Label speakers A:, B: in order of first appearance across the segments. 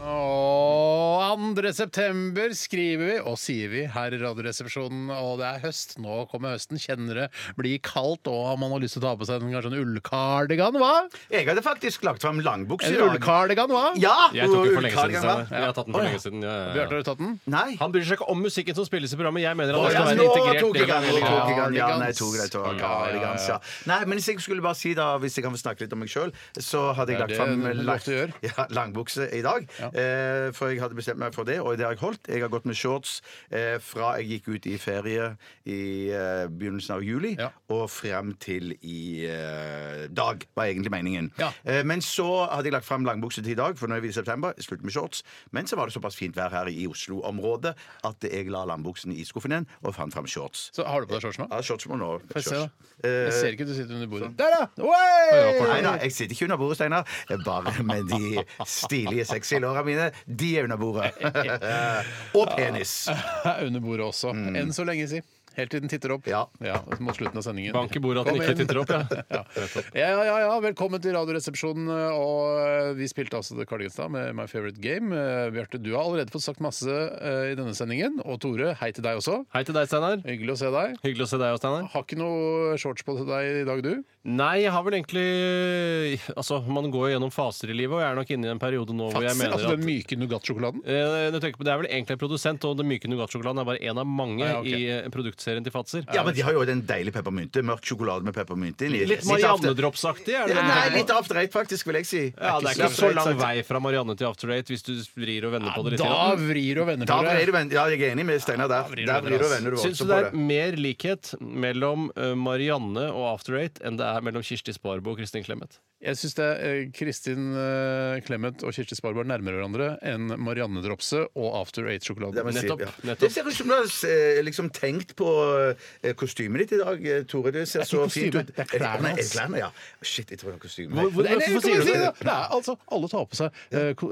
A: Og 2. september skriver vi og sier vi her i Radioresepsjonen. Og det er høst. Nå kommer høsten. Kjenner det blir kaldt, og man har lyst til å ta på seg en, kanskje en ullkardigan, hva?
B: Jeg hadde faktisk lagt fram langbukse.
A: En
B: i dag.
A: ullkardigan, hva?
B: Ja!
C: Jeg tok den for lenge
B: ullkardigan,
C: siden. Steinar.
B: hva?
C: Jeg har tatt den for lenge siden. Ja, ja,
A: Bjarte,
C: ja.
A: har du tatt den?
B: Nei.
C: Han bryr seg ikke om musikken som spilles i programmet. Jeg mener at
B: Å,
C: det
B: ja,
A: sånn
C: skal være
B: nå
C: integrert
B: tok jeg
C: del
B: den, nå
C: av
B: tok jeg
C: hele
B: den. Ja, nei,
A: Kardigans.
B: tok jeg
A: Ja, ja,
B: den,
A: ja, ja.
B: kardigans, ja. Nei, men hvis jeg skulle bare si da, hvis jeg kan få snakke litt om meg sjøl, så hadde jeg
A: Ja,
B: lagt
A: det
B: fram
A: er det du ofte gjør.
B: ja, langbukse i dag. Eh, for jeg hadde bestemt meg for det, og det har jeg holdt. Jeg har gått med shorts eh, fra jeg gikk ut i ferie i eh, begynnelsen av juli,
A: Ja.
B: og frem til i eh, dag, var egentlig meningen.
A: Ja.
B: Eh, men så hadde jeg lagt fram langbukse til i dag, for nå er vi i september, slutt med shorts. Men så var det såpass fint vær her i Oslo-området at jeg la langbuksen i skuffen igjen og fant fram shorts.
A: Så har du på deg shorts nå?
B: Ja, shorts må nå.
A: Få se,
B: shorts.
A: da.
B: Eh,
A: Jeg ser ikke du sitter under bordet. Der, da! Oi!
B: Nei da, jeg sitter ikke under bordet, Steinar. Det er Bare med de stilige, sexy låra mine. De er under bordet. Og penis.
A: Under bordet også.
C: Mm.
A: Enn så lenge, si. Helt til den titter opp.
B: Ja.
A: mot slutten av sendingen.
C: Bank i bordet at den
A: Kom
C: ikke
A: igjen.
C: titter opp.
A: Ja.
C: Ja.
A: Ja, ja, ja, velkommen til Radioresepsjonen. Og vi spilte altså The Cardigans da med My Favorite Game. Eh, Bjarte, du har allerede fått sagt masse eh, i denne sendingen. Og Tore, hei til deg også.
C: Hei til deg, Steinar.
A: Hyggelig å se deg.
C: Hyggelig å se deg òg, Steinar.
A: Har ikke noe shorts på til deg i dag, du?
C: Nei, jeg har vel egentlig Altså, man går jo gjennom faser i livet, og jeg er nok inne i en periode nå hvor jeg mener
A: altså den
C: at
A: myke nougat-sjokoladen?
C: Eh, når du tenker på, Det er vel egentlig en produsent, og den myke nougatsjokoladen er bare én av mange
A: Ja, ok.
C: i eh, produktserien til Fatser.
B: Ja, men de har jo den deilige peppermynte. Mørk sjokolade med peppermynte inni.
C: Litt sånn
B: after-
C: Marianne-droppsaktig, er det det?
B: Nei, litt sånn- after eight, faktisk, vil jeg si.
C: Ja, det er ikke så lang
B: sagt.
C: vei fra Marianne til After Eight hvis du vrir og vender på det litt.
A: Da vrir og vender
B: Da
A: Tore.
B: blir du venn. Ja, jeg er enig med Steinar der. Der blir du venner du
C: Syns
B: også på
C: du det er
B: det.
C: mer likhet mellom eh, Marianne og After Eight enn det er mellom Kirsti Sparbo og Kristin Clemet?
A: Jeg syns det er eh, Kristin eh, Clemet og Kirsti Sparberg nærmere hverandre enn Marianne Dropse og After
B: Det,
A: Eight-sjokoladen.
B: må jeg si,
C: Nettopp,
B: ja.
C: nettopp.
B: det ser ut som du har eh, liksom tenkt på eh, kostymet ditt i dag, eh, Tore. Det ser
A: Det er
B: så
A: ikke
B: fint
A: kostyme,
B: ut.
A: det er klærne
B: Nei,
A: hans.
B: klærne, ja. Shit, jeg tror det er kostyme.
C: Hvor- hvor-
A: Nei,
B: altså,
A: nei, kan
C: Hvorfor sier
A: man
C: du
A: si
B: sånn.
C: det?
A: det? Nei, altså, alle tar på seg eh, ko-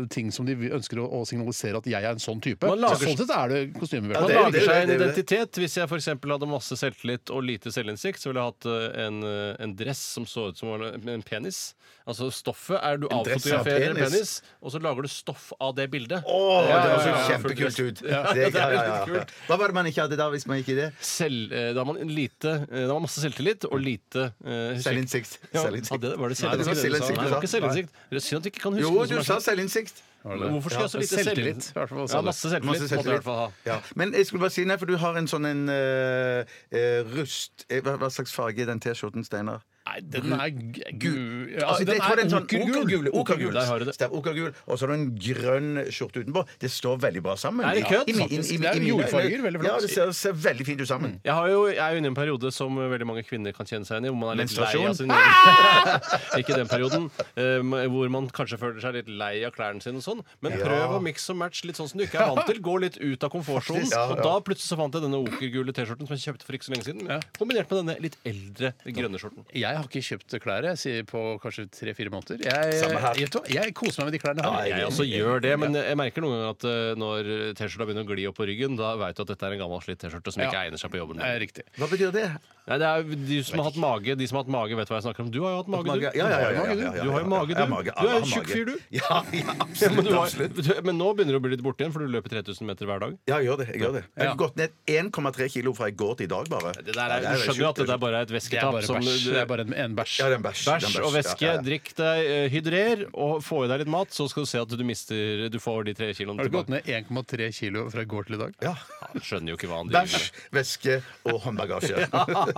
A: eh, ting som de vi- ønsker å, å signalisere at jeg er en sånn type.
C: Man lager-
A: Så sånn sett er det kostyme.
B: Ja,
C: Man
B: det er jo
C: lager seg en
B: det er jo det.
C: identitet. Hvis jeg for eksempel hadde masse selvtillit og lite selvinnsikt, så ville jeg hatt eh, en, eh, en dress som så ut som var en en penis. Altså Stoffet er du
B: dress av
C: avfotograferer en
B: penis.
C: penis, og så lager du stoff av det bildet.
B: Å, det høres jo
C: ja, ja,
B: kjempekult ut. Det,
C: Ja,
B: ja,
C: det er
B: ja,
C: litt
B: ja.
C: kult.
B: Hva var det man ikke hadde da, hvis man ikke det?
C: Selv, eh, da har man lite eh, Da har man masse selvtillit og lite eh,
B: Selvinnsikt.
C: Ja,
B: Selvinnsikt.
C: hadde det, var det
B: Nei, det var
C: selvinnsikt?
B: selvinnsikt du
C: Nei, det var ikke
B: sa.
C: selvinnsikt. Det er synd at du ikke kan huske
B: Jo,
C: noe
B: du
C: som er
B: sa
C: sånn.
B: selvinnsikt.
C: Men Hvorfor skal jeg ha så
A: Ja,
C: lite
A: selvtillit,
C: selvtillit?
A: i hvert fall, sa
C: Ja,
A: du.
C: masse selvtillit.
B: Masse
C: måtte jeg i hvert fall ha.
B: selvtillit. Ja. Men jeg skulle bare si, nei, for du har en sånn en eh, eh, rust eh, hva, hva slags farge er den T-skjorten, Steinar?
A: Nei, den er gu... gu-
B: Ja,
A: Altså,
B: jeg
A: den
B: tror det er en
A: er
B: sånn
A: okergul.
B: Okergul.
C: Der har du det.
B: Stemmer, okergul. Og så har du en grønn skjorte utenpå. Det står veldig bra sammen.
C: Er det
B: Ja.
C: kødd?
B: I min- i- i-
A: Faktisk,
B: i
A: det er
B: mine øyne.
A: jordfarger, veldig flott.
B: Ja, det ser, ser veldig fint ut sammen.
C: Jeg, har jo, jeg er jo inne i en periode som veldig mange kvinner kan kjenne seg inn i. Hvor man er litt lei
B: Menstruasjon?
C: av sin egen Ikke den perioden. eh, hvor man kanskje føler seg litt lei av klærne sine og sånn. Men prøv å mix og match litt sånn som du ikke er vant til. Gå litt ut av komfortsonen.
B: Faktisk, ja,
C: Og
B: ja.
C: da plutselig så fant jeg denne okergule T-skjorten som jeg kjøpte for ikke så lenge siden. Kombinert med denne litt eldre grønne skjorten.
A: Jeg har ikke kjøpt klær jeg, sier på kanskje tre-fire måneder. Jeg,
B: Samme her.
A: jeg, to- jeg koser meg med de klærne her.
C: Jeg også gjør det, men jeg merker noen ganger at eh, når T-skjorta begynner å gli opp på ryggen, da veit du at dette er en gammel slitt T-skjorte som
A: Ja.
C: ikke egner seg på jobben.
A: Det er riktig.
B: Hva betyr det?
C: Nei, det er jo de som har hatt mage, de som har hatt mage, vet hva jeg snakker om. Du har jo hatt mage,
B: Mage.
C: du.
B: Ja, ja, ja, ja, ja,
C: Du har jo mage,
B: ja, ja, ja. Jeg
C: Du har jo mage,
B: har
C: du.
B: mage.
C: Du er
B: Alle
C: en
B: har
C: tjukk
B: mage.
C: fyr, du.
B: Ja, ja
C: Men,
B: absolutt.
C: du har,
B: absolutt.
C: du, men nå begynner du å bli litt borte igjen, for du løper 3000 meter hver dag.
B: Ja, jeg gjør det. Jeg, gjør det. jeg har gått ned 1,3 kilo fra i går til i dag, bare.
C: Det der er,
B: Ja,
C: du skjønner jo at
B: sjukt.
C: det der
B: altså.
C: bare er et
A: Det er
C: væsketap.
A: bare
C: som
A: bæsj.
C: du-
A: Det er bare en, en bæsj.
B: Ja, det er en bæsj. det
C: Bæsj
B: er en
C: og væske.
B: Ja, ja, ja.
C: Drikk deg, eh, hydrer, og få i deg litt mat, så skal du se at du mister Du får de tre kiloene
A: Har du gått
C: tilbake.
A: ned 1,3 kilo fra i går til i dag?
B: Ja.
C: Han skjønner jo ikke hva han driver
B: Bæsj, væske og håndbagasje.
C: med.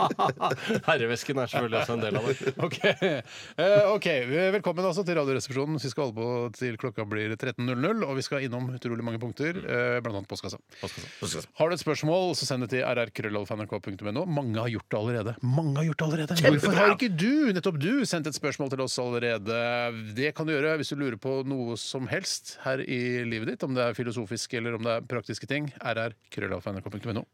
C: Herrevæsken er selvfølgelig også en del av det.
A: Ok, Eh, ok, Velkommen altså til Radioresepsjonen. Vi skal holde på til klokka blir 13.00. Og vi skal innom utrolig mange punkter, eh, blant annet postkassa. Har du et spørsmål, så send det til rrkrøllalfa.nrk.no. Mange har gjort det allerede. Mange har gjort det allerede Hvorfor har ikke du, nettopp du, sendt et spørsmål til oss allerede? Det kan du gjøre hvis du lurer på noe som helst her i livet ditt. Om det er filosofisk eller om det er praktiske ting. rrkrøllalfa.nrk.no.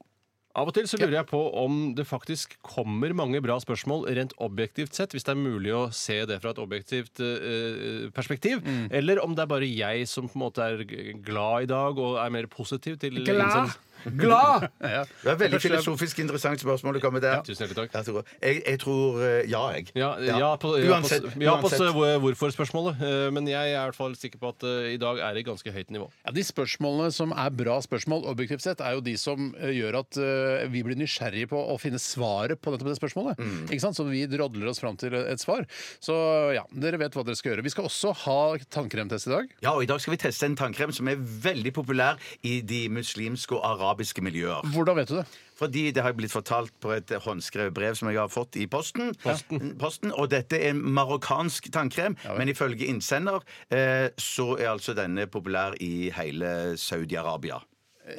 C: Av og til så lurer jeg på om det faktisk kommer mange bra spørsmål rent objektivt sett, hvis det er mulig å se det fra et objektivt eh, perspektiv, eller om det er bare jeg som på en måte er g- glad i dag og er mer positiv til innsendelse. Glad!
B: Det er et veldig filosofisk interessant spørsmål du kommer med der.
C: Tusen hjertelig takk.
B: Jeg tror, jeg, jeg tror eh, ja, jeg.
C: Ja, ja på, ja, på,
B: uansett.
C: ja, på
B: uansett.
C: s- hvor- hvorfor-spørsmålet, eh, men jeg er i hvert fall sikker på at eh, i dag er det ganske høyt nivå.
A: Ja, De spørsmålene som er bra spørsmål, objektivt sett, er jo de som eh, gjør at eh, vi blir nysgjerrige på å finne svaret på nettopp det spørsmålet. Ikke sant? Så vi drodler oss fram til et svar. Så ja, dere vet hva dere skal gjøre. Vi skal også ha tannkremtest i dag.
B: Ja, og I dag skal vi teste en tannkrem som er veldig populær i de muslimske og arabiske miljøer.
A: Hvordan vet du det?
B: Fordi det har blitt fortalt på et håndskrevet brev som jeg har fått i posten. Mm, Posten. og dette er en marokkansk tannkrem, men ifølge innsender eh, så er altså denne populær i hele Saudi-Arabia.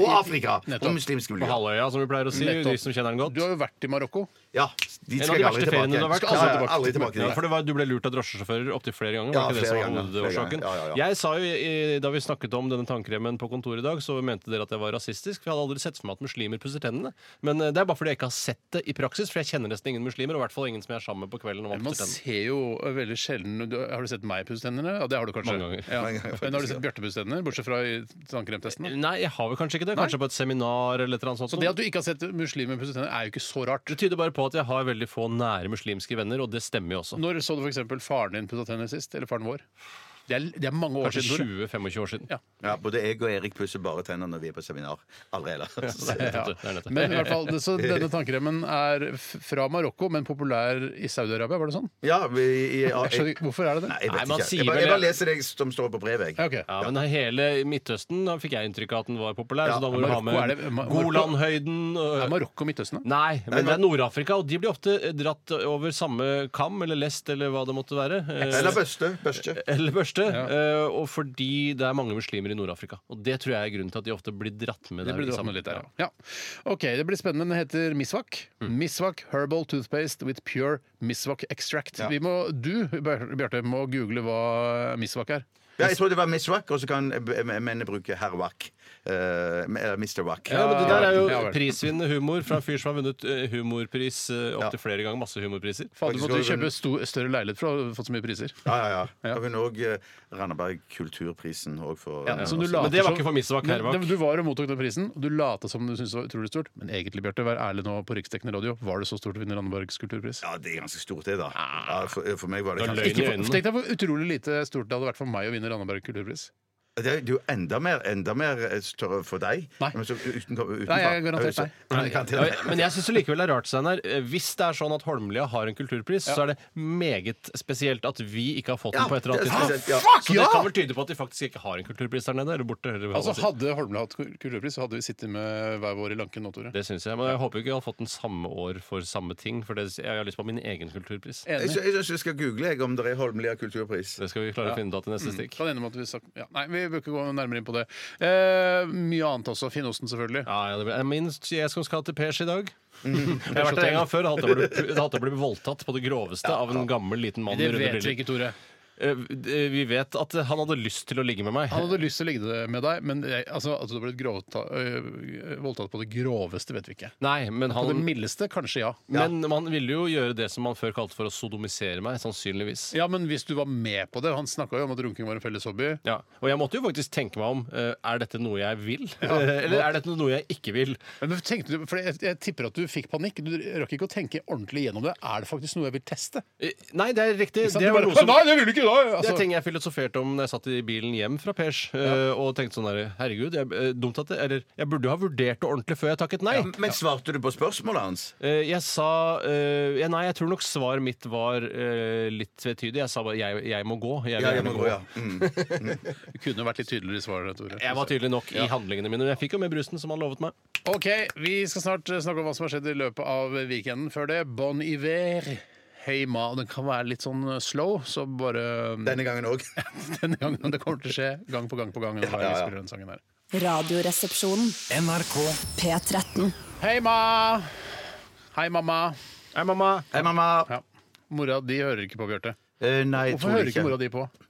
B: Og Afrika!
A: nettopp.
B: Og muslimske
C: Eh, På
B: miljøer.
C: Halvøya, som vi pleier å si,
A: Nettopp.
C: de som kjenner den godt.
A: Du har jo vært i Marokko.
B: Ja, dit
C: En
B: skal
C: av de
B: jeg aldri
C: verste feriene
B: tilbake.
C: du har vært.
B: Skal
C: Aldri
B: aldri
C: tilbake.
B: tilbake. Aldri tilbake
C: Ja,
B: til
C: for det var, Du ble lurt av drosjesjåfører opptil flere ganger?
B: Ja,
C: var ikke det
B: flere
C: som var
B: ganger, flere
C: hovedårsaken?
B: ganger. Ja, ja, ja.
C: Jeg sa jo, i- Da vi snakket om denne tannkremen på kontoret i dag, så mente dere at jeg var rasistisk. For jeg hadde aldri sett for meg at muslimer pusser tennene. Men eh, det er bare fordi jeg ikke har sett det i praksis, for jeg kjenner nesten ingen muslimer. Og i hvert fall ingen som jeg er sammen med på kvelden når man
A: Man
C: pusser tennene.
A: ser jo veldig sjelden du- Har du sett meg pusse tennene? Ja, det har du kanskje.
C: Mange ganger.
A: Ja.
B: Mange ganger, faktisk,
A: Men har du
B: ja.
A: sett Bjarte pusse tennene, bortsett fra i tannkremtesten? da?
C: Nei, jeg har vel kanskje ikke det. Kanskje på et seminar eller et eller annet sånt.
A: Så det at du ikke har sett muslimer pusse tennene, er jo ikke så rart.
C: Det tyder bare på at jeg har veldig få nære muslimske venner, og det stemmer jo også.
A: Når så du f.eks. faren din pusse tennene sist? Eller faren vår? Det er, det er mange år siden.
C: Kanskje
A: Tore.
C: 20-25 år siden.
A: Ja.
B: Ja, både jeg og Erik pusser bare tenner når vi er på seminar. Aldri ellers.
C: Ja, det er nettopp.
A: Men i hvert fall, det- så denne tannkremen er f- fra Marokko, men populær i Saudi-Arabia, var det sånn?
B: Ja, vi, ja,
A: Jeg skjønner ikke, hvorfor er det det?
B: Nei, jeg
C: Nei,
B: vet
C: man
B: ikke.
C: sier
B: Jeg bare,
C: vel
B: jeg bare
C: det.
B: leser det som står på brevet. jeg.
A: Ja, ok.
C: Ja, men hele Midtøsten da fikk jeg inntrykk av at den var populær.
B: Ja,
C: så da må du ha
A: Marokko er
C: med
A: det- Ma- Marokko-
C: Golanhøyden og-
A: Er Marokko Midtøsten, da?
C: Nei, men det er Nord-Afrika, og de blir ofte dratt over samme kam eller lest eller hva det måtte være. eh,
B: Eller børste. børste.
C: Eller børste. eh, Og fordi det er mange muslimer i Nord-Afrika. Og det tror jeg er grunnen til at de ofte blir dratt med
A: Det
C: der.
A: blir
C: i
A: dratt
C: samme-
A: med litt der, ja. ja. OK, det blir spennende. Den heter Misvak. Misvak Herbal Toothpaste with Pure Misvak Extract. Vi må, du, Bjar- Bjarte, må google hva Misvak er.
B: Ja, jeg tror det var Miss Wack, og så kan eh, mennene bruke herr Wack. Eh, Eller Mr. Wack.
C: Ja, men Det der
A: Ja,
C: er jo
A: vel.
C: prisvinnende humor fra en fyr som har vunnet eh, humorpris opptil flere ganger. Masse humorpriser.
A: Faen, du
B: Faktisk
A: måtte
B: skal vi-
A: kjøpe sto, større leilighet for å ha fått så mye priser.
B: Ja, ja, ja. Og hun òg Randaberg kulturprisen òg for eh,
A: Ja, som du
C: la-
A: later
C: Men det var
A: som-
C: ikke for Misvak
A: Men
C: Hervak.
A: det- Du var og mottok den prisen, og du lata som du syntes det var utrolig stort. Men egentlig, Bjarte, vær ærlig nå på Riksdekkende radio, var det så stort å vinne Randebergs kulturpris?
B: Ja, det er ganske stort, det, da. Ja, for, eh, for meg var det
C: Det er
B: kanskje
C: løgn.
A: Ikke
C: i
A: for,
C: øynene.
A: tenk deg hvor utrolig lite stort det hadde vært for meg å vinne Randaberg kulturpris.
B: Det er det er jo enda mer, enda mer eh, større for deg.
A: Nei.
B: Men så uten, utenfor.
A: Nei, jeg garanterer
B: Ja,
A: nei.
B: så- Nei,
C: Ja,
B: garanterer nei.
C: Men jeg syns likevel det er rart, Steinar. eh, Hvis det er sånn at Holmlia har en kulturpris, så er det meget spesielt at vi ikke har fått den
B: Ja,
C: på et eller annet
B: det er
C: tidspunkt.
B: spesielt, ja.
C: Så det
A: ja!
C: kan vel tyde på at de faktisk ikke har en kulturpris der nede. Eller borte, eller hva
A: Altså,
C: man sier.
A: Hadde Holmlia hatt kul- kulturpris, så hadde vi sittet med hver vår i lanken nå, Tore.
C: Det syns jeg. Men jeg håper ikke jeg har fått den samme år for samme ting. For det, jeg har lyst på min egen kulturpris.
B: Jeg
A: Enig.
B: sy- jeg syns vi skal google jeg, om det er Holmlia kulturpris.
C: Det skal vi klare å finne ut av til neste stikk.
A: Kan ende med at vi sak- ja, Nei, vi bør ikke gå nærmere inn på det. Eh, mye annet også. Finnosten, selvfølgelig.
C: Ja, ja, det blir, jeg minst jeg som skal til Pers i dag.
A: Mm.
C: Jeg har vært der en gang før. Jeg hatt å bli- hatt å bli voldtatt på det groveste av en gammel, liten mann.
A: Det
C: med runde
A: vet vi
C: briller.
A: ikke, Tore.
C: Eh, d- Vi vet at eh, han hadde lyst til å ligge med meg.
A: Han hadde lyst til å ligge det med deg, men jeg, altså, at du ble grovta, øh, voldtatt på det groveste, vet vi ikke.
C: Nei, men
A: På det
C: han
A: mildeste, kanskje ja.
C: Men man ville jo gjøre det som man før kalte for å sodomisere meg, sannsynligvis.
A: Ja, men hvis du var med på det Han snakka jo om at runking var en felles hobby.
C: Ja, Og jeg måtte jo faktisk tenke meg om. eh, Er dette noe jeg vil? Eh, Eller er dette noe jeg ikke vil?
A: Men tenkte du, for jeg, jeg tipper at du fikk panikk. Du rakk ikke å tenke ordentlig gjennom det. Er det faktisk noe jeg vil teste?
C: Eh, Nei, det er riktig.
A: Ikke sant? Du
C: Det var
A: bare,
C: noe som
A: Nei, det vil du ikke! Da.
C: det er
A: Altså,
C: ting jeg filosoferte om når jeg satt i bilen hjem fra Pers eh, og tenkte sånn der, Herregud, jeg, eh, dumt at det, eller, jeg burde jo ha vurdert det ordentlig før jeg takket nei.
B: Men svarte du på spørsmålet hans?
C: Eh, Jeg sa eh, ja, Nei, jeg tror nok svaret mitt var eh, litt tvetydig. Jeg sa bare jeg, 'jeg må gå'. Jeg,
B: Ja,
C: vil
B: jeg
C: gjerne
B: må gå, ja. Mm.
A: du kunne vært litt tydeligere i svaret. Tore.
C: Jeg var tydelig nok i handlingene mine. Men jeg fikk jo med brusen, som han lovet meg.
A: OK, vi skal snart eh, snakke om hva som har skjedd i løpet av weekenden. Før det, Bon Iver. Hey Ma. Den kan være litt sånn slow, så bare
B: Denne gangen òg.
A: denne gangen. Det kommer til å skje gang på gang på gang. Når vi spiller den sangen her.
D: Radioresepsjonen.
E: NRK
D: P13.
A: Hei, ma! Hei, mamma.
C: Hei, mamma.
B: Hei, mamma.
A: Ja. Mora di hører ikke på, Bjarte.
B: Eh, nei, jeg
A: Hvorfor
B: tror
A: hører
B: ikke.
A: ikke mora di på? Hun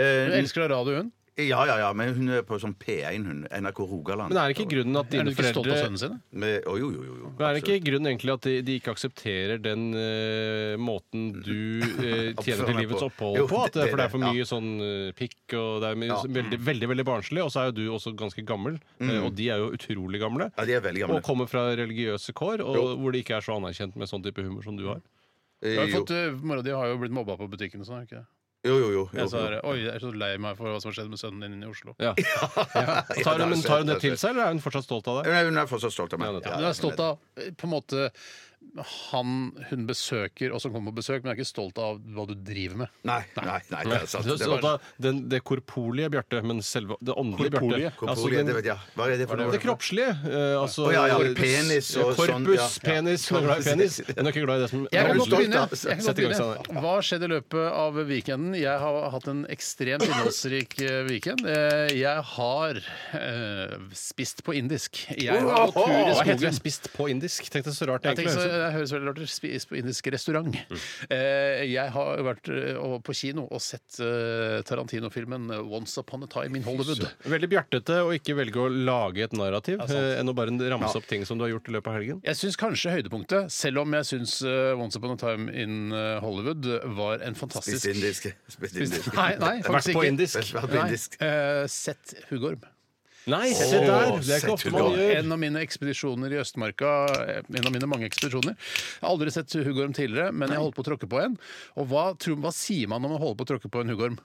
B: Eh,
A: elsker da radio, hun.
B: Ja, ja, ja, men hun er på sånn P1, hun. NRK Rogaland.
C: Men er det ikke grunnen at
A: Er
C: dine
A: du ikke stolt av sønnene
C: foreldre
A: sine?
B: Med- Å, jo, jo, jo. jo.
C: men er det ikke grunnen egentlig at de, de ikke aksepterer den eh, måten du eh, tjener til
B: meg
C: livets
B: på.
C: opphold
B: Jo,
C: på? At, det-
B: det-
C: for det er for
B: det-
C: mye
B: ja.
C: sånn eh, pikk og det er mye,
B: Ja.
C: veldig, veldig veldig barnslig. Og så er jo du også ganske gammel, eh, og de er jo utrolig gamle.
B: Mm. Ja, de er veldig gamle.
C: Og kommer fra religiøse kår, og hvor det ikke er så anerkjent med sånn type humor som du har.
A: Du
B: Eh,
A: har jo
B: Jo,
A: fått, eh, Mora di har jo blitt mobba på butikken og sånn, har hun ikke det?
B: jo, jo. jo,
A: Jeg sa
B: jo.
A: oi, jeg er så lei meg for hva som har skjedd med sønnen din i Oslo.
C: Ja.
B: Ja,
C: Tar,
B: det er
C: hun,
B: søtt,
C: tar hun det
B: det er
C: til seg, eller er hun fortsatt stolt av det?
B: Nei, Hun er fortsatt stolt av meg.
C: Ja, det er
B: Ja,
A: Du
B: ja,
A: er stolt
B: hun
A: av eh, på en måte han hun besøker og som kommer på besøk, men er ikke stolt av hva du driver med.
B: Nei, nei, nei, det er sant.
C: Så-
B: Det
C: så
B: var-
C: da, den, det korporlige Bjarte, men selve det åndelige
A: Korporlige?
C: Bjarte. Altså,
B: Korpolia,
C: den-
B: det vet jeg. Hva er det for
C: Det
B: noe?
C: kroppslige. eh, altså,
B: Å, ja, ja, for penis og
C: korpus,
B: sånn, ja.
C: penis. Hun er glad i penis. Hun er ikke glad i det som
A: Jeg
B: er
A: kan
B: du
A: godt
B: stolt,
A: begynne.
B: da?
A: Jeg kan
C: Sett
A: godt
C: i gang,
A: begynne. Hva skjedde i løpet av weekenden? Jeg har hatt en ekstremt innholdsrik eh, weekend. Eh, Jeg har eh, spist på indisk. Jeg var på tur i
C: Hva heter det?
A: skogen.
C: Spist på indisk? Tenkte det så rart,
A: Jeg
C: egentlig.
A: tenker så, det høres veldig rart ut. Spis på indisk restaurant.
C: Mm.
A: Eh, jeg har vært eh, og på kino og sett eh, Tarantino-filmen 'Once Upon a Time in Hollywood'.
C: Veldig bjertete å ikke velge å lage et narrativ eh, enn å bare ramse opp ting som du har gjort i løpet av helgen.
A: Jeg syns kanskje høydepunktet, selv om jeg syns eh, 'Once Upon a Time in eh, Hollywood' var en fantastisk
B: Spist indisk. Spist indisk.
A: Nei, nei,
C: Vært
A: faktisk
C: på
A: ikke.
C: indisk.
B: Vært
A: Nei,
B: indisk.
A: eh, sett huggorm.
C: Nei, se der! Det er ikke ofte man gjør.
A: En av mine ekspedisjoner i Østmarka eh, En av mine mange ekspedisjoner. Jeg har aldri sett huggorm tidligere, men jeg holdt på å tråkke på en. Og hva, tror, hva sier man når man holder på å tråkke på en huggorm?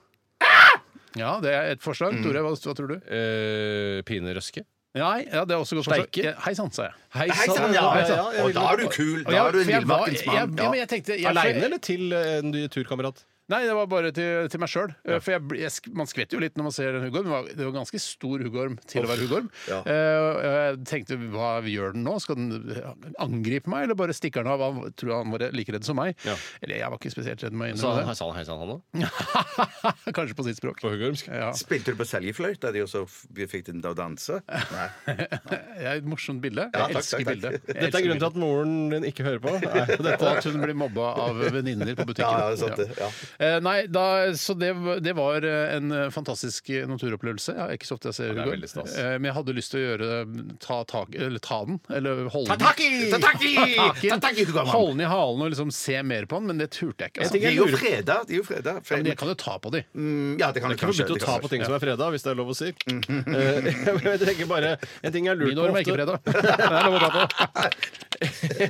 A: Ja, det er et forslag. Tore, hva, hva tror du?
C: Eh, Pinerøske.
A: Nei, ja, det er også godt forslag.
C: Steike?
A: Ja, Hei sann, sa jeg.
C: Hei
B: Hei sann, ja!
C: ja, ja, jeg
B: Og
C: ville-
B: da er du kul.
A: Og jeg-
B: Da er du en
A: for jeg var-
B: villmarkens
A: jeg-
B: mann.
A: Ja, men jeg tenkte jeg-
C: Aleine eller til eh, en ny turkamerat?
A: Nei, det var bare til, til meg sjøl. For jeg, blir- jeg, sk- man skvetter jo litt når man ser en huggorm. Det var- Det var ganske stor huggorm til å være huggorm.
B: ja.
A: Eh, og jeg tenkte hva gjør den nå? Skal den angripe meg, eller bare stikker den av? Han tror han var like redd som meg.
C: Ja.
A: Eller jeg var ikke spesielt redd, må jeg
C: Sa han
A: innrømme.
C: hei sann, hei sann, han òg?
A: det. Kanskje på sitt språk.
C: På huggormsk?
A: Ja.
B: Spilte du på seljefløyta di, og så f- fikk den til å danse? Nei.
A: Det er et morsomt bilde.
B: Ja,
A: Jeg
B: takk,
A: elsker
B: takk, takk.
A: bildet. Jeg
C: Dette er
A: elsker
C: grunnen til
A: bildet.
C: at moren din ikke hører på. Er dette
A: og at hun blir mobba av venninner på butikken.
B: Ja, ja, det er sant det, ja.
A: Eh, Nei, da, så det, v- det var eh, en eh, fantastisk eh, naturopplevelse. Ja, ikke så ofte jeg ser
C: det er
A: Hugo.
C: veldig stas.
A: Eh, Men jeg hadde lyst til å gjøre det, ta, tak, eller ta den, eller holde den.
B: Ta tak i! Ta tak i, du gammel!
A: Holde den i halen og liksom se mer på den, men det turte jeg ikke.
C: En ting
A: Altså.
B: De er
C: jeg
B: jo
C: lurer på
B: freda. De er jo freda.
A: Men jeg kan jo ta på de.
B: Mm, Ja, det kan
C: Det
B: du
C: er ikke
B: kanskje. sånn.
C: forbudt å
B: det
C: ta
B: kan
C: på
B: kanskje.
C: ting som er freda, hvis det er lov å si.
B: Mm.
C: Eh, Jeg tenker bare En ting jeg lurer
A: Min orm er ikke
C: på ofte,
A: fredag. Det er lov å ta på.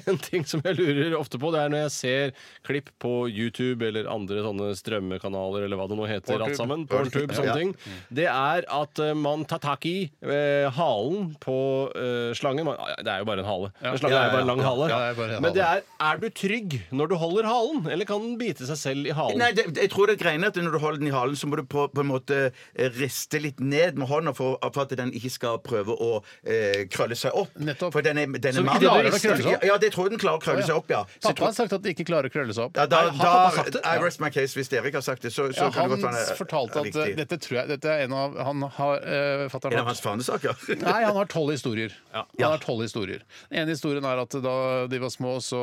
C: En ting som jeg lurer ofte på, det er når jeg ser klipp på YouTube eller andre sånne strømmekanaler eller hva det nå heter, alt sammen, porntube, sånne
B: Ja.
C: ting, det er at eh, man tar tak i eh, halen på eh, slangen. Man, ah, det er jo bare en hale. En slange
B: Ja, ja,
C: er jo bare en
B: ja.
C: lang hale.
A: Ja, det er bare en
C: Men det er er du trygg når du holder halen, eller kan den bite seg selv i halen?
B: Nei, det, jeg tror det er greiene at Når du holder den i halen, så må du på, på en måte eh, riste litt ned med hånda for, for at den ikke skal prøve å eh, krølle seg opp.
A: Nettopp.
B: For den er, den
A: Så den
B: er mer-
A: klarer å krølle seg opp?
B: Ja, det tror jeg den klarer å krølle seg opp, ja. Så jeg
A: Pappa
B: tror,
A: har sagt at de ikke klarer å krølle seg opp.
B: ja da,
A: Nei, har
B: da,
A: pappa sagt det?
B: I rest my case. Hvis dere ikke har sagt det, så,
A: Ja,
B: så kan
A: han
B: det godt være
A: fortalte at eh,
B: riktig.
A: dette tror jeg Dette er en av Han har uh,
B: En av hans fanesaker?
A: Nei, han har tolv historier. Han
B: Ja.
A: har tolv historier. Den ene historien er at da de var små, så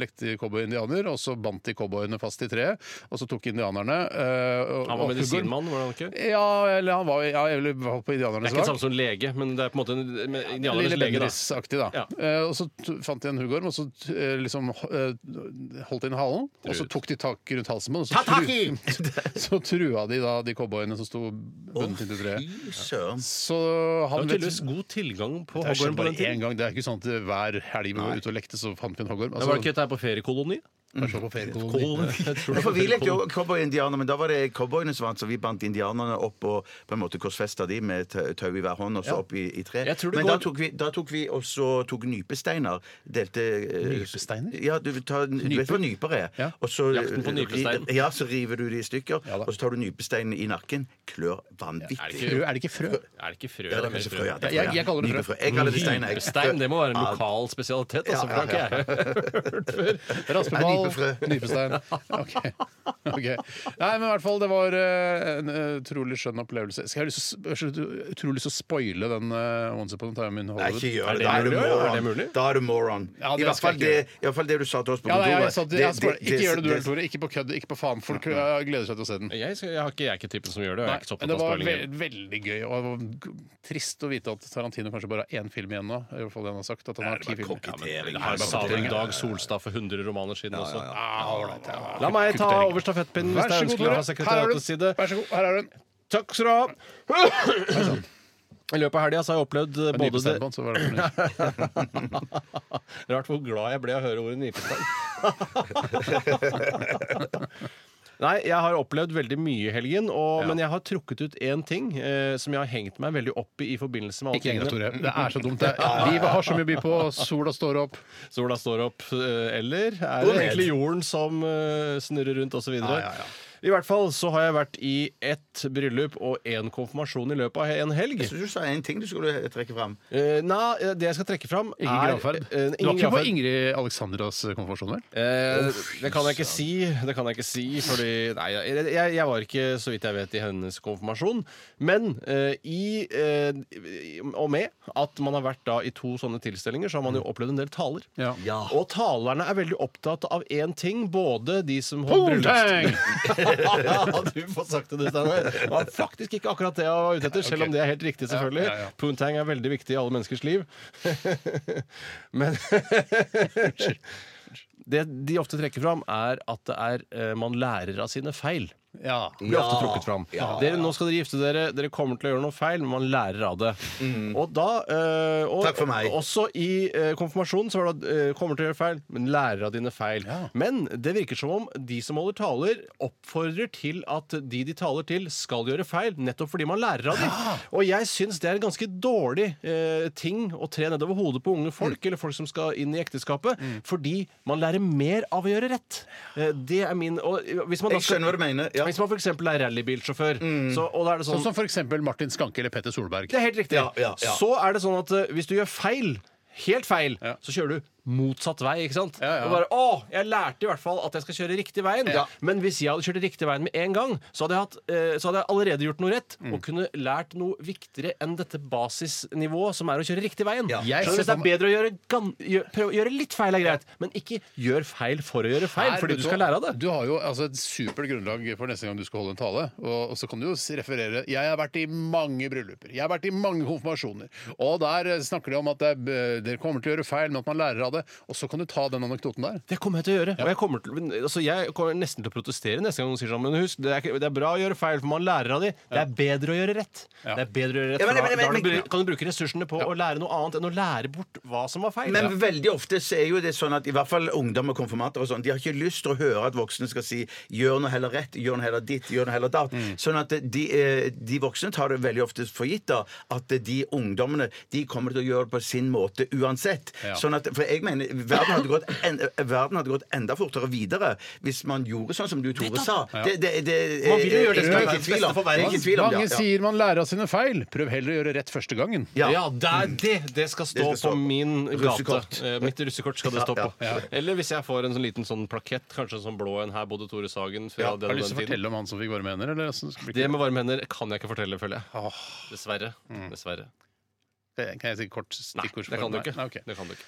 A: lekte de cowboy-indianer, og så bandt de cowboyene fast i treet, og så tok indianerne øh, og-
C: Han var
A: og
C: medisinmann, var han ikke? Det
A: Ja, eller han var, ja, eller var på indianernes
C: er ikke det
A: lag.
C: samme som lege, men det er på en måte en men indianernes
A: Lille
C: lege. da.
A: Bendriss-aktig, da.
C: Ja.
A: Eh, og så t- fant de en huggorm, og så t- eh, liksom eh, holdt de den i halen, og så tok de tak rundt halsen på den, og så, tru, så trua de da de cowboyene som sto bundet inntil treet.
B: Fy søren.
A: Så
C: Det
A: han
C: var tydeligvis god tilgang på
A: Det
C: hoggorm
A: skjedde
C: på
A: bare
C: den tiden.
A: én gang. Det er ikke sånn at hver helg vi var ute og lekte, så fant vi en hoggorm. Altså,
C: Det var det ikke dette her på feriekoloni?
A: kanskje på feriekoloni.
B: Ja,
C: Jeg tror det
B: for
C: var
B: Vi lekte
C: feriekoloni.
B: jo cowboy-indianer, men da var det cowboyene som vant, så vi bandt indianerne opp og på en måte korsfesta de med tau tau i hver hånd og så opp i, i tre.
C: Jeg tror det
B: Men
C: går-
B: da tok vi, da tok vi også tok nypesteiner. Delte eh,
A: Nypesteiner?
B: Ja, du, tar, du vet hva nyper er.
A: Ja.
B: Og så, eh,
C: Jakten på nypestein.
B: ri- Ja, så river du de i stykker,
A: Ja da.
B: og så tar du nypesteinen i nakken. Klør
A: Frø,
B: vanvittig.
A: er det ikke frø?
C: Er det ikke frø?
B: Ja, det er
C: det er
B: kanskje
C: mer
B: frø, ja, det er
A: Jeg-
B: frø, ja.
A: jeg kaller det frø.
B: Nypefrø. Jeg kaller det stein. jeg-
C: Hypestein, det må være en lokal spesialitet.
B: Ja, ja,
C: Altså, for det har ikke jeg hørt før.
A: Raspeball
B: Nypefrø.
A: Nypestein. Ok. ok. Nei, men i hvert fall, det var eh, en eh, utrolig skjønn opplevelse. Skal jeg ha lyst til å s- jeg har så utrolig lyst til å spoile den eh, Once upon a time in
B: Nei,
A: Hollywood?
B: ikke gjør
C: Er
B: det.
C: det
B: Da er du
C: mulig, ja? Er
B: moron.
C: det mulig?
B: Da er du moron.
A: Ja, det
B: I, hvert
A: skal jeg
B: fall det,
A: ikke
B: I hvert fall det du sa til oss på
A: Ja, nei, jeg,
B: kontoret.
A: sa- jeg spoiler- ikke gjør det du heller, Tore. Ikke på kødd, ikke på faen. Folk eh, gleder seg til å se den.
C: Jeg, skal- jeg, har ikke, jeg er ikke typen som gjør det. og Jeg er ikke så
A: men
C: opptatt
A: det
C: av
A: var ve
C: spoilingen.
A: veldig gøy, og det var g- trist å vite at Tarantino kanskje bare har én film igjen nå. I hvert fall det han har sagt, at han har ti filmer.
B: kokkete.
C: Det her sa vel Dag Solstad for 100 romaner siden også.
A: Ah, all right, ja.
C: La meg ta over stafettpinnen hvis
A: Vær
C: det
A: så
C: er
A: god,
C: ønskelig
A: Tore.
C: fra sekretariatets
A: Her
C: side.
A: er du. Vær så god, her er den.
C: Takk skal du ha! I løpet av helga har jeg opplevd eh,
A: Både
C: både det
A: så var det for nytt.
C: Rart hvor glad jeg ble av å høre ordet nipestang. Nei, jeg har opplevd veldig mye i helgen, og, men jeg har trukket ut én ting eh, som jeg har hengt meg veldig opp i i forbindelse med alle
A: Ikke heng deg,
C: tingene.
A: Tore. Det er så dumt. Det. Livet har så mye å by på. Sola står opp.
C: Sola står opp, eh, eller er det egentlig jorden som eh, snurrer rundt, osv.? I hvert fall så har jeg vært i ett bryllup og én konfirmasjon i løpet av en helg.
B: Jeg syns du sa en ting du skulle trekke fram.
C: Eh, nei, eh, det jeg skal trekke fram
A: Ingen
C: er
A: gravferd.
C: eh,
A: Du var
C: ingen
A: ikke på
C: gravferd.
A: Ingrid Alexandras konfirmasjon, vel?
C: Eh, det kan jeg ikke si. Det kan jeg ikke si, fordi Nei, jeg, jeg jeg var ikke, så vidt jeg vet, i hennes konfirmasjon. Men eh, i eh, i- Og med at man har vært da i to sånne tilstelninger, så har man jo opplevd en del taler.
A: Ja.
C: Og talerne er veldig opptatt av én ting, både de som holdt bryllups-
A: Boomtang!
C: du får sagt det, du, Steinar. Det var faktisk ikke akkurat det jeg var ute etter, selv om det er helt riktig, selvfølgelig.
A: Ja, ja, ja.
C: Poontang er veldig viktig i alle menneskers liv. Men Det de ofte trekker fram, er at det er, eh, man lærer av sine feil.
A: Ja.
C: Blir ofte trukket fram. Dere, nå skal dere gifte dere, dere kommer til å gjøre noe feil, men man lærer av det. Og da eh, og,
B: Mm. Takk for meg.
C: Også i eh, konfirmasjonen så var det eh, kommer til å gjøre feil, men lærer av dine feil. Men det virker som om de som holder taler, oppfordrer til at de de taler til, skal gjøre feil, nettopp fordi man lærer av dem. Og jeg syns det er en ganske dårlig eh, ting å tre nedover hodet på unge
B: Mm.
C: folk, eller folk som skal inn i ekteskapet, fordi man lærer mer av å gjøre rett. Eh, det er min og hvis man da
B: Jeg skjønner hva du mener. Ja.
C: hvis man f.eks. er rallybilsjåfør, så, og da er det sånn
A: Sånn som for eksempel Martin Skanke eller Petter Solberg.
C: Det er helt riktig.
B: Ja, ja, ja.
C: Så er det sånn at eh, hvis du gjør feil Helt feil. Så kjører du motsatt vei. ikke sant?
A: Ja, ja.
C: Og bare, å, jeg lærte i hvert fall at jeg skal kjøre riktig veien. Men hvis jeg hadde kjørt riktig veien med en gang, så hadde jeg, hatt, eh, så hadde jeg allerede gjort noe rett. Og kunne lært noe viktigere enn dette basisnivået, som er å kjøre riktig veien.
A: Jeg
C: Så
A: ser
C: hvis det
A: for
C: er
A: meg-
C: bedre å gjøre, gan- gjø- prøve å gjøre litt feil, er greit. Men ikke gjør feil for å gjøre feil,
A: Her,
C: fordi
A: vet
C: du
A: hva?
C: skal lære av det.
A: Du har jo altså, et supert grunnlag for neste gang du skal holde en tale. Og, og så kan du jo s- referere Jeg har vært i mange brylluper. Jeg har vært i mange konfirmasjoner. Og der eh, snakker de om at det, er, eh, dere kommer til å gjøre feil, men at man lærer av det. Og så kan du ta den anekdoten der.
C: Det kommer jeg til å gjøre. Og jeg kommer, til, altså jeg kommer nesten til å protestere neste gang noen sier sånn. Men husk, det er, ikke- det er bra å gjøre feil, for man lærer av de. Det er bedre å gjøre rett. Det er bedre å gjøre rett
B: Ja, men-
C: for da-
B: men- men-
C: da har du
B: men-
C: bru- kan du bruke ressursene på å lære noe annet enn å lære bort hva som var feil.
B: Men
C: Ja.
B: veldig ofte så er jo det sånn at i hvert fall ungdom og konfirmanter og sånn, de har ikke lyst til å høre at voksne skal si 'gjør noe heller rett', 'gjør noe heller ditt', 'gjør noe heller datt'.
C: Mm.
B: Sånn at de, eh, de voksne tar det veldig ofte for gitt da, at de ungdommene de kommer til å gjøre det på sin måte uansett. Sånn at, For jeg mener verden hadde gått, en, verden hadde gått enda fortere videre hvis man gjorde sånn som du, Tore, sa. Det, det, det,
C: Man vil jo gjøre det
B: jeg er
C: som er
B: ikke i tvil om.
C: beste for verden.
B: Jeg er ikke i tvil om det,
A: Mange
B: ja.
A: sier man lærer av sine feil. Prøv heller å gjøre rett første gangen.
B: Ja. Mm.
C: Ja, det, er det, det skal stå
B: Det skal
C: på
B: stå.
C: min
B: Russekort.
C: gate. Eh, Mitt russekort skal det stå
B: Ja,
C: på. Eller hvis jeg får en sånn liten sånn plakett, kanskje en sånn blå en her bodde Tore Sagen fra
A: Har
C: den og
A: du
C: den
A: lyst til å
C: tiden.
A: fortelle om han som fikk varme hender? Eller? Så skal vi
C: Det
A: ikke-
C: med varme hender kan jeg ikke fortelle, føler jeg. Dessverre. Dessverre.
A: Eh, Kan jeg si kort
C: Nei,
A: Mm. stikkord?
C: det kan du
A: Nei,
C: ikke.
A: nei, ok.
C: Det kan du ikke.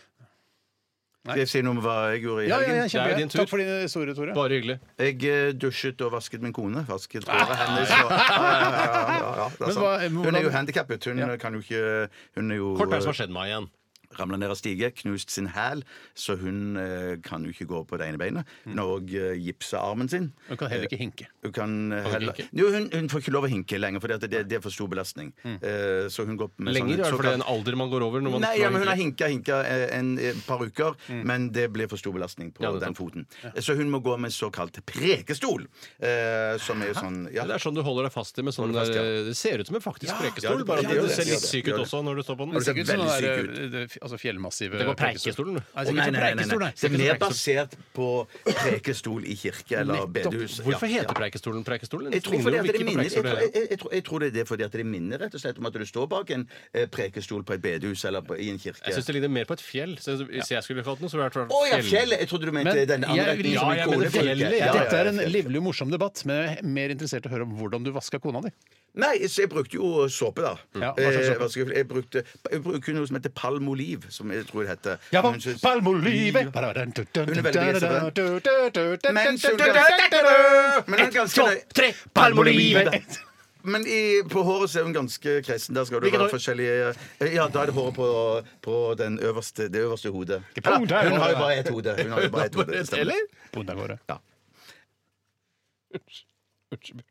B: Skal jeg si noe om hva jeg gjorde i
A: Ja, ja,
B: helgen?
A: ja,
C: Det er jo din
A: kjempegøy.
C: tur.
A: Takk for din historie, Tore.
C: Bare hyggelig.
B: Jeg eh, dusjet og vasket min kone. Vasket håret hennes. Og, ja, ja, ja, ja, ja, det
A: Men
B: er
A: hva-
B: sant. Hun
A: hvordan-
B: er jo handikappet. Hun eh, kan jo ikke Hun er jo
C: Kort hva er det som har skjedd meg igjen?
B: ramla ned av stige, knust sin hæl, så hun eh, kan jo ikke gå på det ene beinet.
C: Mm.
B: Hun har òg eh, gipsa armen sin.
A: Du kan heller ikke hinke.
B: Hun kan eh, heller
C: hinke?
B: Jo, hun, hun får ikke lov å hinke lenger, for det, det er for stor belastning. Eh, så hun går med
C: Mm.
B: sånn
C: Lenger, er det fordi det er en
B: såkalt-
C: alder man går over? Når man
B: Nei, ja, men hun har
C: egentlig-
B: hinka hinka eh, en eh, par uker, men det blir for stor belastning på
C: Ja, det er
B: den
C: sant.
B: foten. Eh, Så hun må gå med såkalt prekestol, eh, som er jo sånn ja.
C: Det er sånn du holder deg fast i med sånn
B: fast, ja.
C: der, Det ser ut som en faktisk prekestol,
B: det-
C: bare at
B: ja, det gjør
C: du
B: det,
C: ser
B: det gjør det,
C: litt syk
B: det
C: ut
B: gjør det.
C: også når du står på den.
A: Men
B: ser
A: sikkert sånn
B: veldig
A: der,
B: syk
A: eh, det- altså fjellmassivet
C: Det går
A: Preikestolen. Nei, sikkert
B: Å,
C: Preikestolen, du.
B: nei,
A: altså ikke
B: nei, nei,
A: Preikestolen, nei.
B: nei. Det er
A: Sikkert
B: mer
A: ikke Preikestolen.
B: basert på prekestol i kirke eller bedehus. Ja,
C: Hvorfor heter
B: ja.
C: Preikestolen Preikestolen?
B: Jeg tror, fordi
C: Ligner jo
B: at
C: ikke
B: det
C: på
B: minner, jeg,
C: Preikestolen.
B: tror, jeg, jeg, tror- jeg tror det er det fordi at det minner rett og slett om at du står bak en eh, prekestol på et bedehus eller på, i en kirke.
C: Jeg syns det ligner mer på et fjell. Så hvis jeg skulle fått noe, så ville det vært
B: Å ja, fjellet! Jeg trodde du mente
A: Men
B: den andre
A: jeg-
B: retningen
A: ja,
B: som en
C: jeg
B: kone
C: mener
B: får.
C: fjellet, jeg.
B: Ja, ja, ja,
A: Dette er en
B: fjellet.
A: livlig og morsom debatt, men jeg er mer interessert i å høre om hvordan du vaska kona di.
B: Nei, så jeg brukte jo såpe, da.
A: Ja, hva slags
B: Eh,
A: såpe?
B: hva skal jeg, jeg brukte jeg brukte noe som heter palmoliv, som jeg tror det heter. Men så-
A: Palmolive!
B: Hun er veldig begeistret for Men så- Men hun er ganske
A: to,
B: nøy-
A: tre, palmolive!
B: Men i, på håret så er hun ganske kresen. Der skal du
A: Hvilket hår?
B: være forskjellige Eh, Ja, da er det håret på, på den øverste, det øverste hodet.
A: Ikke på hodet,
B: Eller,
A: ja.
B: hun har jo bare ett hode. Hun har jo bare ett hode. det stemmer.
A: Eller? Bondegårde.
B: Ja.
C: fjell.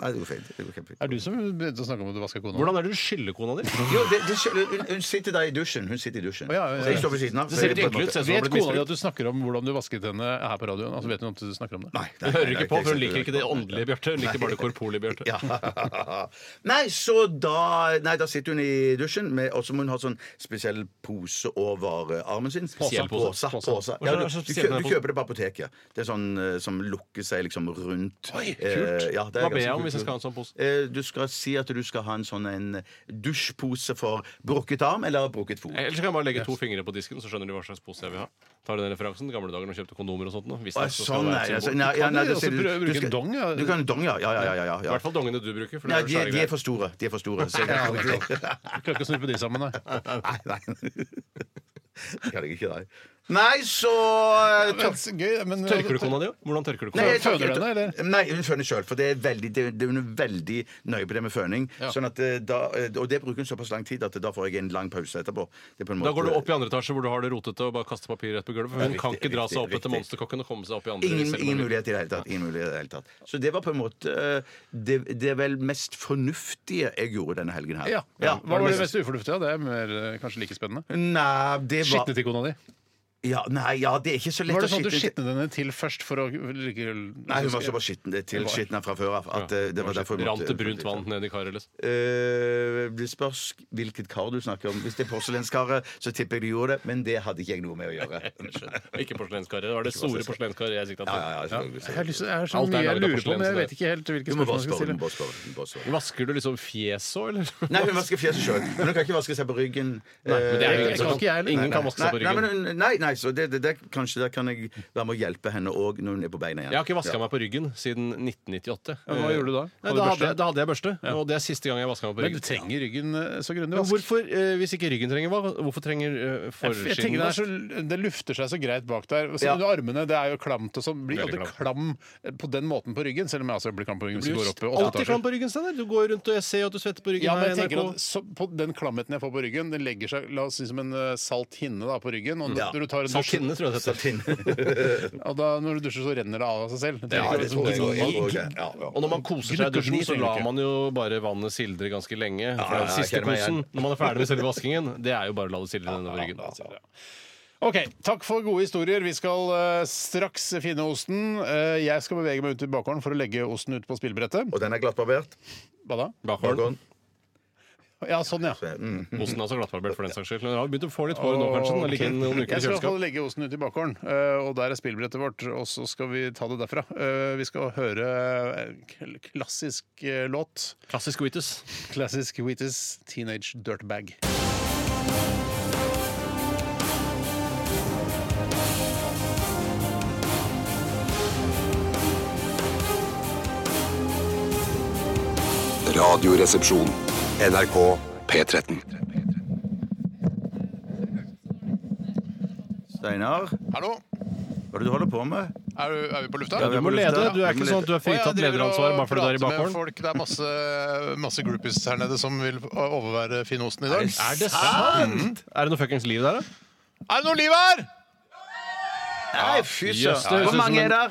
B: Nei, det går fint. Det går kjempefint.
A: Er det du som begynte å snakke om at du vaska kona?
C: Hvordan er det du skylder kona di?
B: Jo, det, det, skjø- hun, hun sitter der i dusjen. Hun sitter i dusjen.
A: Å, ja, ja, ja.
B: Så jeg står ved siden av.
C: Det ser litt
B: på en
C: hyggelig ut.
B: måte-
C: ser ut som hun har
A: Vet
C: blitt
A: kona di
C: misbrukt.
A: at du snakker om hvordan du vasket henne her på radioen? Altså Vet hun at du snakker om det?
B: Nei, nei,
C: Hun hører
B: nei,
C: ikke
B: nei,
C: på, for hun
B: jeg
C: liker ikke det
B: hører på.
C: åndelige Bjarte. Hun liker bare det korporlige Bjarte.
B: Ja. Nei, så da Nei, da sitter hun i dusjen, med, og så må hun ha sånn spesiell pose over eh, armen sin.
C: Spesiell pose.
B: Pose.
C: Pose.
B: pose. Ja, du,
C: Hva
B: du,
C: slags spesiell
B: kjø-
C: pose?
B: du kjøper det på apoteket. Det er sånn eh, som lukker seg liksom rundt.
A: Oi, kult.
B: Eh, ja, det er
C: Hva ber jeg
B: ganske
C: om
B: kult.
C: hvis jeg skal ha en sånn pose?
B: Eh, Du skal si at du skal ha en sånn en dusjpose for brukket arm eller brukket fot.
C: Ellers kan jeg bare legge to fingre på disken, så skjønner de hva slags pose jeg vil ha. Tar du den referansen? Gamle dager da du kjøpte kondomer og sånt? nå. Hvis
B: Å,
C: det så skal
B: Sånn, nei.
C: være et
B: Altså,
C: symbol.
B: nei, ja,
A: kan
B: nei
A: jo
B: da
A: også
B: sier du-
A: prøve å
B: du
A: bruke
B: skal-
A: dong, ja.
B: Du kan dong, ja. Ja, ja, ja. ja,
C: I
B: ja.
C: hvert fall dongene du bruker. For
B: Nei,
C: det
B: de,
C: er jo
B: de er
C: svære
B: for store. De er for store. Så jeg
A: Ja,
B: kan
A: ok.
B: ikke-
A: Jeg Klarer ikke å snurpe de sammen, nei.
B: Nei, nei. Det kan jeg ikke, nei. Nei, så eh, tør-
C: greier. Tørker du kona di òg? Hvordan tørker du
B: Nei,
C: kona?
B: jeg tør-
A: Føner du henne, eller?
B: Nei, hun føner sjøl. For det er veldig, det, det, hun er veldig nøye på det med føning. Sånn at, eh, da, eh, og det bruker hun såpass lang tid at da får jeg en lang pause etterpå. Det er på en
C: Da
B: måte-
C: går du opp i andre etasje hvor du har det rotete og bare kaster papir rett på gulvet. For hun
B: Riktig,
C: kan ikke dra seg opp
B: riktig,
C: etter
B: riktig.
C: monsterkokken og komme seg opp i andre
B: Ingen,
C: selv om
B: ingen
C: hun vil.
B: mulighet i det hele tatt. Ingen mulighet i det hele tatt. Så det var på en måte eh, det, det er vel mest fornuftige jeg gjorde denne helgen her.
A: Ja. ja. Hva var det mest ufornuftige? Det er mer, eh, kanskje like spennende.
B: Nei, det var
A: Skitne til kona di.
B: ja, Nei, ja, det er ikke så lett
A: Var det
B: å
A: sånn at du
B: skitne til.
A: skitnet henne til først for å like,
B: Nei, hun var såpass skitten det- til
A: var-
B: skitten fra før av. At eh, det var derfor hun
C: Rant
B: måtte-
C: det brunt vann ned i karet? liksom.
B: Eh, det spørs hvilket kar du snakker om. Hvis det er porselenskaret, så tipper jeg du gjorde det, men det hadde ikke jeg noe med å gjøre.
C: Ikke porselenskaret. Det var det store porselenskaret jeg sikta
B: Ja,
C: til.
B: ja, ja, selvfølgelig,
A: Jeg har
B: selvfølgelig.
A: lyst, jeg er så
C: Alt er
A: mye jeg
C: laget av
A: lurer på, men
C: porselen,
A: jeg
C: så
A: vet ikke helt hvilke
B: Du må
A: spørsmål jeg skal
B: vaske over,
A: stille.
B: du må vaske over, du må vaske over.
C: Vasker du liksom fjeset òg, eller?
B: Nei, hun vasker fjeset sjøl. Men hun kan ikke vaske seg på ryggen.
C: men det er jo
B: Eh,
C: ingen som
A: kan ikke jeg heller.
C: Ingen kan
B: nei,
C: vaske seg på
B: nei,
C: ryggen.
B: men hun- nei, nei, så det, det, det, kanskje der kan jeg være med å hjelpe henne òg når hun er på beina igjen.
C: Jeg har ikke vaska meg på ryggen siden 1998.
A: Ja, hva gjorde du da?
C: Nei,
A: Hadde du
C: da, hadde,
A: børste?
C: jeg- da hadde jeg børste, og det er siste gang jeg vaska meg på
A: Men
C: ryggen.
A: du trenger ryggen eh, så grundig
C: Men
A: vask.
C: hvorfor, eh, Hvis ikke ryggen trenger hva, hvorfor trenger eh,
A: Jeg tenker det,
C: forsiden
A: er
C: vask?
A: så, det lufter seg så greit bak der. Og så
B: Ja.
A: under Armene det er jo klamt og sånn. Blir
C: Veldig
A: aldri klam eh, på den måten på ryggen, selv om jeg altså blir klam på ryggen hvis
C: Du
A: jeg
C: blir
A: går opp i åtte
C: alltid klam
A: etasjer.
C: på ryggen, Steinar. Du går rundt og jeg ser jo at du svetter på ryggen.
A: Ja, men
C: her
A: jeg
C: i
A: tenker
C: NRK.
A: at så, på Den klamheten jeg får på ryggen, den legger seg la oss si, som en eh, salt hinne da, på ryggen. Og
B: Ja.
A: når, du tar en dusj,
C: Saltinne, tror jeg det heter.
A: og da, når du dusjer, så renner det av av seg selv. Det er
B: Ja,
A: ikke
B: det
A: liksom-
B: tror jeg òg. Jeg tror det. Ja, ja.
C: Og når man koser seg i
A: Gnukker den
C: dusjen,
A: i
C: så
A: trenger
C: lar
A: ikke.
C: man jo bare vannet sildre ganske lenge. For
B: ja,
C: den
B: jeg
C: siste
B: kjenner meg
C: kosen,
B: igjen.
C: når man er ferdig med selve vaskingen, det er jo bare å la det sildre nedover ryggen.
A: OK. Takk for gode historier. Vi skal eh, straks finne osten. Eh, jeg skal bevege meg ut i bakgården for å legge osten ut på spillbrettet.
B: Og den er glattbarbert.
A: Hva da?
C: Bakhåren.
A: Ja, sånn, ja.
B: Mm.
C: Osten er også glattbarbert for den saks skyld. Men den har begynt å få litt hår nå, kanskje. Den har ligget noen uker
A: Jeg
C: i
A: skal i hvert fall
C: kjøleskap.
A: legge osten ut i bakgården, eh, og der er spillbrettet vårt. Og så skal vi ta det derfra. Eh, Vi skal høre en kl- klassisk eh, låt.
C: Klassisk Wheatus.
A: Klassisk Wheaties 'Teenage Dirtbag'.
F: Radioresepsjon. NRK P13.
B: Steinar,
A: Hallo?
B: hva er det du holder på med?
A: Er, du- er vi på lufta?
B: Ja,
C: Du må
B: Ja,
C: lede. Du er
B: vi må
C: ikke sånn at du
A: Å,
C: er
A: jeg
C: fritatt
A: driver
C: lederansvar
A: og
C: bare fordi du er i
A: prater med
C: bakhåren.
A: folk. Det er masse, masse groupies her nede som vil overvære finosten i dag. Er
C: Er det sant? Er det noe fuckings liv der, da?
A: det noe liv her?!
B: Nei, fy
C: jøss, det høres ut
B: Hvor
C: som
B: mange
C: en-
B: er der?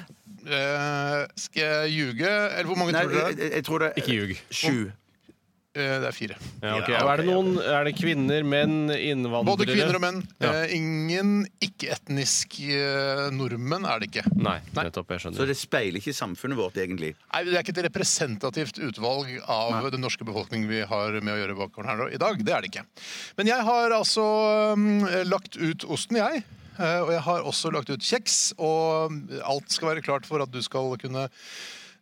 A: Eh, skal jeg ljuge? Eller hvor mange
B: Nei,
A: tror dere det
B: jeg, jeg tror det
C: Ikke ljug.
B: Sju.
A: Eh, Det er fire.
C: Ja, ok.
B: Ja,
C: Og er, det
B: ok,
C: noen, er det kvinner, menn, innvandrere?
A: Både kvinner og menn.
C: Ja.
A: Eh, Ingen ikke-etnisk eh, nordmenn er det ikke.
C: Nei, nettopp. Jeg
B: Så
C: skjønner.
B: det speiler ikke samfunnet vårt, egentlig.
A: Nei, Det er ikke et representativt utvalg av den norske befolkning vi har med å gjøre bakover her i dag. Det er det ikke. Men jeg har altså um, lagt ut osten, jeg. Eh, Og jeg har også lagt ut kjeks. Og alt skal være klart for at du skal kunne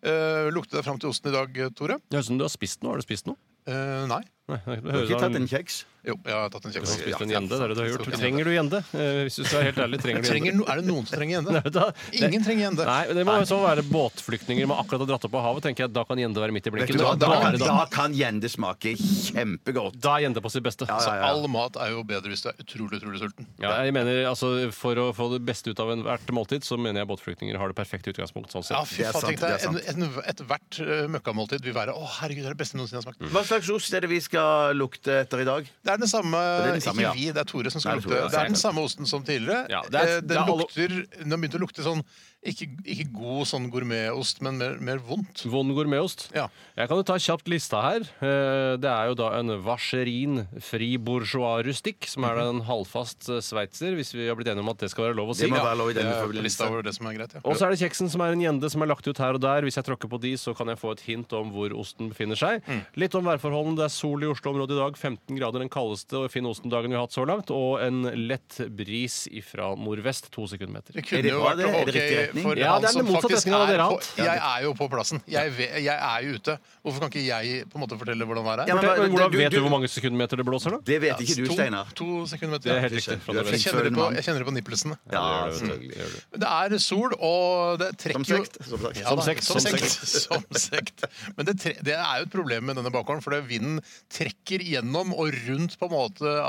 A: eh, lukte deg fram til osten i dag, Tore.
C: Det høres ut som du har spist noe. Har du spist noe?
A: Eh, nei.
C: Nei, det
B: Du har
C: høres
B: ikke
C: ut
B: tatt
C: som
B: en kjeks?
A: Jo, jeg har tatt en
C: du
A: kjeks.
C: har spist en
A: Ja,
C: gjende. Det er det du har
A: tok
C: gjort.
A: en
C: Trenger du gjende? Eh, Hvis du skal være helt ærlig, trenger du
A: Trenger,
C: gjende?
A: no- er det noen som trenger gjende?
C: Vet du hva?
A: Ingen trenger gjende.
C: Nei, men Det må jo så være båtflyktninger man akkurat har dratt opp av havet. tenker jeg, Da kan gjende være midt i
B: Vet
C: blinken.
B: du hva, Da
C: Da, bare
B: kan,
C: da,
B: da kan gjende smake kjempegodt.
C: da er gjende på sitt beste.
B: Ja,
A: Så
B: ja, ja.
A: all mat er jo bedre hvis du er utrolig, utrolig sulten.
C: Ja, jeg mener, altså, For å få det beste ut av enhvert måltid, så mener jeg båtflyktninger har det perfekte utgangspunkt. sånn
A: Ja,
C: sett.
A: fy
B: Det er
A: faen,
B: sant,
A: tenk deg.
B: det er
A: en- en- Ethvert eh, møkkamåltid vil være Å, herregud, det er det beste jeg noensinne har smakt.
B: Hva slags ost er det vi skal lukte etter i dag?
A: Det er den samme,
B: er den samme,
A: ikke
B: ja.
A: vi, det er Tore som skal
B: Nei, det er
A: lukte.
B: Tore,
A: Det
B: ja,
A: er, den samme osten som tidligere.
C: Ja, det er-
A: Eh, den
C: det er alle-
A: lukter, den har begynt å lukte sånn ikke, ikke god sånn gourmetost, men mer, mer vondt.
C: Vond gourmetost.
A: Ja.
C: Jeg kan jo ta kjapt lista her. Eh, Det er jo da en Vacherin fri bourgeois rustikk, som er da en halvfast eh, sveitser, hvis vi har blitt enige om at det skal være lov å si.
B: Det må være lov i
A: Det
B: denne
A: er på Eh, lista
B: forbindelse.
A: over det som er greit, ja.
C: Og så er det kjeksen som er en gjende som er lagt ut her og der. Hvis jeg tråkker på de, så kan jeg få et hint om hvor osten befinner seg. Litt om værforholdene. Det er sol i Oslo-området i dag. 15 grader den kaldeste og fine ostendagen vi har hatt så langt. Og en lett bris ifra nordvest. To sekundmeter.
A: Det kunne
B: Er det
A: jo
B: bra,
A: vært
B: det? Er det
A: ok
B: riktig retning?
A: for
C: Ja,
A: han
C: det er
A: som
C: den motsatte
A: faktisk
C: retningen av
A: er
C: dere
A: på,
C: alt.
A: Jeg er jo på plassen. Jeg, ve- jeg er jo ute. Hvorfor kan ikke jeg på en måte fortelle hvordan været er?
B: Ja, men
C: Men Hvordan
B: du-
C: vet
B: du-
C: du hvor mange sekundmeter det blåser, da?
B: Det vet ikke du, Steinar.
A: To, to sekunder
C: Det
A: til.
C: er helt riktig.
B: Du er
A: Jeg
B: flink.
A: kjenner det på,
B: mann.
A: jeg kjenner det på nipplesene.
B: Ja,
C: det gjør du. Det
B: selvfølgelig.
C: gjør du.
A: Det er sol, og det trekker
B: Som
A: jo-
B: sekt, som sagt.
A: Ja,
C: Som
A: da,
C: sekt,
A: Som
C: som
A: sekt. som sekt. Men det, tre, det er jo et problem med denne bakgården, for det, vinden trekker gjennom og rundt på en måte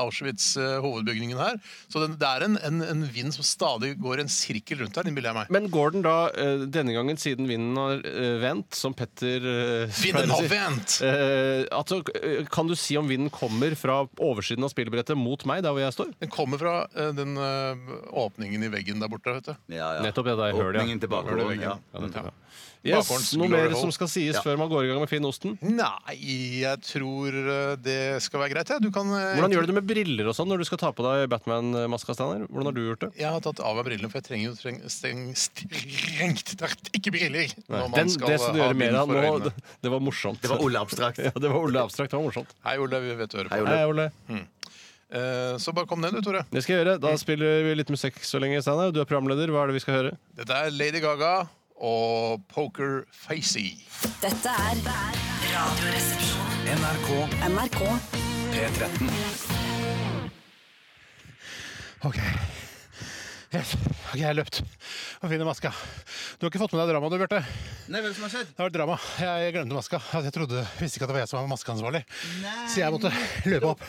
A: Auschwitz-hovedbygningen her. Så den, det er en, en, en vind som stadig går en sirkel rundt her, innbiller jeg meg.
C: Men går den da eh, denne gangen, siden vinden har eh, vendt, som Petter eh,
A: Vinden har
C: pleier å si,
A: vendt!
C: eh, altså, eh, kan du si om vinden kommer fra oversiden av spillbrettet mot meg, der hvor jeg står?
A: Den kommer fra eh, den eh, åpningen i veggen der borte, vet du.
B: Ja, ja.
C: Nettopp det der hølet, ja.
B: Åpningen til bakgården. Ja.
C: Ja, nettopp, ja.
A: Bakhåndens
C: Yes, noe mer
A: glory hole.
C: som skal sies før man går i gang med Finn Osten?
A: Nei, jeg tror eh, det skal være greit, jeg. Ja. Du kan eh,
C: Hvordan gjør du det med briller og sånn når du skal ta på deg Batman-maska? Steinar? Hvordan har du gjort det?
A: Jeg har tatt av meg brillene, for jeg trenger jo streng, streng, strengt tatt ikke briller! når man
C: Den,
A: skal
C: det som du
A: ha
C: gjør
A: bind
C: mer av
A: for
C: nå,
A: øynene.
C: det, det var morsomt.
B: Det var Ole Abstrakt.
C: Ja, det var Ole Abstrakt. Det var morsomt.
A: Hei, Ole. Vi vet du hører på.
B: Hei, Ole.
C: Hei, Ole.
A: Eh, Så bare kom ned, du, Tore.
C: Det skal jeg gjøre. Da spiller vi litt musikk så lenge, Steinar. Du er programleder. Hva er det vi skal høre?
A: Dette er Lady Gaga og Poker Facey.
G: Dette er Radioresepsjonen.
F: NRK
G: NRK.
F: P13.
H: OK. Yes. Ok, Jeg har løpt og finner maska. Du har ikke fått med deg dramaet, du, Bjarte?
B: Nei, hvem som har skjedd?
H: Det var et drama. Jeg glemte maska. Altså, Jeg trodde, visste ikke at det var jeg som var maskeansvarlig. Så jeg måtte løpe opp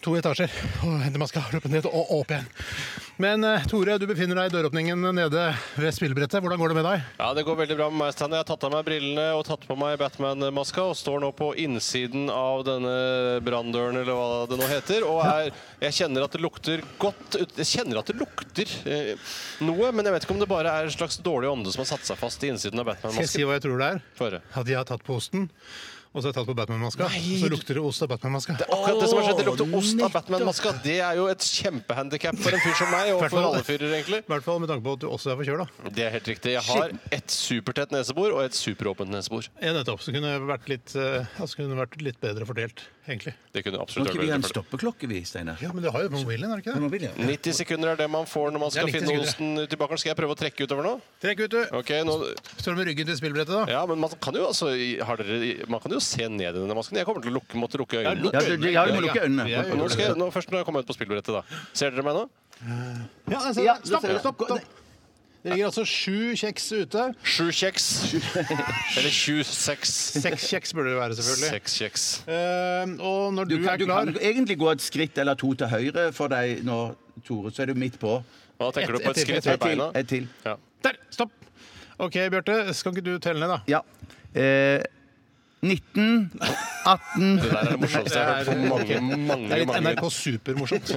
H: to etasjer og hente maska, løpe ned og opp igjen. Men eh, Tore, du befinner deg i døråpningen nede ved spillebrettet. Hvordan går det med deg?
C: Ja, Det går veldig bra med meg, Steinar. Jeg har tatt av meg brillene og tatt på meg Batman-maska og står nå på innsiden av denne branndøren, eller hva det nå heter. Og er, jeg kjenner at det lukter godt ut. Jeg kjenner at det lukter eh, noe, men jeg vet ikke om det bare er en slags dårlig ånde som har satt seg fast i innsiden av
H: Skal jeg
C: Batman-masken.
H: si hva jeg tror det er?
C: Få høre.
H: At jeg har tatt på osten, og så har jeg tatt på Batman-maska. Og så lukter det ost av Batman-maska.
C: Akkurat det som har skjedd, det lukter ost av Batman-maska. Det er jo et kjempehandikap for en fyr som meg, og for alle fyrer, egentlig.
H: I hvert fall med tanke på at du også er forkjøla.
C: Det er helt riktig. Jeg har et supertett nesebor og et superåpent nesebor.
H: Ja, nettopp. Så kunne det vært litt, eh, altså, kunne det vært litt bedre fordelt, egentlig.
C: Det kunne
B: Må
C: absolutt
B: ikke
C: vært
B: vi ha en
C: veldig fælt.
B: stoppeklokke, vi, Steinar?
H: Ja, men du har jo mobilen, har du ikke det?
B: Mobil, ja.
C: 90 sekunder er det man får når man skal
H: Det er 90
C: finne osten ut i bakeren. Skal jeg prøve å trekke utover nå?
H: Trekk ut, du.
C: Ok, nå...
H: Står du med ryggen til spillbrettet, da?
C: Ja, men man kan jo altså i- har dere, Man kan jo se ned i denne masken. Jeg kommer til å lukke, måtte lukke øynene.
A: lukk
B: Ja, du, du, ja, du må lukke øynene.
H: Ja, ja,
C: Nå skal jeg, nå, først når jeg kommer ut på spillbrettet, da. Ser dere meg nå?
H: Ja, jeg ser
A: altså,
B: Ja,
H: det.
B: da ser jeg.
H: stopp, stopp, stopp. Det ligger altså sju kjeks ute.
C: Sju kjeks. Eller sju seks.
H: Seks kjeks burde det være, selvfølgelig.
C: Seks kjeks.
H: Eh, og når du,
B: Du kan,
H: er
B: du
H: klar
B: kan egentlig gå et skritt eller to til høyre for deg nå, Tore, så er du midt på.
C: Hva tenker du på? Et
H: Et- et-
C: skritt
B: Et
C: med
B: til.
C: beina?
B: Et til.
C: Ja.
H: Der! Stopp! OK, Bjarte, skal ikke du telle ned, da?
B: Ja. Eh, 19, 18
C: Det der er det morsomste jeg har hørt på mange,
H: Det er
C: mange,
H: litt
C: mange
H: NRK Supermorsomt.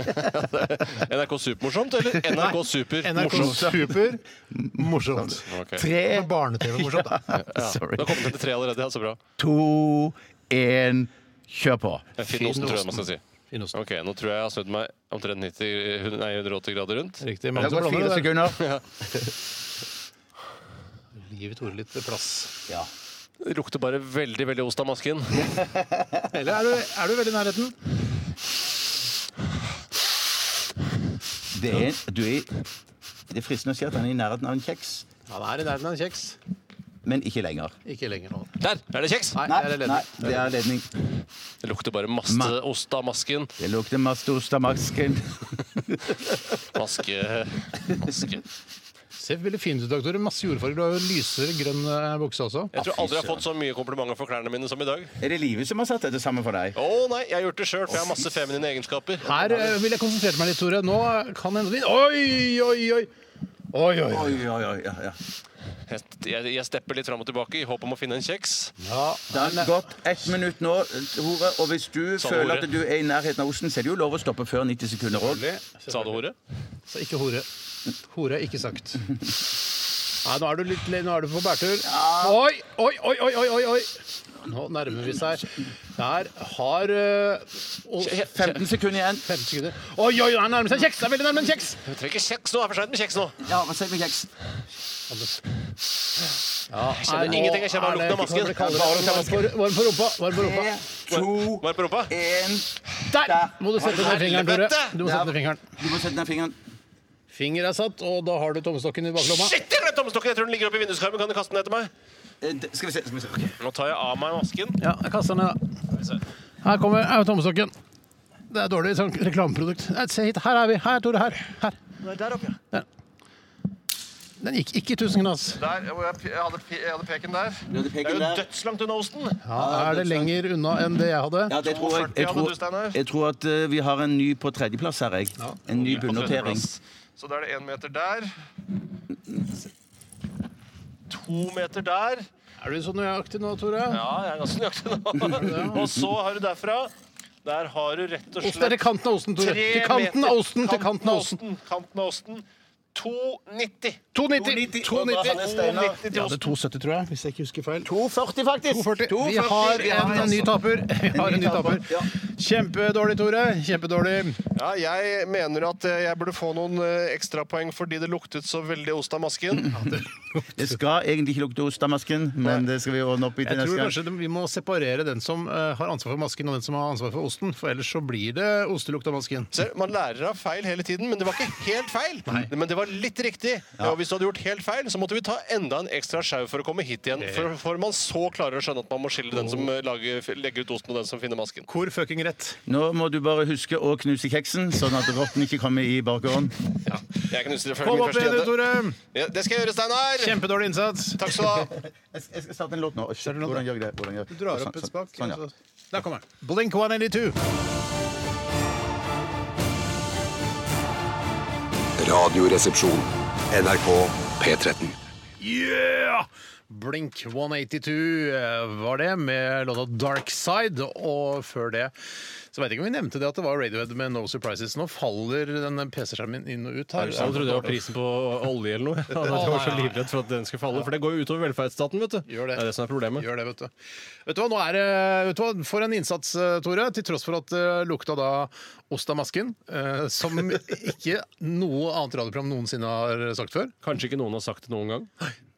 C: NRK Supermorsomt eller NRK
H: NRK
C: Supermorsomt?
H: Super morsomt.
C: Ok.
B: Tre.
H: Det er Barne-TV morsomt, da.
C: Ja. Det
B: Sorry.
C: har kommet etter tre allerede, ja, så bra.
B: To, én, Kjør på.
C: Finnosten, tror jeg man skal si.
A: Finnosten.
C: Ok, Nå tror jeg jeg har snudd meg omtrent 90, nei, 180 grader rundt.
A: Riktig.
B: Det
A: Mange
B: har
A: som
B: gått
A: blander
B: fire
A: det.
B: sekunder.
A: Gi Tore litt plass.
C: Det Lukter bare veldig veldig ost av masken.
I: Eller er du, er du veldig i nærheten?
B: Det er, du er, det er fristende å si at han er i nærheten av en kjeks,
A: Han er i nærheten av en kjeks.
B: men ikke lenger.
A: Ikke lenger nå.
C: Der er det kjeks!
A: Nei,
B: Nei,
A: der er
B: nei,
A: ledning.
B: det er ledning.
C: Det lukter bare masse
B: Ma-
C: ost av masken.
B: Det lukter mastost av masken.
C: Maske, maske.
A: Ser veldig fin ut, doktor. Masse jordfarger. Du har jo lysere grønn eh, bukse også.
C: Jeg tror
B: fy
C: aldri jeg har
B: søren.
C: fått så mye komplimenter for klærne mine som i dag.
B: Er det livet som har satt dette sammen for deg?
C: Å nei, jeg har gjort det sjøl, for jeg har masse feminine egenskaper.
A: Her eh, vil jeg konsentrere meg litt, Tore. Nå kan hende vi Oi, oi, oi! Oi, oi, oi.
B: Oi, oi, oi, ja, ja.
C: Jeg, jeg, jeg stepper litt fram og tilbake i håp om å finne en kjeks.
B: Det har gått ett minutt nå, Tore. Og hvis du
C: Sa
B: føler
C: Tore.
B: at du er i nærheten av osten, så er det jo lov å stoppe før 90 sekunder òg.
C: Sa du ordet?
A: Så Altså, ikke hore. Hore er ikke sagt. Nei, nå er du, litt, nå er du på bærtur. Oi, oi, oi, oi, oi, oi, oi! Nå nærmer vi seg. Der har eh, å,
B: 15 sekunder igjen.
A: 15 sekunder. Oi, oi, han nærmer seg kjeks! Det er veldig nærme en kjeks!
C: Jeg trenger kjeks nå! Det er for seint med kjeks nå!
B: Ja, hva sier vi kjeks?
C: Jeg kjenner ingenting. Jeg kjenner bare lukten av masken.
A: Varm på, varm på rumpa. Varm på rumpa.
B: Tre, to,
C: Var det på rumpa?
B: én
A: Der må du sette ned fingeren, Tore.
C: Helvete!
A: Du må sette ned fingeren.
B: Du må sette ned fingeren.
A: Finger er satt, og da har du tommestokken i baklomma.
C: Shit, jeg glemte tommestokken! Jeg tror den ligger oppe i vinduskarmen. Kan du kaste den etter meg?
B: Eh, d- Skal vi se. skal vi se. Ok.
C: Nå tar jeg av meg masken.
A: Ja, jeg kaster den ned. da. Her kommer er jo tommestokken. Det er dårlig sånn reklameprodukt. Nei, Se hit. Her er vi. Her, Tore. Her. her. Der. Den gikk ikke i tusen knas.
C: Der, hvor jeg, jeg, hadde, jeg hadde peken der.
B: Du hadde
C: Det er
B: peken
C: jo
B: der.
C: dødslangt unna osten.
A: Ja, er det lenger unna enn det jeg hadde?
B: Ja, det tror jeg.
C: 42
B: Jeg
C: hadde
B: tror,
C: du, Steinar.
B: jeg tror at eh, vi har en ny på tredjeplass her, jeg. En ny bunnotering.
C: Så da er det én meter der. To meter der.
A: Er du så nøyaktig nå, Tore?
C: Ja, jeg er ganske nøyaktig nå. Og så har du derfra. Der har du rett og
A: Ost er
C: slett
A: til kanten av osten, Tore. Til kanten av osten, til kanten av osten.
C: Kanten av osten. 2,90.
A: 2,90. 2,90.
C: 2,90 til
A: Ja, det er
C: osten.
A: 2,70, tror jeg, hvis jeg ikke husker feil.
B: 2,40, faktisk.
A: 2,40. Vi har en, ny taper. Vi har en ny taper. Kjempedårlig, Tore. Kjempedårlig.
C: Ja, jeg mener at eh, jeg burde få noen eh, ekstrapoeng fordi det luktet så veldig ost av masken.
B: Det skal egentlig ikke lukte ost av masken, men det skal vi ordne opp i til
A: Jeg tror
B: neste gang.
A: kanskje det- vi må separere den som eh, har ansvar for masken, og den som har ansvar for osten. For ellers så blir det ostelukt av masken.
C: Ser, man lærer av feil hele tiden, men det var ikke helt feil. Men det var litt riktig. Og hvis du hadde gjort helt feil, så måtte vi ta enda en ekstra sjau for å komme hit igjen. For, for man så klarer å skjønne at man må skille den som eh, lager, legger ut osten, og den som finner masken.
A: Hvor fucking rett.
B: Nå må du bare huske å knuse kjeksen, sånn at rotten ikke kommer i bakgården.
C: Jeg kan utstyre
A: Kom opp igjen, du,
C: det.
A: Tore.
C: Ja, det skal jeg gjøre, Steinar!
A: Kjempedårlig innsats.
C: Takk skal du ha.
B: Jeg skal jeg skal starte en låt nå. Shit,
A: låt nå?
B: Hvordan gjør jeg det? Hvordan gjør jeg det? Sånn, sånn, sånn, ja.
A: Der kommer den. Blink 182.
F: Radioresepsjon. NRK P13.
A: Yeah! Blink 182 eh, var det, med låta 'Dark Side'. Og før det så veit jeg ikke om vi nevnte det at det var Radiohead med 'No Surprises'. Nå faller denne PC-skjermen inn og ut her.
J: sant?
A: Så-
J: trodde det var
A: prisen
J: på
A: olje eller noe.
J: Jeg var så livredd for at den skulle falle, for det går jo utover velferdsstaten, vet du.
A: Gjør det.
J: er det som er problemet.
A: Gjør det, vet du. Vet du hva, nå er det vet du hva, For en innsats, eh, Tore. Til tross for at det lukta da ost av masken, eh, som ikke noe annet radioprogram noensinne har sagt før.
J: Kanskje ikke noen har sagt det noen gang.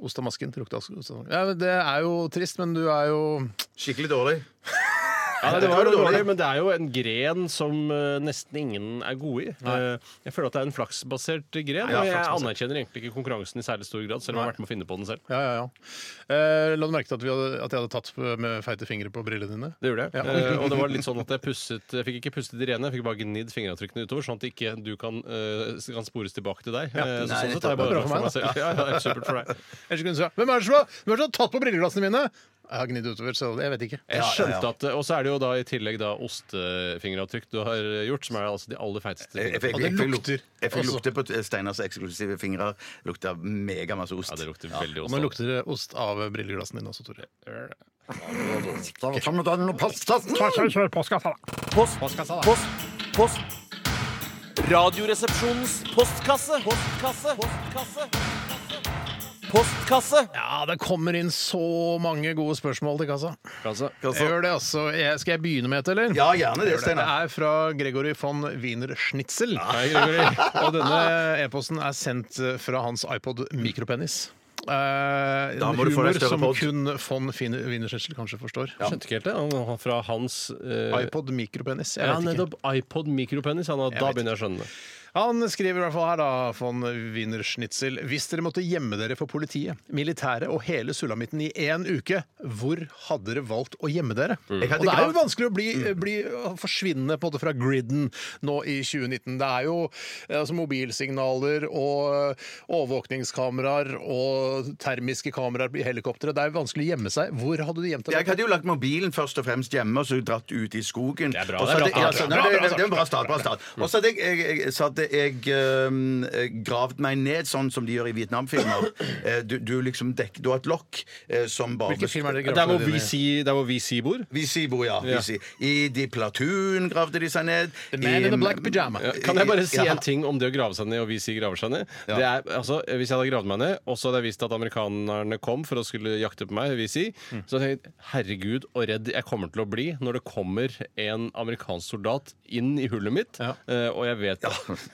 A: Ost av masken. det lukta ost av masken. Ja, men det er jo trist, men du er jo
B: Skikkelig dårlig.
J: Ja, det
B: var
J: var
B: jo
J: dårlig,
B: dårlig.
J: men det er jo en gren som eh, nesten ingen er gode i. Eh, Jeg føler at det er en flaksbasert gren, og jeg anerkjenner egentlig ikke konkurransen i særlig stor grad, selv om jeg har vært med å finne på den selv.
A: Ja, ja, ja. Eh, la du merke til at, vi hadde, at jeg hadde tatt med feite fingre på brillene dine?
J: Det gjorde jeg.
A: Ja.
J: Eh, og det var litt sånn at jeg pusset Jeg fikk ikke pustet i rene, jeg fikk bare gnidd fingeravtrykkene utover, sånn at ikke du kan, eh, kan spores tilbake til deg. Eh, så,
B: Nei,
J: sånn
B: nettopp.
J: sett har jeg bare
A: Bra
J: dratt
A: for
J: for meg
A: meg,
J: selv. Ja, ja, det er supert for deg.
A: Ellers kunne du sagt Hvem er det som har, hvem er det som har tatt på brilleglassene mine? Jeg har gnidd utover, så jeg vet ikke.
J: Jeg skjønte at, Og så er det jo da i tillegg da ostefingeravtrykk du har gjort, som er altså de aller feiteste. fingeravtrykk.
B: Jeg fikk,
A: Og det
B: jeg fikk,
A: lukter.
B: lukte, jeg fikk
A: Også.
B: lukte på Steinars eksklusive fingre. Lukta megamasse ost.
J: Ja, det lukter veldig
A: Og nå
J: ost.
A: lukter det ost av brilleglassene dine også, Tore.
D: Post, post, post. Radioresepsjonens postkasse. Postkasse. Postkasse.
E: Postkasse.
A: Ja, det kommer inn så mange gode spørsmål til kassa.
C: Altså,
A: Jeg gjør det, altså. Jeg, skal jeg begynne med et, eller?
B: Ja, gjerne det,
A: Det
B: Steinar.
A: er fra Gregory von Wiener Schnitzel. Og denne e-posten er sendt eh, fra hans iPod Mikropenis. Eh,
B: Da
A: en
B: må du få
A: humor
B: deg større
A: som
B: pod.
A: kun von Fin- Wiener Schnitzel kanskje forstår.
C: skjønte ikke helt det. Han- Fra hans eh,
A: iPod Mikropenis. Jeg
C: Ja,
A: vet ikke.
C: nettopp. iPod mikropenis. Han, da
A: vet
C: begynner jeg å skjønne det.
A: Han skriver i hvert fall her, da, von Wiener Schnitzel. Hvis dere måtte gjemme dere for politiet, militæret og hele sulamitten i én uke, hvor hadde dere valgt å gjemme dere?
B: Jeg hadde
A: Og det
B: ikke
A: er jo
B: valgt-
A: vanskelig å bli, eh, bli å forsvinne på en måte fra griden nå i 2019. Det er jo eh, altså, mobilsignaler og eh, overvåkningskameraer og termiske kameraer i helikoptre. Det er jo vanskelig å gjemme seg. Hvor hadde du gjemt
B: Jeg
A: deg?
B: hadde jo lagt mobilen først og fremst hjemme og så dratt ut i skogen.
C: Det er bra,
B: Og så
C: det er
B: hadde-
C: bra,
B: ja,
C: det er
B: så- nei,
C: bra, bra,
B: det-
C: bra,
B: det er en bra start. bra start. Og så hadde jeg, jeg, jeg, så hadde jeg øhm, eh, gravd meg ned, sånn som de gjør i Vietnamfilmer. Eh, Du, du liksom dekker Du har et lokk eh, som bare
A: Hvilken film er det?
C: Der hvor VC, der hvor VC bor?
B: VC bor, ja. VC. I De Platoon gravde de seg ned.
A: The Man in the Black Pyjama.
C: Ja, Kan jeg bare si
B: Eh, Ja.
C: en ting om det å grave seg ned, og vi sier graver seg ned? Det er, altså, hvis jeg hadde gravd meg ned, og så hadde jeg visst at amerikanerne kom for å skulle jakte på meg, vi sier,
B: Mm.
C: så hadde jeg tenkt herregud og redd jeg kommer til å bli når det kommer en amerikansk soldat inn i hullet mitt, eh, og jeg vet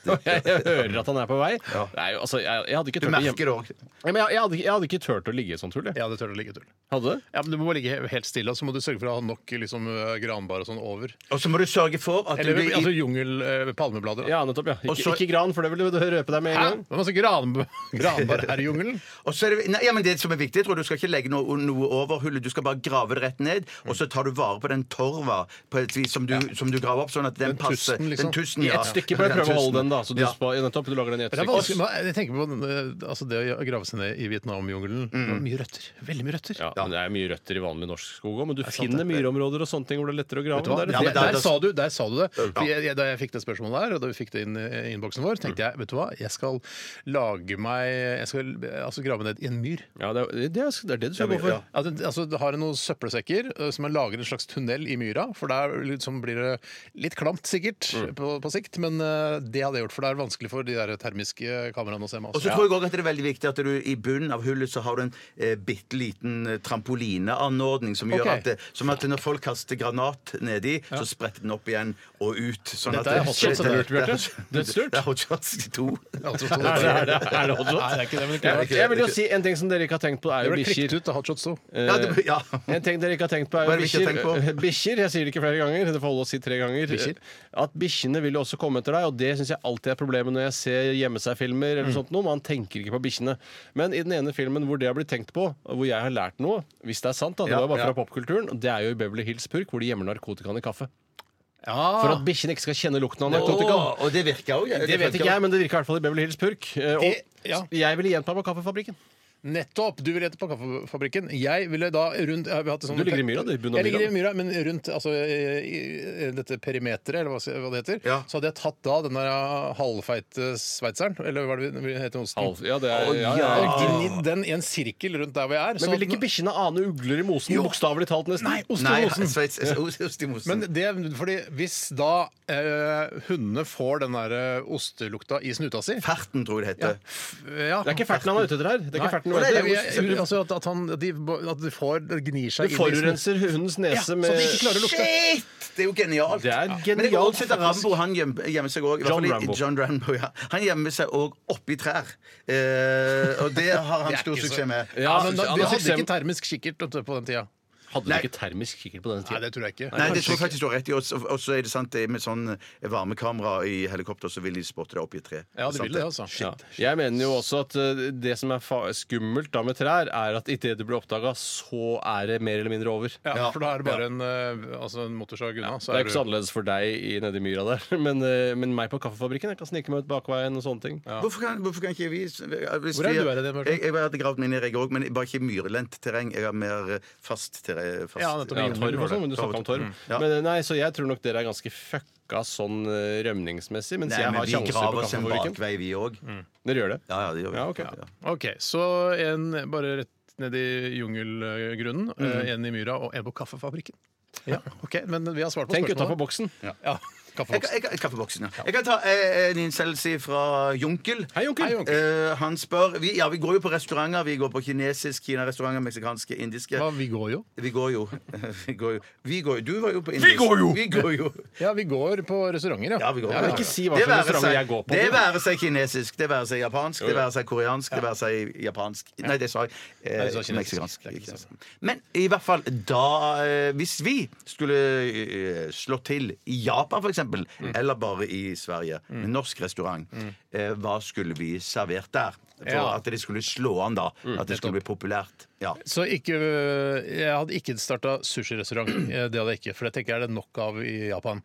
C: og jeg, jeg hører at han er på vei. Det er jo, altså, jeg, jeg hadde ikke
B: Du
C: turt å
B: merker
C: hjem-
B: det òg.
C: Ja, men jeg, jeg, hadde, jeg hadde ikke turt å ligge i et sånt hull. jeg.
A: Ja, det tør du ligge tull.
C: Hadde du?
A: Ja, men Du må bare ligge he- helt stille, og så må du sørge for å ha nok liksom, eh, granbar og sånn over.
B: Og så må du sørge for at
A: Eller
B: du i-
A: altså, jungel eh, palmeblader. da.
C: Ja, nettopp. ja. Ikke,
B: Og så-
C: ikke gran, for det ville du røpe deg med en
A: Hæ?
C: gang.
A: Det er masse gran, granbar her i jungelen.
B: Og så er det, nei, ja, men det som er viktig, jeg tror du skal ikke legge noe, noe over hullet. Du skal bare grave det rett ned, og så tar du vare på den torva på et vis som du, som du graver opp, sånn at den,
A: Den
B: passer.
A: tusten, liksom.
B: Den tusten, ja.
C: Et stykke på det, prøv å holde den, da. Så du,
B: Ja.
C: spa- nettopp, du lager den i ett
A: Det er
C: stykke.
A: vanskelig, men jeg tenker på eh, altså, det å grave seg ned i Vietnamjungelen. Det er Mye røtter. Veldig mye røtter.
C: Ja, men Det er mye røtter i vanlig norsk skog òg, men du finner myrområder og sånne ting hvor det er lettere å grave.
A: Vet du hva?
C: Der,
A: Det,
B: Ja, men da-
A: der,
B: da-
A: sa du, der sa du det. For jeg, jeg, da jeg fikk det spørsmålet der, og da vi fikk det inn i innboksen vår, tenkte jeg vet du hva, jeg skal lage meg Jeg skal eh, altså, grave meg ned i en myr.
C: ja, det, er, det, er, det er det du skal gå for.
B: Ja.
A: At, det- altså, det har noen søppelsekker eh, som man lager en slags tunnel i myra. For der liksom blir det litt klamt sikkert på, på sikt, men eh, det hadde jeg gjort. For det er vanskelig for de der termiske kameraene å se meg.
B: Og
A: også.
B: så tror jeg også at det er veldig viktig at du i bunnen av hullet så har du en eh, bitte liten eh, trampolineanordning som
A: Ok.
B: gjør at, det, som at når folk kaster granat nedi, så spretter den opp igjen og ut. Sånn
A: Dette er hot shots,
B: det-
A: er
C: det lurt,
B: det
C: Bjarte?
B: er-
C: Dødslurt?
B: Det er hot shots to.
A: Altså,
C: Er det, er det, er det hot
A: Nei, det er ikke det, men det
C: Ja,
A: kunne vært.
C: Jeg vil jo si en ting som dere ikke har tenkt på, er
A: Det
C: jo
A: ble klippet
C: bikkjer. Eh,
A: ut av Hot Shots 2.
B: Ja, det, ja.
C: En ting dere ikke har tenkt på, er
B: Hva er
C: jo
B: det vi ikke har
C: bikkjer.
B: tenkt
C: Bikkjer, Jeg sier det ikke flere ganger. Det får holde å si tre ganger.
A: Bikkjer?
C: At bikkjene vil jo også komme etter deg, og det syns jeg alltid er problemet når jeg ser Gjemme seg-filmer eller sånt noe. Man tenker ikke på bikkjene. Men i den ene filmen hvor det har blitt tenkt på, og hvor jeg har lært noe, hvis det er sant, da, det
B: Ja,
C: var jo bare
B: ja.
C: fra popkulturen, og det er jo i Beverly Hills Purk, hvor de gjemmer narkotikaen i kaffe.
A: Ja.
C: For at bikkjene ikke skal kjenne lukten av narkotika.
B: Åh, og det virker òg.
C: Det vet ikke jeg, men det virker i hvert fall i Beverly Hills Purk. Eh, Og
A: Det- ja.
C: jeg ville gjenta på Kaffefabrikken.
A: Nettopp! Du vil rette på Kaffefabrikken. Jeg ville da rundt jeg har hatt en sånn-
C: Du ligger i myra, du, i bunnen av
A: Jeg ligger i
C: myra.
A: myra, men rundt altså, i, i dette perimeteret, eller hva, hva det heter,
B: Ja.
A: så hadde jeg tatt da den der ah, halvfeite sveitseren, eller hva er det vi- vi heter osten? Eh,
C: Alf- Ja, det er,
B: Å,
C: ja,
B: ja.
C: ja.
A: Gnid den i en sirkel rundt der hvor jeg er.
C: Men
A: sånn
C: vil
A: at-
C: ikke bikkjene ane ugler i mosen? Bokstavelig talt, nesten.
A: Nei, altså- ost
B: Nei,
A: i mosen.
B: Sveits, ost- ost i mosen.
A: Men det, fordi hvis da eh, hundene får den der eh, ostelukta i snuta si
B: Ferten, tror jeg det heter.
A: ja.
C: Det er ikke ferten han er ute etter her. Det er
A: Nei.
C: ikke ferten
A: Nei,
C: han er
A: jeg,
C: ute
A: jeg,
C: etter.
A: altså at, at, han, at, de, at de får det gnir
C: Du
A: seg
C: forurenser hundens
A: Ja,
C: nese
A: så
C: med
A: de ikke klarer å lukte.
B: Shit! Det er jo genialt.
C: Det er
B: Men jeg
C: genialt,
B: har også sett at
C: faktisk.
B: Rambo han gjem- gjemmer seg også, i hvert
C: John
B: fall i-
C: Rambo.
B: John Rambo ja. Han gjemmer seg òg oppi trær. Eh, og det har han
A: Det er
B: stor
A: ikke så-
B: suksess med.
A: Ja, men da, de
C: Ja, men altså,
A: hadde
C: system-
A: ikke termisk kikkert vet du, på den tida.
C: Hadde
B: Nei.
C: du ikke termisk kikkert på denne
A: Nei,
C: tiden?
A: det tror jeg ikke.
B: Nei, det tror jeg faktisk du har rett i. Og så- Og så er det sant, det med sånn varmekamera i helikopter, så vil de spotte deg oppi et tre.
A: Ja,
B: er
A: det
B: sant
A: vil det, altså.
C: Ja. Jeg mener jo også at eh, det som er fa skummelt da med trær, er at idet det blir oppdaga, så er det mer eller mindre over.
A: Ja, for da er det bare en, eh, altså en motorsag unna.
C: Det er ikke så annerledes for deg i- nedi myra der, men, eh, men meg på kaffefabrikken. Jeg kan snike meg ut bakveien og sånne ting.
B: Hvorfor kan, hvorfor kan ikke vi hvis
A: Hvor er
B: vi-
A: du her i det, Bjarte?
B: Jeg, jeg hadde gravd meg ned, jeg òg, men bare ikke i myrlendt terreng. Jeg har mer eh, fast terreng. Fast,
A: Ja, nettopp.
C: Ja, torv og sånn, men du snakket om torv.
B: Mm, Ja.
C: Men eh, nei, Så jeg tror nok dere er ganske fucka sånn eh, rømningsmessig, mens
B: Nei,
C: jeg
B: men
C: har
B: vi
C: sjanser
B: graver
C: på
B: oss en
C: kaffefabrikken.
B: bakvei, vi òg.
A: Mm.
C: Dere gjør det?
B: Ja, ja, det gjør vi.
C: Ja, ok.
A: OK, så en bare rett ned i jungelgrunnen, eh, en i myra og en på kaffefabrikken. Mm. Ja, ok, Men vi har svart på
C: Tenk
A: spørsmålet.
C: utafor boksen.
A: Ja.
B: Jeg,
A: Kaffeboksen.
B: jeg, jeg, kaffeboksen, ja. Jeg kan ta eh, en innsendelse fra Junkel.
C: Hei, Junkel.
A: Hei, Junkel.
B: Eh, han spør vi, Ja, vi går jo på restauranter. Vi går på kinesisk, kinarestauranter, meksikanske, indiske.
A: Ja, vi går jo.
B: Vi går jo. Vi går jo. Vi går jo. Du var jo på indisk. Vi går jo! Vi går jo.
A: Ja, vi går på restauranter,
B: Ja, vi går på
C: men
B: det.
C: ikke si hva
B: Det
C: slags
B: være
C: restauranter
B: seg-
C: jeg går på.
B: Det være seg kinesisk, det være seg japansk, det være seg koreansk, det være seg japansk Nei, det sa jeg. Eh,
A: du sa kinesisk.
B: meksikansk.
A: Det er ikke det
B: Men i hvert fall da eh, Hvis vi skulle eh, slå til i Japan, for eksempel, eller bare i Sverige, en norsk restaurant, eh, hva skulle vi servert der? For
A: Ja.
B: at det skulle slå an, da. At det skulle bli populært. Ja.
A: Så ikke, jeg hadde ikke starta sushirestaurant. Eh, Det hadde jeg ikke, for det tenker jeg er det nok av i Japan.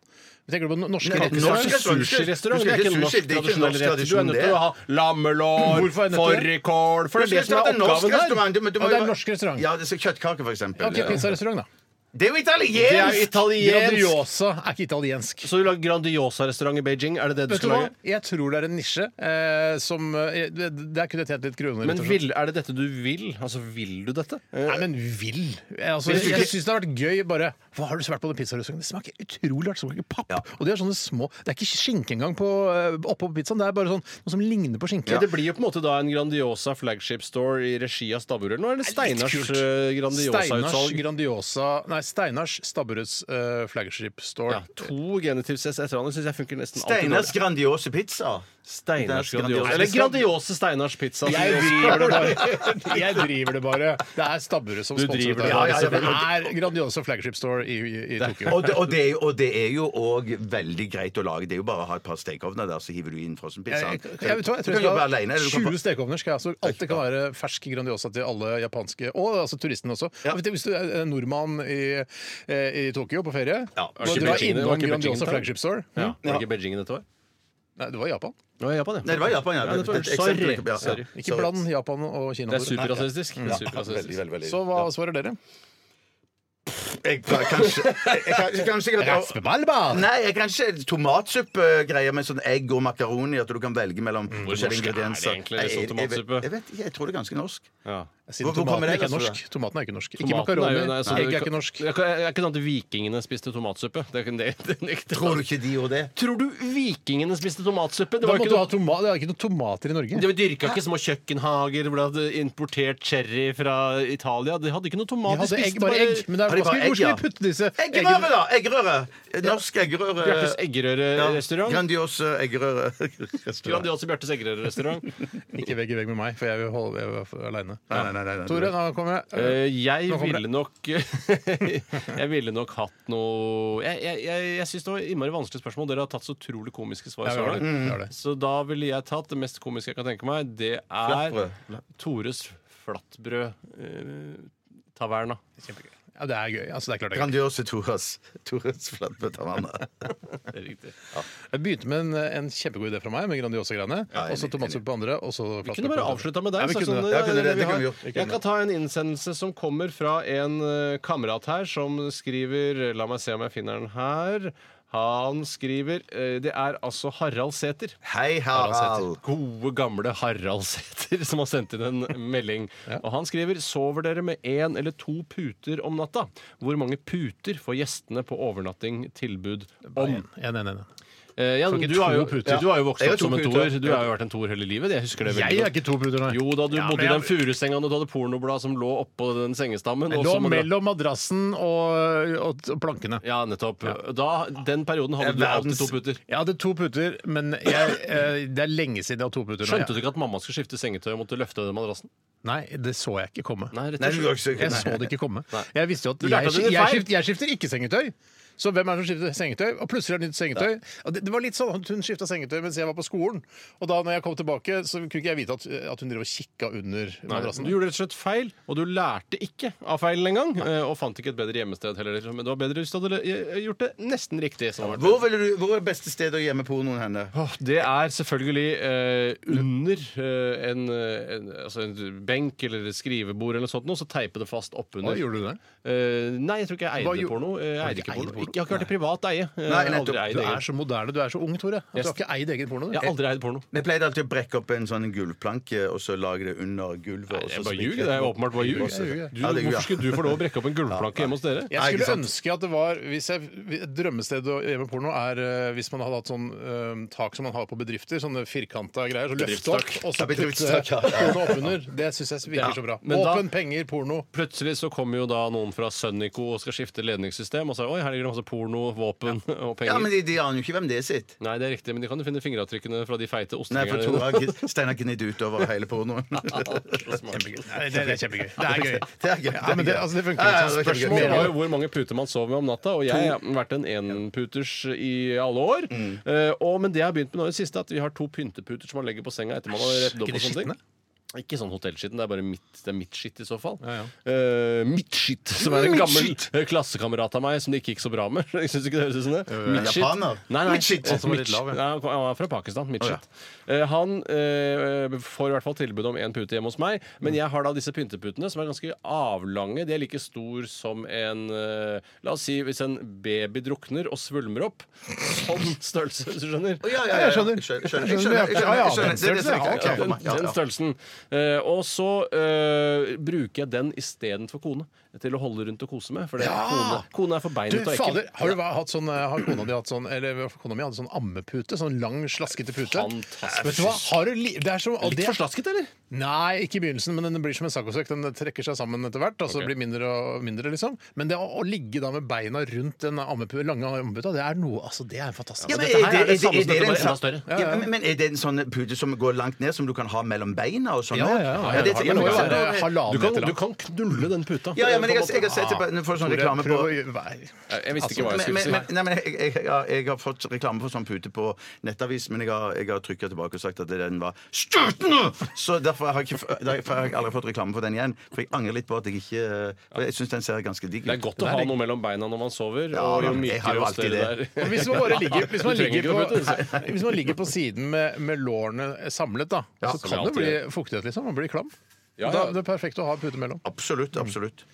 A: Men Tenker du på no- norske
B: Nei, norsk
A: rettesnører?
B: restaurant.
C: Sushirestaurant
B: Du
C: det
B: skal
C: er ikke en
B: ikke
C: norsk
B: sushi, det er ikke en
C: tradisjonell
B: norsk
C: rett. Du er nødt til
B: tradisjon,
C: å ha lammelår,
A: Hvorfor er jeg nødt til det?
C: fårikål For det er det som er
B: norsk
C: oppgaven her.
B: restaurant. Du må- du må
A: Ja, det er
B: jo-
A: en norsk restaurant.
B: Ja, det er så Kjøttkake, for eksempel.
A: Ok, pizzarestaurant, da.
B: Det er jo
C: Det er jo
B: italiensk!
C: italiensk.
A: Grandiosa er ikke italiensk.
C: Så du lager Grandiosa-restaurant i Beijing? Er det det du
A: Vet du
C: skal
A: hva?
C: lage?
A: Jeg tror det er en nisje eh, som eh, det- Der kunne jeg tjent litt kroner.
C: Men
A: rett og slett.
C: vil, er det dette du vil? Altså, vil du dette?
A: Nei, men vil Eh, altså, Jeg,
B: Hvis du
A: jeg
B: ikke-
A: syns det har vært gøy bare Hva har du svært på den pizzarestauranten? Det smaker utrolig hardt. Det smaker papp.
B: Ja.
A: Og det er sånne små Det er ikke skinke engang på, eh, oppå pizzaen. Det er bare sånn noe som ligner på skinke.
C: Ja. Det blir jo på en måte da en Grandiosa flagship store i regi av Stabburet eller noe? Eller Steinars eh,
A: Steinars
C: Grandiosa-utsalg?
A: Grandiosa Nei, Steinars Stabburets eh, flagship store.
C: Ja, to genitivsess etter hverandre syns jeg funker nesten alltid.
B: Steiners
C: dårlig.
B: Grandiose pizza.
C: Steinars
B: Steiners
C: Grandiosa.
B: Grandiosa.
C: Eller Grandiosa Steinars pizza. som
A: Jeg
C: vi også-
A: driver det bare. Jeg driver det bare. Det er Stabburet som
C: Du
A: sponser
C: driver
A: dette.
C: det
A: Ja,
C: bare,
A: ja, ja, men Det er Grandiosa flagship store i, i, i Tokyo.
B: Og det, og, det er jo, og det er jo òg veldig greit å lage. Det er jo bare å ha et par stekeovner der, så hiver du inn frossenpizzaen.
A: Jeg, Eh, jeg, jeg, vet hva, jeg
B: Du
A: tror jeg
B: kan jobbe
A: skal
B: alene.
A: ha
B: Eller du
A: 20
B: kan få
A: stekeovner. Skal jeg, så alt det kan være fersk Grandiosa til alle japanske Og altså turistene også.
B: Ja.
A: Vet du, Hvis du er eh, nordmann i, eh, i Tokyo på ferie
B: Ja,
A: og
B: var ikke
A: drar
C: Beijing- var
A: innom
C: ikke Beijing,
A: Grandiosa
C: da?
A: flagship store
C: Ja.
A: Hm?
C: Var det ikke Beijing dette var?
A: Nei, det var Japan.
C: Det var Japan, ja.
B: Nei, det var Japan, ja.
C: det var-
B: Et eksempel,
C: Sorry.
B: ja, ja.
C: Sorry.
A: Ikke
B: Så-
A: bland Japan og Kina.
C: Det er
A: Tore.
C: superrasistisk. Det er superrasistisk.
B: Veldig, veldig, veldig.
A: Så hva svarer dere?
B: Jeg kan kanskje jeg, kan- jeg kan sikkert
A: Raspebalba!
B: Nei, jeg kan ikke tomatsuppegreier med sånn egg og makaroni. At du kan velge mellom forskjellige
C: norsk er det
B: ingredienser.
C: egentlig,
B: Nei,
C: sånn
B: jeg- jeg vet-
C: tomatsuppe?
B: Jeg vet ikke, jeg tror det er ganske norsk.
C: Ja.
A: Siden
B: Hvor- hvor kommer
A: tomaten
B: det
A: ikke er
B: ellers fra?
A: norsk. Tomaten er ikke norsk. Ikke
C: Tomaten
A: makaroni.
C: er jo- nei, så-
A: Egg er ikke norsk.
C: Det er ikke sånn at vikingene spiste tomatsuppe. Det er ikke det, det nekter jeg.
B: Tror du ikke de gjorde det?
C: Tror du vikingene spiste tomatsuppe? Det
A: Da
C: var
A: måtte
C: ikke
A: du
C: noe
A: ha toma det er ikke noen tomater i Norge.
C: De dyrka ikke små kjøkkenhager hvor de hadde importert cherry fra Italia. De hadde ikke noe
A: De
C: tomat.
A: hadde egg, bare egg. Men det
B: Har
A: er,
B: de
A: hva skal vi,
B: bare egg,
A: hvor skal
B: ja?
A: vi putte disse
B: Eggerøre, da! Eggerøre! Norsk eggerøre.
C: Bjartes eggerørerestaurant.
B: Grandiose eggerøre-restaurant.
C: Grandiosa Bjartes eggerørerrestaurant.
A: Ikke vegg i vegg med meg, for jeg vil holde jeg er aleine.
B: Nei, nei, nei, nei, nei.
A: Tore, nå kommer jeg.
C: Eh, jeg
A: Nå kommer
C: ville nok Jeg ville nok hatt noe Jeg, jeg, jeg, jeg syns det var innmari vanskelige spørsmål. Dere har tatt så utrolig komiske svar.
A: Ja, vi har
C: så
A: det.
C: langt.
A: Vi har det.
C: Så da ville jeg tatt det mest komiske jeg kan tenke meg. Det er
B: Flatbrød.
C: Tores eh, flatbrød-taverna.
A: Kjempegøy. Ja, det er gøy. Altså, det er klart det er gøy.
B: Grandiose Toras. Toras flatbøttermann.
C: det er riktig.
A: Jeg begynte med en, en kjempegod idé fra meg, med Grandiosa-greiene.
B: Ja,
A: Og så
B: enig,
A: tomatsuppe på andre, og så
C: Vi kunne bare avslutta med deg.
A: Ja, vi
C: sagt
A: kunne
C: sånn,
A: det.
B: Ja, vi kunne det.
C: vi
B: Det
C: har-
B: kunne vi gjort. Vi kunne
C: Jeg kan
B: det.
C: ta en innsendelse som kommer fra en eh, kamerat her, som skriver La meg se om jeg finner den her. Han skriver eh, Det er altså Harald Sæther.
B: Hei, Harald.
C: Gode, gamle Harald Sæther som har sendt inn en melding. Og han skriver Sover dere med én eller to puter om natta? Hvor mange puter får gjestene på overnatting tilbud om?
A: Ja, nei, nei, nei.
C: Eh, Jan,
A: Får ikke
C: du, har
A: to
C: jo,
A: puter.
C: du har jo vokst
B: Jeg har
C: opp som
B: to
C: en
B: puter.
C: toer. Du har jo vært en toer hele livet. Jeg husker det veldig
A: Jeg er ikke to bruder, nei.
C: Jo da, du
A: Ja,
C: bodde
A: men
C: i den
A: jeg-
C: furusenga og du hadde pornoblad som lå oppå den sengestammen.
A: Jeg
C: og
A: lå
C: så må du-
A: mellom madrassen og, og, og plankene.
C: Ja, nettopp. Da, den perioden hadde
B: Det er
C: du alltid
B: verdens-
C: to puter.
A: Jeg hadde to puter, men jeg, eh, det er lenge siden jeg har to puter. nå.
C: Skjønte du ikke at mamma skulle skifte sengetøy og måtte løfte den madrassen?
A: Nei, det så jeg ikke komme.
C: Nei, rett
B: Nei,
C: og
B: du
C: slett.
B: går ikke så-
A: Jeg så det ikke komme.
C: Nei.
A: Jeg visste jo at
C: Du lærte
A: jeg,
C: det
A: jeg,
C: feil.
A: skifter, jeg skifter ikke sengetøy. Så hvem er det som skifter sengetøy? Og plutselig er det nytt sengetøy. Og det, det var litt sånn at Hun skifta sengetøy mens jeg var på skolen. Og da når jeg kom tilbake, så kunne ikke jeg vite at, at hun drev og kikka under madrassen.
C: Du gjorde rett og slett feil, og du lærte ikke av feilen engang. eh, Og fant ikke et bedre gjemmested heller. liksom. Men det var bedre hvis du hadde eh, gjort det nesten riktig. Som var
B: Hvor, ville du, hvor er beste sted å gjemme pornoen henne?
C: Åh, det er selvfølgelig eh, under eh, en, eh, en, altså en benk eller et skrivebord eller noe sånt, og så teipe det fast oppunder.
A: Hva gjorde du det?
C: Eh, nei, jeg tror ikke jeg
A: Hva
C: eide
A: gjorde-
C: porno. Eh,
A: Har
C: Jeg
A: du ikke
C: eide ikke
A: eid
C: porno.
A: porno?
C: ikke, jeg har ikke vært i privat eie. Eh, Jeg
B: Nei,
C: har
B: nettopp.
C: aldri eid
A: Du er
C: eget.
A: så moderne, du er så ung, Tore. At du
C: Yes.
A: har ikke eid egen porno. du.
C: Jeg har aldri eid porno.
B: Vi pleide alltid å brekke opp en sånn gulvplanke og så lage det under gulvet. og så
C: Jeg bare
B: sminkre
C: ljuger. Det er åpenbart bare ljug.
A: Jeg ljuger.
C: Du-
B: Ja, det er ljug, ja.
C: Hvorfor skulle du få lov å brekke opp en gulvplanke hjemme hos dere?
A: Jeg
B: Nei, ikke
A: skulle
B: sant.
A: ønske at det var hvis jeg, Et drømmested å gjøre med porno er eh, hvis man hadde hatt sånn eh, tak som man har på bedrifter. Sånne firkanta greier. Så løfte opp og så
B: Ja,
A: putte
B: bedriftstak, ja.
A: porno oppunder. Det syns jeg virker
C: Ja,
A: så bra.
C: men da-
A: Åpen, penger, porno.
C: Plutselig så kommer jo da noen fra Sønnico og skal skifte ledningssystem. Og så oi, her ligger det masse porno, våpen og penger.
B: Ja, men de, de aner jo ikke hvem det er sitt.
C: Nei, det er riktig, men de kan jo finne fingeravtrykkene fra de feite
B: Nei, for
C: ostringene.
B: Tore har gn- Steinar gnidd utover hele pornoen.
A: Nei, det, det er kjempegøy. Det er gøy.
B: Det er gøy.
A: Ja, men det, altså, det funker
B: Ja, ja,
A: ikke.
B: det liksom. var kjempegøy.
C: Spørsmålet var jo hvor mange puter man sov med om natta, og jeg har vært en enputers i alle år.
B: Mm.
C: Eh, og, men det jeg har begynt med nå i det siste, at vi har to pynteputer som man legger på senga etter man har rettet opp. og sånne ting. Ikke sånn hotellskitten, det er bare mitt, det er mitt skitt i så fall. Eh, mitt skitt, som er en
B: Mitt
C: gammel
B: skitt.
C: eh, klassekamerat av meg som det ikke gikk så bra med. Jeg synes ikke det høres ut som det. Mitt skitt.
B: Øh, japaner.
C: Nei, nei.
B: Mitt skitt. Sånn
C: Han som var
B: Mitt
C: litt lav, ja. Nei, han kom- han er fra Pakistan. Mitt skitt. Eh, han eh, får i hvert fall tilbud om én pute hjemme hos meg, men jeg har da disse pynteputene som er ganske avlange. De er like stor som en eh, La oss si hvis en baby drukner og svulmer opp. Sånn størrelse, hvis du skjønner.
B: Ja, ja, ja, ja. Skjønner. Skjønner. skjønner,
A: Jeg skjønner,
B: skjønner,
A: ja. Ja, ja,
B: skjønner.
A: den
B: Det er det som er
A: størrelsen, ja,
B: greit, ja, for
C: Den,
B: meg. Ja,
C: den
B: ja.
C: størrelsen. Eh, og så eh, bruker jeg den istedenfor kone. Til å holde rundt og kose med. For det, kone, kone er for
A: Du,
C: beinet og ekkel.
A: fader, har, du hva- hatt sånn, eh, har kona di hatt sånn Eller kona mi hadde sånn ammepute? Sånn lang, slaskete pute?
C: Fantastisk.
A: Vet du hva? Har du li det er så, og
C: Litt
A: det-
C: for slasket, eller?
A: Nei, ikke i begynnelsen, men den blir som en saccosekk. Den trekker seg sammen etter hvert. Altså blir mindre og mindre, liksom. Men det å, å ligge da med beina rundt den ammepu, lange ammeputa, det er noe Altså, det er fantastisk.
B: Ja, men
C: dette her
B: er
C: er det
B: det-
C: samme
B: er det
C: som dette,
B: den
C: bare enda
B: sa-
C: større.
B: Ja, men- Men er det en sånn pute som går langt ned, som du kan ha mellom beina og sånn?
A: Ja, ja, ja.
B: det-
A: Ja, men
B: ja, men-
A: det må jo være
C: Du
A: halvannen
C: kan,
A: meter
C: du
A: lang.
C: kan knulle den puta.
B: Ja, ja, men jeg,
C: På en
B: har- jeg har sett det på, når du får sånn reklame på
C: måte. jeg visste
A: Altså,
C: ikke hva jeg
B: Men,
C: skulle
B: men,
C: si.
B: men, nei, men jeg, jeg, jeg, har- jeg har fått reklame for sånn pute på nettavis, men jeg har, jeg har trykka tilbake og sagt at den var støtende! Så derfor har, jeg ikke, f- derfor har jeg aldri fått reklame for den igjen. For jeg angrer litt på at jeg ikke For jeg syns den ser ganske digg ut.
C: Det er godt å ha noe mellom beina når man sover.
B: Ja,
C: og jo
B: men jeg har
C: mykere
B: jo
C: og
B: alltid
C: større
B: det.
C: det er.
A: Hvis man bare ligger, hvis man
C: Du trenger
A: ligger,
C: ikke å
A: på,
C: putte det,
A: hvis man ligger på siden med, med lårene samlet, da, så
C: som
A: kan
C: vi
A: det bli
C: alltid
A: fuktighet, liksom. Man blir klam.
C: Ja,
A: Da,
C: ja.
A: det er perfekt å ha pute mellom.
B: Absolutt. absolutt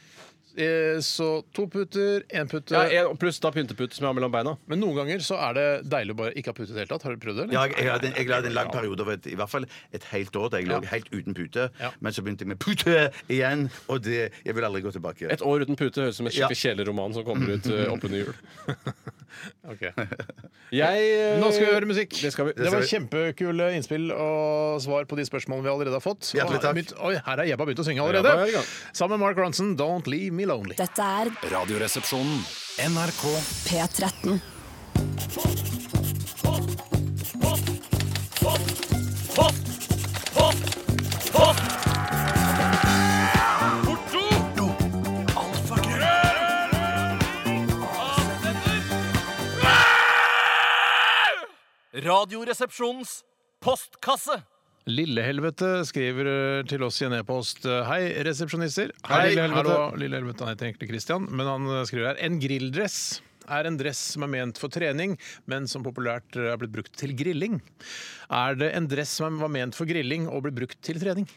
A: Eh, Så to puter, én pute.
C: Ja, en- pluss da pyntepute som jeg har mellom beina.
A: Men noen ganger så er det deilig å bare ikke ha pute i det hele tatt. Har du prøvd det? eller?
B: Ja, jeg, jeg, hadde en, jeg hadde en lang periode over et, i hvert fall et helt år der jeg lå helt uten pute.
A: Ja.
B: Men så begynte jeg med pute igjen, og det Jeg vil aldri gå tilbake.
C: Et år uten pute høres ut som en skikkelig kjeleroman som kommer ut eh, oppunder jul.
A: Ok.
C: Jeg eh,
A: Nå skal vi høre musikk.
C: Det skal vi.
A: Det var kjempekule innspill og svar på de spørsmålene vi allerede har fått. Og
B: Hjertelig
A: her-
B: takk.
A: begynt- Oi, her er Jebba begynt å synge
C: Jebba er i
A: allerede.
C: gang.
A: Sammen med Mark Ronson, 'Don't Leave Me Lonely'.
D: Dette er
F: Radioresepsjonen. NRK
D: P13.
K: Radioresepsjonens postkasse.
A: Lillehelvete skriver eh, til oss i en e-post eh, Hei, resepsjonister.
B: Hei, Lillehelvete.
A: Hallo, Lillehelvete. Han heter egentlig Christian, men han eh, skriver her En grilldress er en dress som er ment for trening, men som populært eh, er blitt brukt til grilling. Er det en dress som var ment for grilling og ble brukt til trening?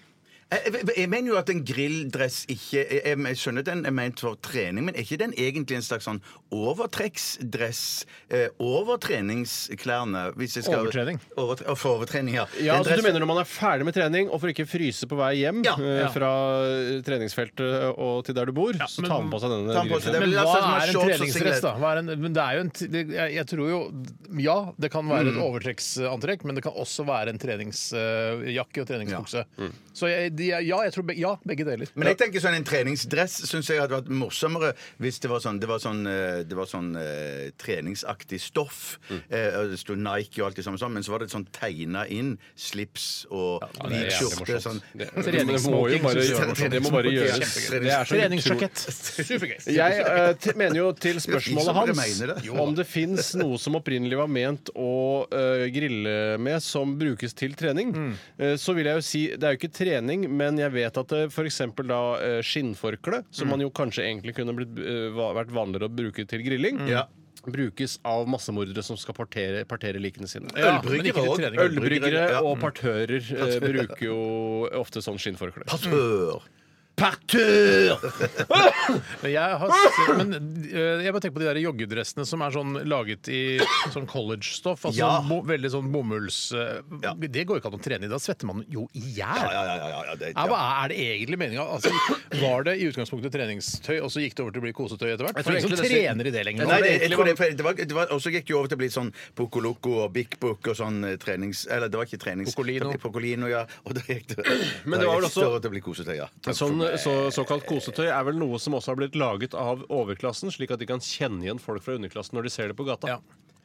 B: Jeg, jeg, jeg mener jo at en grilldress ikke jeg, jeg, jeg skjønner den er ment for trening, men er ikke den egentlig en slags sånn overtrekksdress eh, over treningsklærne? Hvis jeg skal,
A: Overtrening.
B: Overtre, og for overtrening, ja. Den
C: Ja, altså,
B: dress-
C: du mener når man er ferdig med trening, og for ikke å fryse på vei hjem
B: Ja.
C: eh,
B: Ja.
C: fra eh, treningsfeltet og til der du bor, så tar man på seg denne.
B: Ta den på seg.
C: grillen.
B: Det
A: Men
B: blir
A: hva
B: altså som
A: er en
B: shorts og
A: treningsdress,
B: singlet.
A: da? Hva er en, men det er jo en, t- det, jeg, jeg tror jo Ja, det kan være
B: Mm.
A: et overtrekksantrekk, men det kan også være en treningsjakke og treningsbukse. Så jeg, de, er- ja, jeg tror be, ja, begge deler.
B: Mm. Men jeg tenker sånn en treningsdress syns jeg hadde vært morsommere hvis det var sånn, det var sånn, eh, det var sånn eh, treningsaktig stoff.
C: Mm.
B: Eh, og det sto Nike og alt det samme, sånn, men så var det sånn tegna inn slips og
C: Ja, det er
B: hvit
C: jævlig
B: skjorte.
C: morsomt.
B: Sånn.
C: Det- men det må jo
A: Treningssmoking
C: bare
A: synes jeg er
C: gjøres.
A: morsomt.
C: Det må bare
B: Treningssmoking er
C: gjøres.
B: kjempegøy.
C: Det er så
A: Treningssjakett. Supergøy.
C: Jeg eh, t- mener jo til spørsmålet
B: Ingen som
C: hans
B: mener det.
C: om det fins noe som opprinnelig var ment å eh, grille med, som brukes til trening.
B: Mm.
C: Eh, så vil jeg jo si Det er jo ikke trening, men jeg vet at det f.eks. da eh, skinnforkle,
B: Mm.
C: som man jo kanskje egentlig kunne blitt, eh, va- vært vanligere å bruke til grilling,
B: Mm.
C: brukes av massemordere som skal partere, partere likene sine.
A: Ja, men ikke til
B: Ølbryggere
A: trening.
C: Ølbryggere
B: ja.
C: og partører eh, bruker jo ofte sånn skinnforkle.
B: Partør. partur!
A: Men Jeg har
B: Ah!
A: sett, men eh, jeg bare tenker på de der joggedressene som er sånn laget i sånn college-stoff. Altså
B: Ja.
A: bo, veldig sånn bomulls... eh,
B: Ja.
A: Det går jo ikke an å trene i. Da svetter man jo i hjel.
B: Ja, ja, ja, ja, ja, det,
A: Ja,
B: ja.
A: hva er- er det egentlig meninga? Altså, var det i utgangspunktet treningstøy, og så gikk det over til å bli kosetøy etter hvert?
C: Jeg
A: For
C: tror
A: ingen som
C: egentlig det er-
A: trener i det lenger.
B: Nei,
A: nå.
B: det, jeg tror det, for det var, det var, og så gikk det jo over til å bli sånn Poco Loco og Bik Bok og sånn eh, trenings... Eller det var ikke trenings...
A: Pocolino.
B: Pocolino, ja. Og da gikk det, da
C: Men det
B: gikk
C: var vel også-
B: over til å bli kosetøy, ja.
C: Sånn, så, såkalt kosetøy er vel noe som også har blitt laget av overklassen, slik at de kan kjenne igjen folk fra underklassen når de ser det på
A: Ja.
C: gata.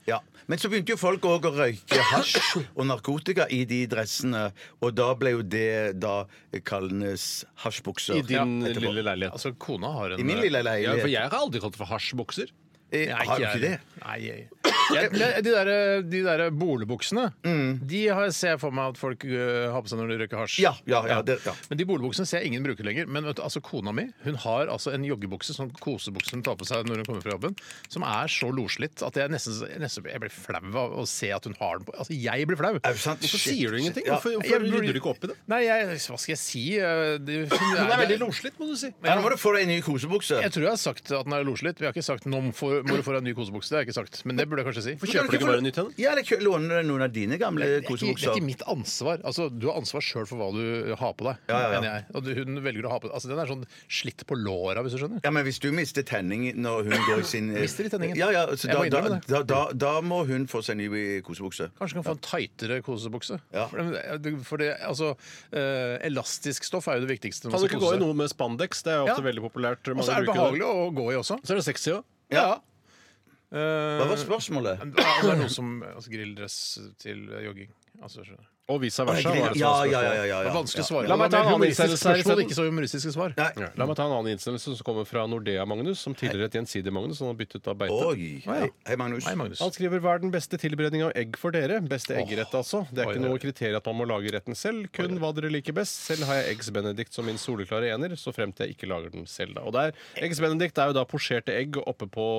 B: Ja. Men så begynte jo folk òg å røyke hasj og narkotika i de dressene, og da ble jo det da kallenes hasjbukser.
C: I din
B: Ja, etterpå.
C: lille leilighet.
A: Altså, kona har en
B: I min lille
C: Ja, for
B: leilighet.
C: jeg har aldri kalt det for hasjbukser.
B: Eh,
A: Nei,
B: har du
A: jeg
B: ikke det?
A: heller. Nei, jeg- Jeg- jeg- De der, de der bolebuksene De har jeg ser jeg for meg at folk øh, har på seg når de røyker hasj.
B: Mm. Ja, ja, ja, det- ja.
A: Men de bolebuksene ser jeg ingen bruker lenger. Men vet du, altså kona mi hun har altså en joggebukse, sånn kosebukse hun tar på seg når hun kommer fra jobben, som er så loslitt at jeg nesten, nesten jeg blir flau av å se at hun har den på. Altså, jeg blir flau.
B: Er det sant?
C: Hvorfor
B: Shit.
C: sier du ingenting?
B: Ja.
C: Hvorfor,
A: Jeg
C: hvorfor
A: burde-
C: rydder du ikke opp i det?
A: Nei, jeg, hva skal jeg si? Øh, det- Hun
C: Den er veldig loslitt, må du si.
B: Ja, nå må du få deg en ny kosebukse.
A: Jeg tror jeg har sagt at den er loslitt. Vi har ikke sagt 'nå må få- må du få deg en ny kosebukse'. Det har jeg ikke sagt, men det burde jeg kanskje si.
C: Kjøper du ikke bare nytt henne?
B: Ja, eller kjø- låner deg noen av dine gamle
A: Det er, ikke, det er
B: kosebukser.
A: ikke mitt ansvar. Altså, du har ansvar sjøl for hva du har på deg.
B: Ja, ja, ja.
A: mener jeg. Og du, hun velger å ha på altså, Den er sånn slitt på låra, hvis du skjønner.
B: Ja, men Hvis du mister tenning når hun går i sin
A: Mister de tenningen?
B: Ja, ja, så
A: Jeg
B: da,
A: må
B: da,
A: innrømme det.
B: da, da, da må hun få seg ny kosebukse.
A: Kanskje du kan få en tightere kosebukse.
B: Ja.
A: For, det, for det, altså, eh, elastisk stoff er jo det viktigste. når
C: Kan
A: man
C: du
A: skal
C: ikke gå
A: Altså kose
C: i
A: seg.
C: noe med spandex? Det er jo ofte
A: Ja.
C: veldig populært.
A: Og så er det behagelig å gå i også.
C: Så er det sexy òg.
B: Ja.
A: Eh,
B: Hva var spørsmålet?
A: ja, og det er noe som altså, grilldress til jogging. Altså, skjønner du.
C: Og vice versa.
B: Ja,
C: var det sånn.
B: ja,
C: som var
B: ja, ja,
C: spørsmålet.
B: ja,
A: det er
B: ja.
A: vanskelig å svare.
C: La meg ta en annen
A: humoristisk
C: innsendelse her
A: spørsmål,
C: isteden.
A: ikke så humoristiske svar.
B: Nei.
C: Ja, La meg ta en annen innsendelse som kommer fra Nordea Magnus, som tidligere het Gjensidige Magnus. Han har byttet av beite.
B: Oi. Hei, hei, Magnus.
A: Nei, Magnus.
C: Han skriver hva er den beste tilberedning av egg for dere? Beste eggerett, altså. Det er
A: Oi,
C: ikke
A: oi,
C: noe
A: oi.
C: kriterium at man må lage retten selv, kun hva dere liker best. Selv har jeg eggs benedict som min soleklare ener, så fremt jeg ikke lager den selv, da. Og der, eggs benedict er jo da posjerte egg oppe på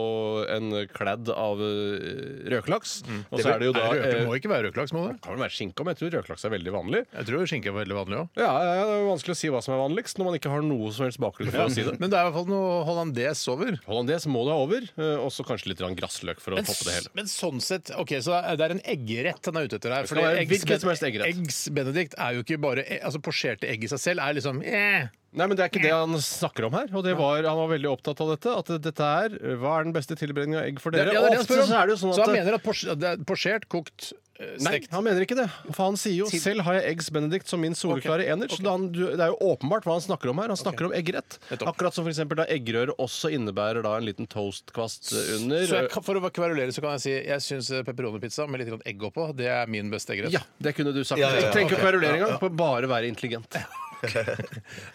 C: en kladd av eh, røkelaks. Og så er det jo da
A: Mm. Nei, røker
C: eh,
A: må ikke være røkelaks, må det?
C: Kan vel være skinke, men jeg tror røkelaks er veldig vanlig.
A: Jeg tror skinke er veldig vanlig òg.
C: Ja, ja, ja, det er vanskelig å si hva som er vanligst når man ikke har noe som helst bakgrunn for å si det.
A: Men det er i hvert fall noe hollandes over.
C: Hollandes må du ha over, eh, og så kanskje litt grann grassløk for å
A: Men,
C: toppe det hele.
A: s- men sånn sett, ok, så det er- det er en eggerett han er ute etter her.
C: skal være hvilken som helst eggerett.
A: Eggs Benedict er jo ikke bare e- altså Posjerte egg i seg selv er liksom eh.
C: Nei, men Det er ikke det han snakker om her. og det var, Han var veldig opptatt av dette. At dette er Hva er den beste tilberedningen av egg for dere?
A: Ja, det er det han
C: Ofte
A: spør om.
C: så er det jo sånn
A: Så han
C: at
A: mener at pors- det er posjert, kokt, eh,
C: Nei,
A: stekt
C: han mener ikke det. For han sier jo selv har jeg eggs benedict som min soleklare ener. Så da han, du- det er jo åpenbart hva han snakker om her. Han snakker om eggerett. Akkurat som for eksempel da eggerøre også innebærer da en liten toastkvast eh, under.
A: Så jeg, kan- for å kverulere så kan jeg si jeg syns pepperoni-pizza med litt grann egg oppå, det er min beste eggerett.
C: Ja, det kunne du sagt.
B: Ja, ja, ja.
C: Jeg trenger ikke
B: Ok.
C: å kverulere engang. Får bare være intelligent.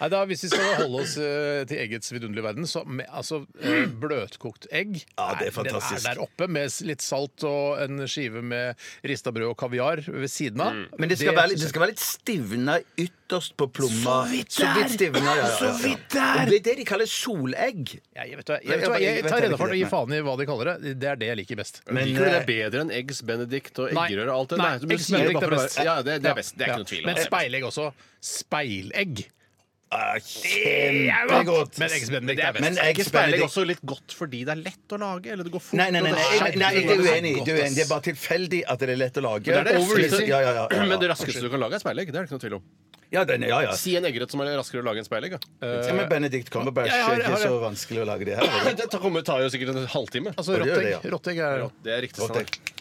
A: Nei, da, hvis vi skal holde oss eh, til eggets vidunderlige verden, så med, altså, eh, bløtkokt egg
B: Ja, det er
A: den
B: fantastisk.
A: der oppe med s- litt salt og en skive med rista brød og kaviar ved siden av.
C: Mm.
B: Men det skal, være, litt- det skal være litt stivna ytterst på plomma. Så vidt der! stivna, ja, ja, ja, ja. Og Det er det de kaller solegg.
A: Jeg, vet du, hva, jeg, vet du, hva,
B: Jeg- jeg-
A: jeg
B: vet
A: tar
B: jeg
A: reda for det og
B: ikke
A: gir faen i hva de kaller det. Det er det jeg liker best.
B: Men,
C: Liker du
B: eh,
C: det bedre enn eggs benedict og
A: Nei.
C: eggerøre og alt det?
A: Nei,
C: Nei, du
A: eggs
C: sier det
A: benedict er
C: bare for å
A: best.
C: være- Ja, det, det er best. Det er
A: Ja.
C: ikke noe tvil om.
A: Men
C: det.
A: speilegg også. Speilegg.
B: ah, Kjempegodt!
A: Men eggs benedict er best.
B: Men egg
C: Ikke speilegg
B: benedict-
C: også litt godt fordi det er lett å lage? Eller det går fort?
B: Nei, nei, nei, nei,
C: og
B: nei, nei,
C: det er
B: det er
C: kjempegodt.
B: uenig. Det er, uenig. det er bare tilfeldig at det er lett å lage.
C: Det er det raskeste-
B: Ja, ja, ja, ja, ja.
C: Men det raskeste du kan lage, er speilegg. Det er det ikke noe tvil om.
B: Ja, den, ja, ja.
C: Si en eggerett som er raskere å lage enn speilegg. da.
A: Eh,
B: Ja, men Benedict Cumberbatch
A: Jeg har-
B: er
A: jeg har
B: ikke
A: det.
B: så vanskelig å lage det her. er det?
C: Det tar- kommer- tar jo sikkert en halvtime.
A: Altså
B: det gjør det, ja.
A: rottegg. Rottegg er
C: Det er riktig.
B: Godt,
C: Steinar.
B: jeg.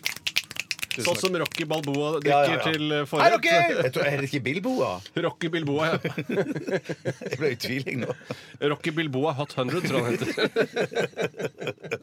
C: Sånn som Rocky Balboa drikker
B: Ja, ja, ja.
C: til eh,
B: Hei,
C: forrett.
B: dere! Jeg tror- Er det ikke Bilboa?
C: Rocky Bilboa, ja.
B: Jeg ble i tvil, jeg nå.
C: Rocky Bilboa Hot 100, tror jeg han heter.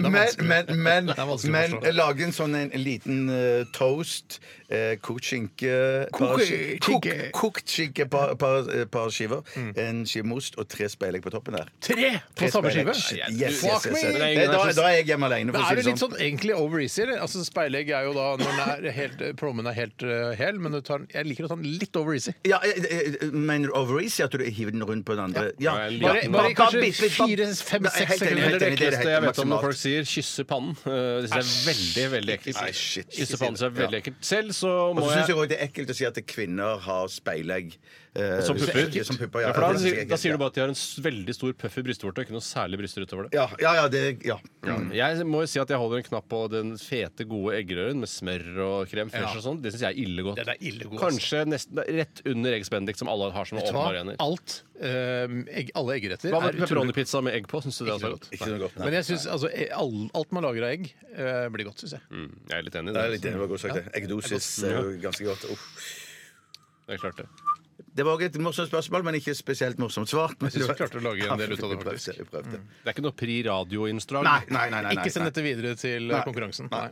B: Men, men, men,
A: er vanskelig å
B: men
A: forstå.
B: lage en sånn en liten eh, toast. Uh, kokt skinke par ski- kok-
A: skinke.
B: Kokt skinke par, par, eh, par skiver.
A: Mm.
B: En skive med ost og tre speilegg på toppen der.
A: Tre på
B: Tre
A: samme skive?
B: speilegg.
C: Nei,
B: Yes, yes,
A: fuck
B: yes, yes,
A: me!
B: yes. Det, da, da er jeg hjemme alene, for
A: Men
B: å
A: er
B: si
A: det
B: det
A: litt
B: sånn.
A: sånn egentlig over easy? Eller? Altså, speilegg er jo da når den er helt, plommen er helt eh, hel, men du tar, den- jeg liker å ta den litt over easy.
B: Ja, eh, eh, mener du over easy at du hiver den rundt på den andre? Ja.
C: Ja, en
A: Bare-
B: Bare-
C: liten-
B: bare-
A: kanskje
B: bare bitte litt, bare-
A: fire, fem,
B: Nei,
A: seks
B: helt enig,
A: sekunder.
C: Eller
B: helt
C: det
B: enig, er
C: ekleste jeg
B: helt
C: vet om når folk
B: maksimalt.
C: sier 'kysse pannen'. Eh, Det synes jeg er veldig veldig ekkelt.
B: Nei, shit, ikke
C: Kysse
B: si
C: pannen
B: det.
C: så er veldig
B: Ja.
C: ekkelt. Selv så
B: Og
C: må
B: så syns
C: jeg
B: jeg også det er ekkelt å si at kvinner har speilegg. eh,
C: Som pupper?
B: Som pupper, ja.
C: for da, sier- da sier du bare at de har en s- veldig stor puff i brystvorta, ikke noe særlig bryster utover det. Mm.
B: Ja, ja, ja, det, ja.
C: Jeg må jo si at jeg holder en knapp på den fete, gode eggerøren med smør og krem fresh
A: Ja.
C: og sånn. Det syns jeg er ille godt.
A: Den er ille god, ass.
C: Kanskje nesten rett under egg spendik, som alle har som
A: Vet du hva?
C: åpenbare ener.
A: Alt, eh, egg, alle eggeretter
C: Hva med
A: er utrolig
C: pepperoni-pizza med egg på? Syns du det også er godt?
B: Ikke noe godt, nei.
A: Men jeg synes, altså, e- all, alt man lager av egg, eh, blir godt, syns jeg.
C: Mm, jeg er litt enig i
B: Det
C: det.
B: er litt- det var godt sagt, det. Eggedosis er jo ganske godt. Uff.
C: altså. Det er klart det.
B: Det var også et morsomt spørsmål, men ikke spesielt morsomt svart. Men
A: synes vi klarte å lage en del ut av det, Mm.
B: Vi prøvde, vi prøvde.
C: Det er ikke noe Pri radioinnslag?
B: Nei, nei, nei, nei,
A: Ikke send
B: nei.
A: dette videre til eh, konkurransen. Nei.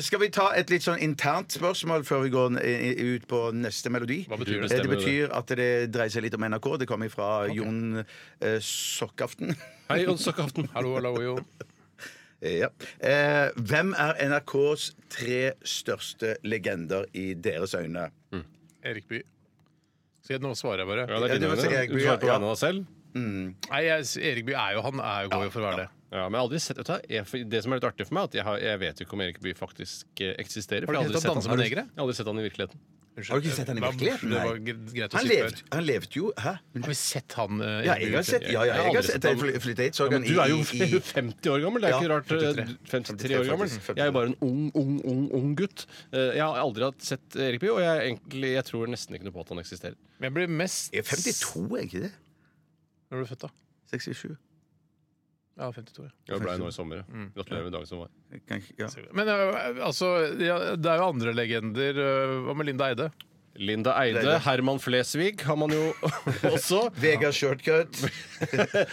B: Skal vi ta et litt sånn internt spørsmål før vi går n- i- ut på neste melodi?
C: Hva betyr det?
B: Eh, Det betyr at det dreier seg litt om NRK. Det kommer fra Jon eh, Sokkaften.
C: Hei, Jon Sokkaften.
A: Hallo, hallo, jo.
B: Ja. Eh, hvem er NRKs tre største legender i deres øyne?
A: Erik Bye. Skal jeg nå svarer jeg bare?
C: Ja, det er
B: Ja, det
C: dine
B: var så
C: øyne.
B: jeg-
C: Du svarer på
B: ja.
C: vegne av deg selv?
A: Nei, jeg, Erik Bye er jo han er jo god for å være det.
C: Ja, men jeg har aldri sett vet du hva, jeg, Det som er litt artig for meg, er at jeg, har, jeg vet jo ikke om Erik Bye faktisk eh, eksisterer. for
A: Har du
C: jeg
A: sett han danse med
C: Har du-
A: negre?
C: Jeg har aldri sett han i virkeligheten.
B: Har du ikke sett han i
A: Det var-
B: virkeligheten?
A: Det
B: Nei.
A: var gre- greit å
B: Han
A: si
B: levde,
A: før.
B: han levde jo Hæ?
A: Har vi sett han? eh, Erik
B: Ja, jeg
A: Bye
B: har
A: før?
B: sett Ja, ja, jeg har sett Fly- Fly Date. så han
C: Men du er jo
B: i- i-
C: 50 år gammel. Det er
B: Ja,
C: ikke rart. eh,
B: 53.
C: 53 år gammel.
B: 53.
C: Jeg er jo bare en ung, ung, ung ung gutt. Eh, Jeg har aldri hatt sett Erik Bye, og jeg, er egentlig, jeg tror nesten ikke noe på at han eksisterer.
A: Men jeg ble mest
B: Jeg er 52, er jeg ikke det?
A: Når ble du født, da?
B: 67?
A: Ja, 52. ja.
C: Jeg ble nå i sommer. ja.
A: Mm.
C: Gratulerer med dagen som var.
B: Jeg kan ikke- Ja.
A: Men eh, altså, ja, det er jo andre legender. eh, Hva med Linda Eide?
C: Linda Eide,
B: Eide.
C: Herman Flesvig har man jo også.
B: Vegard Shortcut.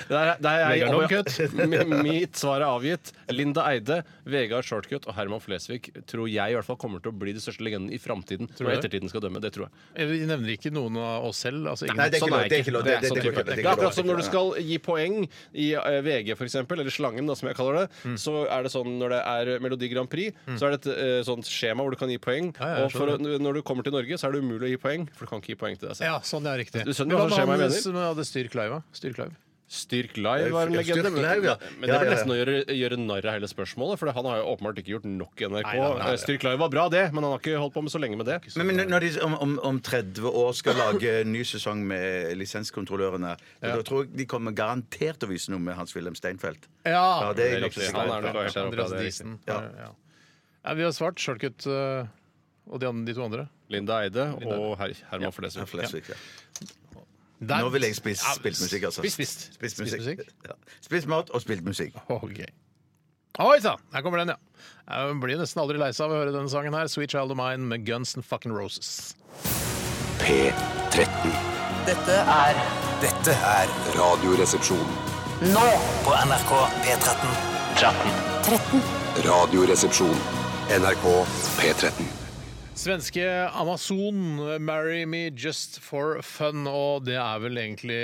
C: Der, der er
A: Vegard
C: Mi- Mitt svar er avgitt. Linda Eide, Vegard Shortcut og Herman Flesvig tror jeg i hvert fall kommer til å bli de største legendene i framtiden.
A: du
C: Når
A: det?
C: ettertiden skal dømme. Det tror jeg.
A: Eh, Vi nevner ikke noen av oss selv. Altså, ingen-
B: Nei, det er ikke
C: Sånn
B: lov. Det er
C: jeg
B: ikke lov. Det,
C: Nei,
B: det,
C: sånn
B: det, går
C: type.
B: ikke. det,
C: Det
B: det,
C: er
B: går
C: akkurat som
B: ikke.
C: når du skal gi poeng i eh, VG, for eksempel, eller Slangen, da, som jeg kaller det,
B: Mm.
C: så er det sånn når det er Melodi Grand Prix, så er det et eh, sånt skjema hvor du kan gi poeng.
A: Ja, ja, jeg
C: og for, å- når du kommer til Norge, så er det umulig å gi poeng, for du kan ikke gi poeng til deg selv.
A: Ja, sånn det er riktig.
C: Du skjønner hva som skjer med
A: han
C: mener?
A: som hadde Styrk Live? da? Styrk Live.
C: Styrk Live var en
B: Ja,
C: legende.
B: Styrk
C: Men,
B: Live, ja.
C: men det
B: Ja, ja,
C: blir
B: ja.
C: nesten å gjøre, gjøre narr av hele spørsmålet, for han har jo åpenbart ikke gjort nok i NRK.
A: Nei,
C: Eh,
A: nei, nei, nei.
C: Styrk Live var bra, det, men han har ikke holdt på med så lenge med det.
B: Men, men når de om, om, om 30 år skal lage ny sesong med lisenskontrollørene, da tror jeg de kommer garantert til å vise noe med Hans-Wilhelm Steinfeld. Ja, det er
C: Det er
B: nok
C: riktig.
B: så
C: Han
B: sikkert.
C: er nok der oppe.
A: Andreas
C: det er riktig.
A: Diesen. Ja.
B: Ja.
A: Ja. vi har svart Shortcut eh, og de, andre, de to andre.
C: Linda Eide og Her
B: Ja,
C: Herman Flesvig.
B: Flesvig, ja.
A: Der-
B: Nå vil jeg spise
A: Ja,
B: spilt musikk, altså.
A: Spist, spist.
B: Spist musikk. Ja. Spist mat og spilt musikk.
A: Ok. Oi sann! Her kommer den, ja. Jeg blir nesten aldri lei seg av å høre denne sangen her. Sweet Child of Mine med Guns and Fucking Roses.
F: P13.
D: Dette er
F: Dette er Radioresepsjon.
D: nå på NRK P13.
F: Radioresepsjon. NRK P13.
A: Svenske Amazon, eh, 'Marry Me Just For Fun'. Og det er vel egentlig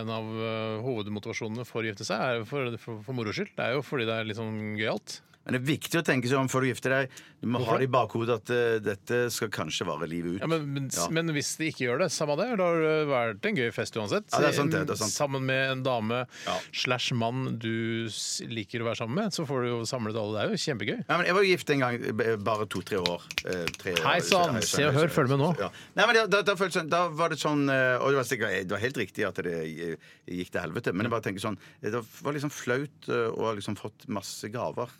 A: en av eh, hovedmotivasjonene for å gifte seg. Er jo for, for, for moro skyld. Det er jo fordi det er litt sånn gøyalt.
B: Men det er viktig å tenke seg om før du gifter deg. Du må ha det i bakhodet at eh, dette skal kanskje vare livet ut.
A: Ja, men, men,
B: Ja.
A: men hvis de ikke gjør det, samme det. Det har det vært en gøy fest uansett. Eh,
B: Ja, det er sant det, det er sant.
A: Sammen med en dame
B: Ja.
A: slash mann du s- liker å være sammen med, så får du jo samlet alle. Det er jo kjempegøy.
B: Ja, men jeg var jo gift en gang, b- bare to-tre år. Eh, tre år.
A: Hei sann,
B: Hei
A: Se og Hør, følg med nå.
B: Ja. Nei, men da, da, da, føltes det sånn, da var det sånn eh, Og det var, sikkert, det var helt riktig at det eh, gikk til helvete, men jeg bare tenker sånn eh, Det var liksom flaut eh, å ha liksom fått masse gaver.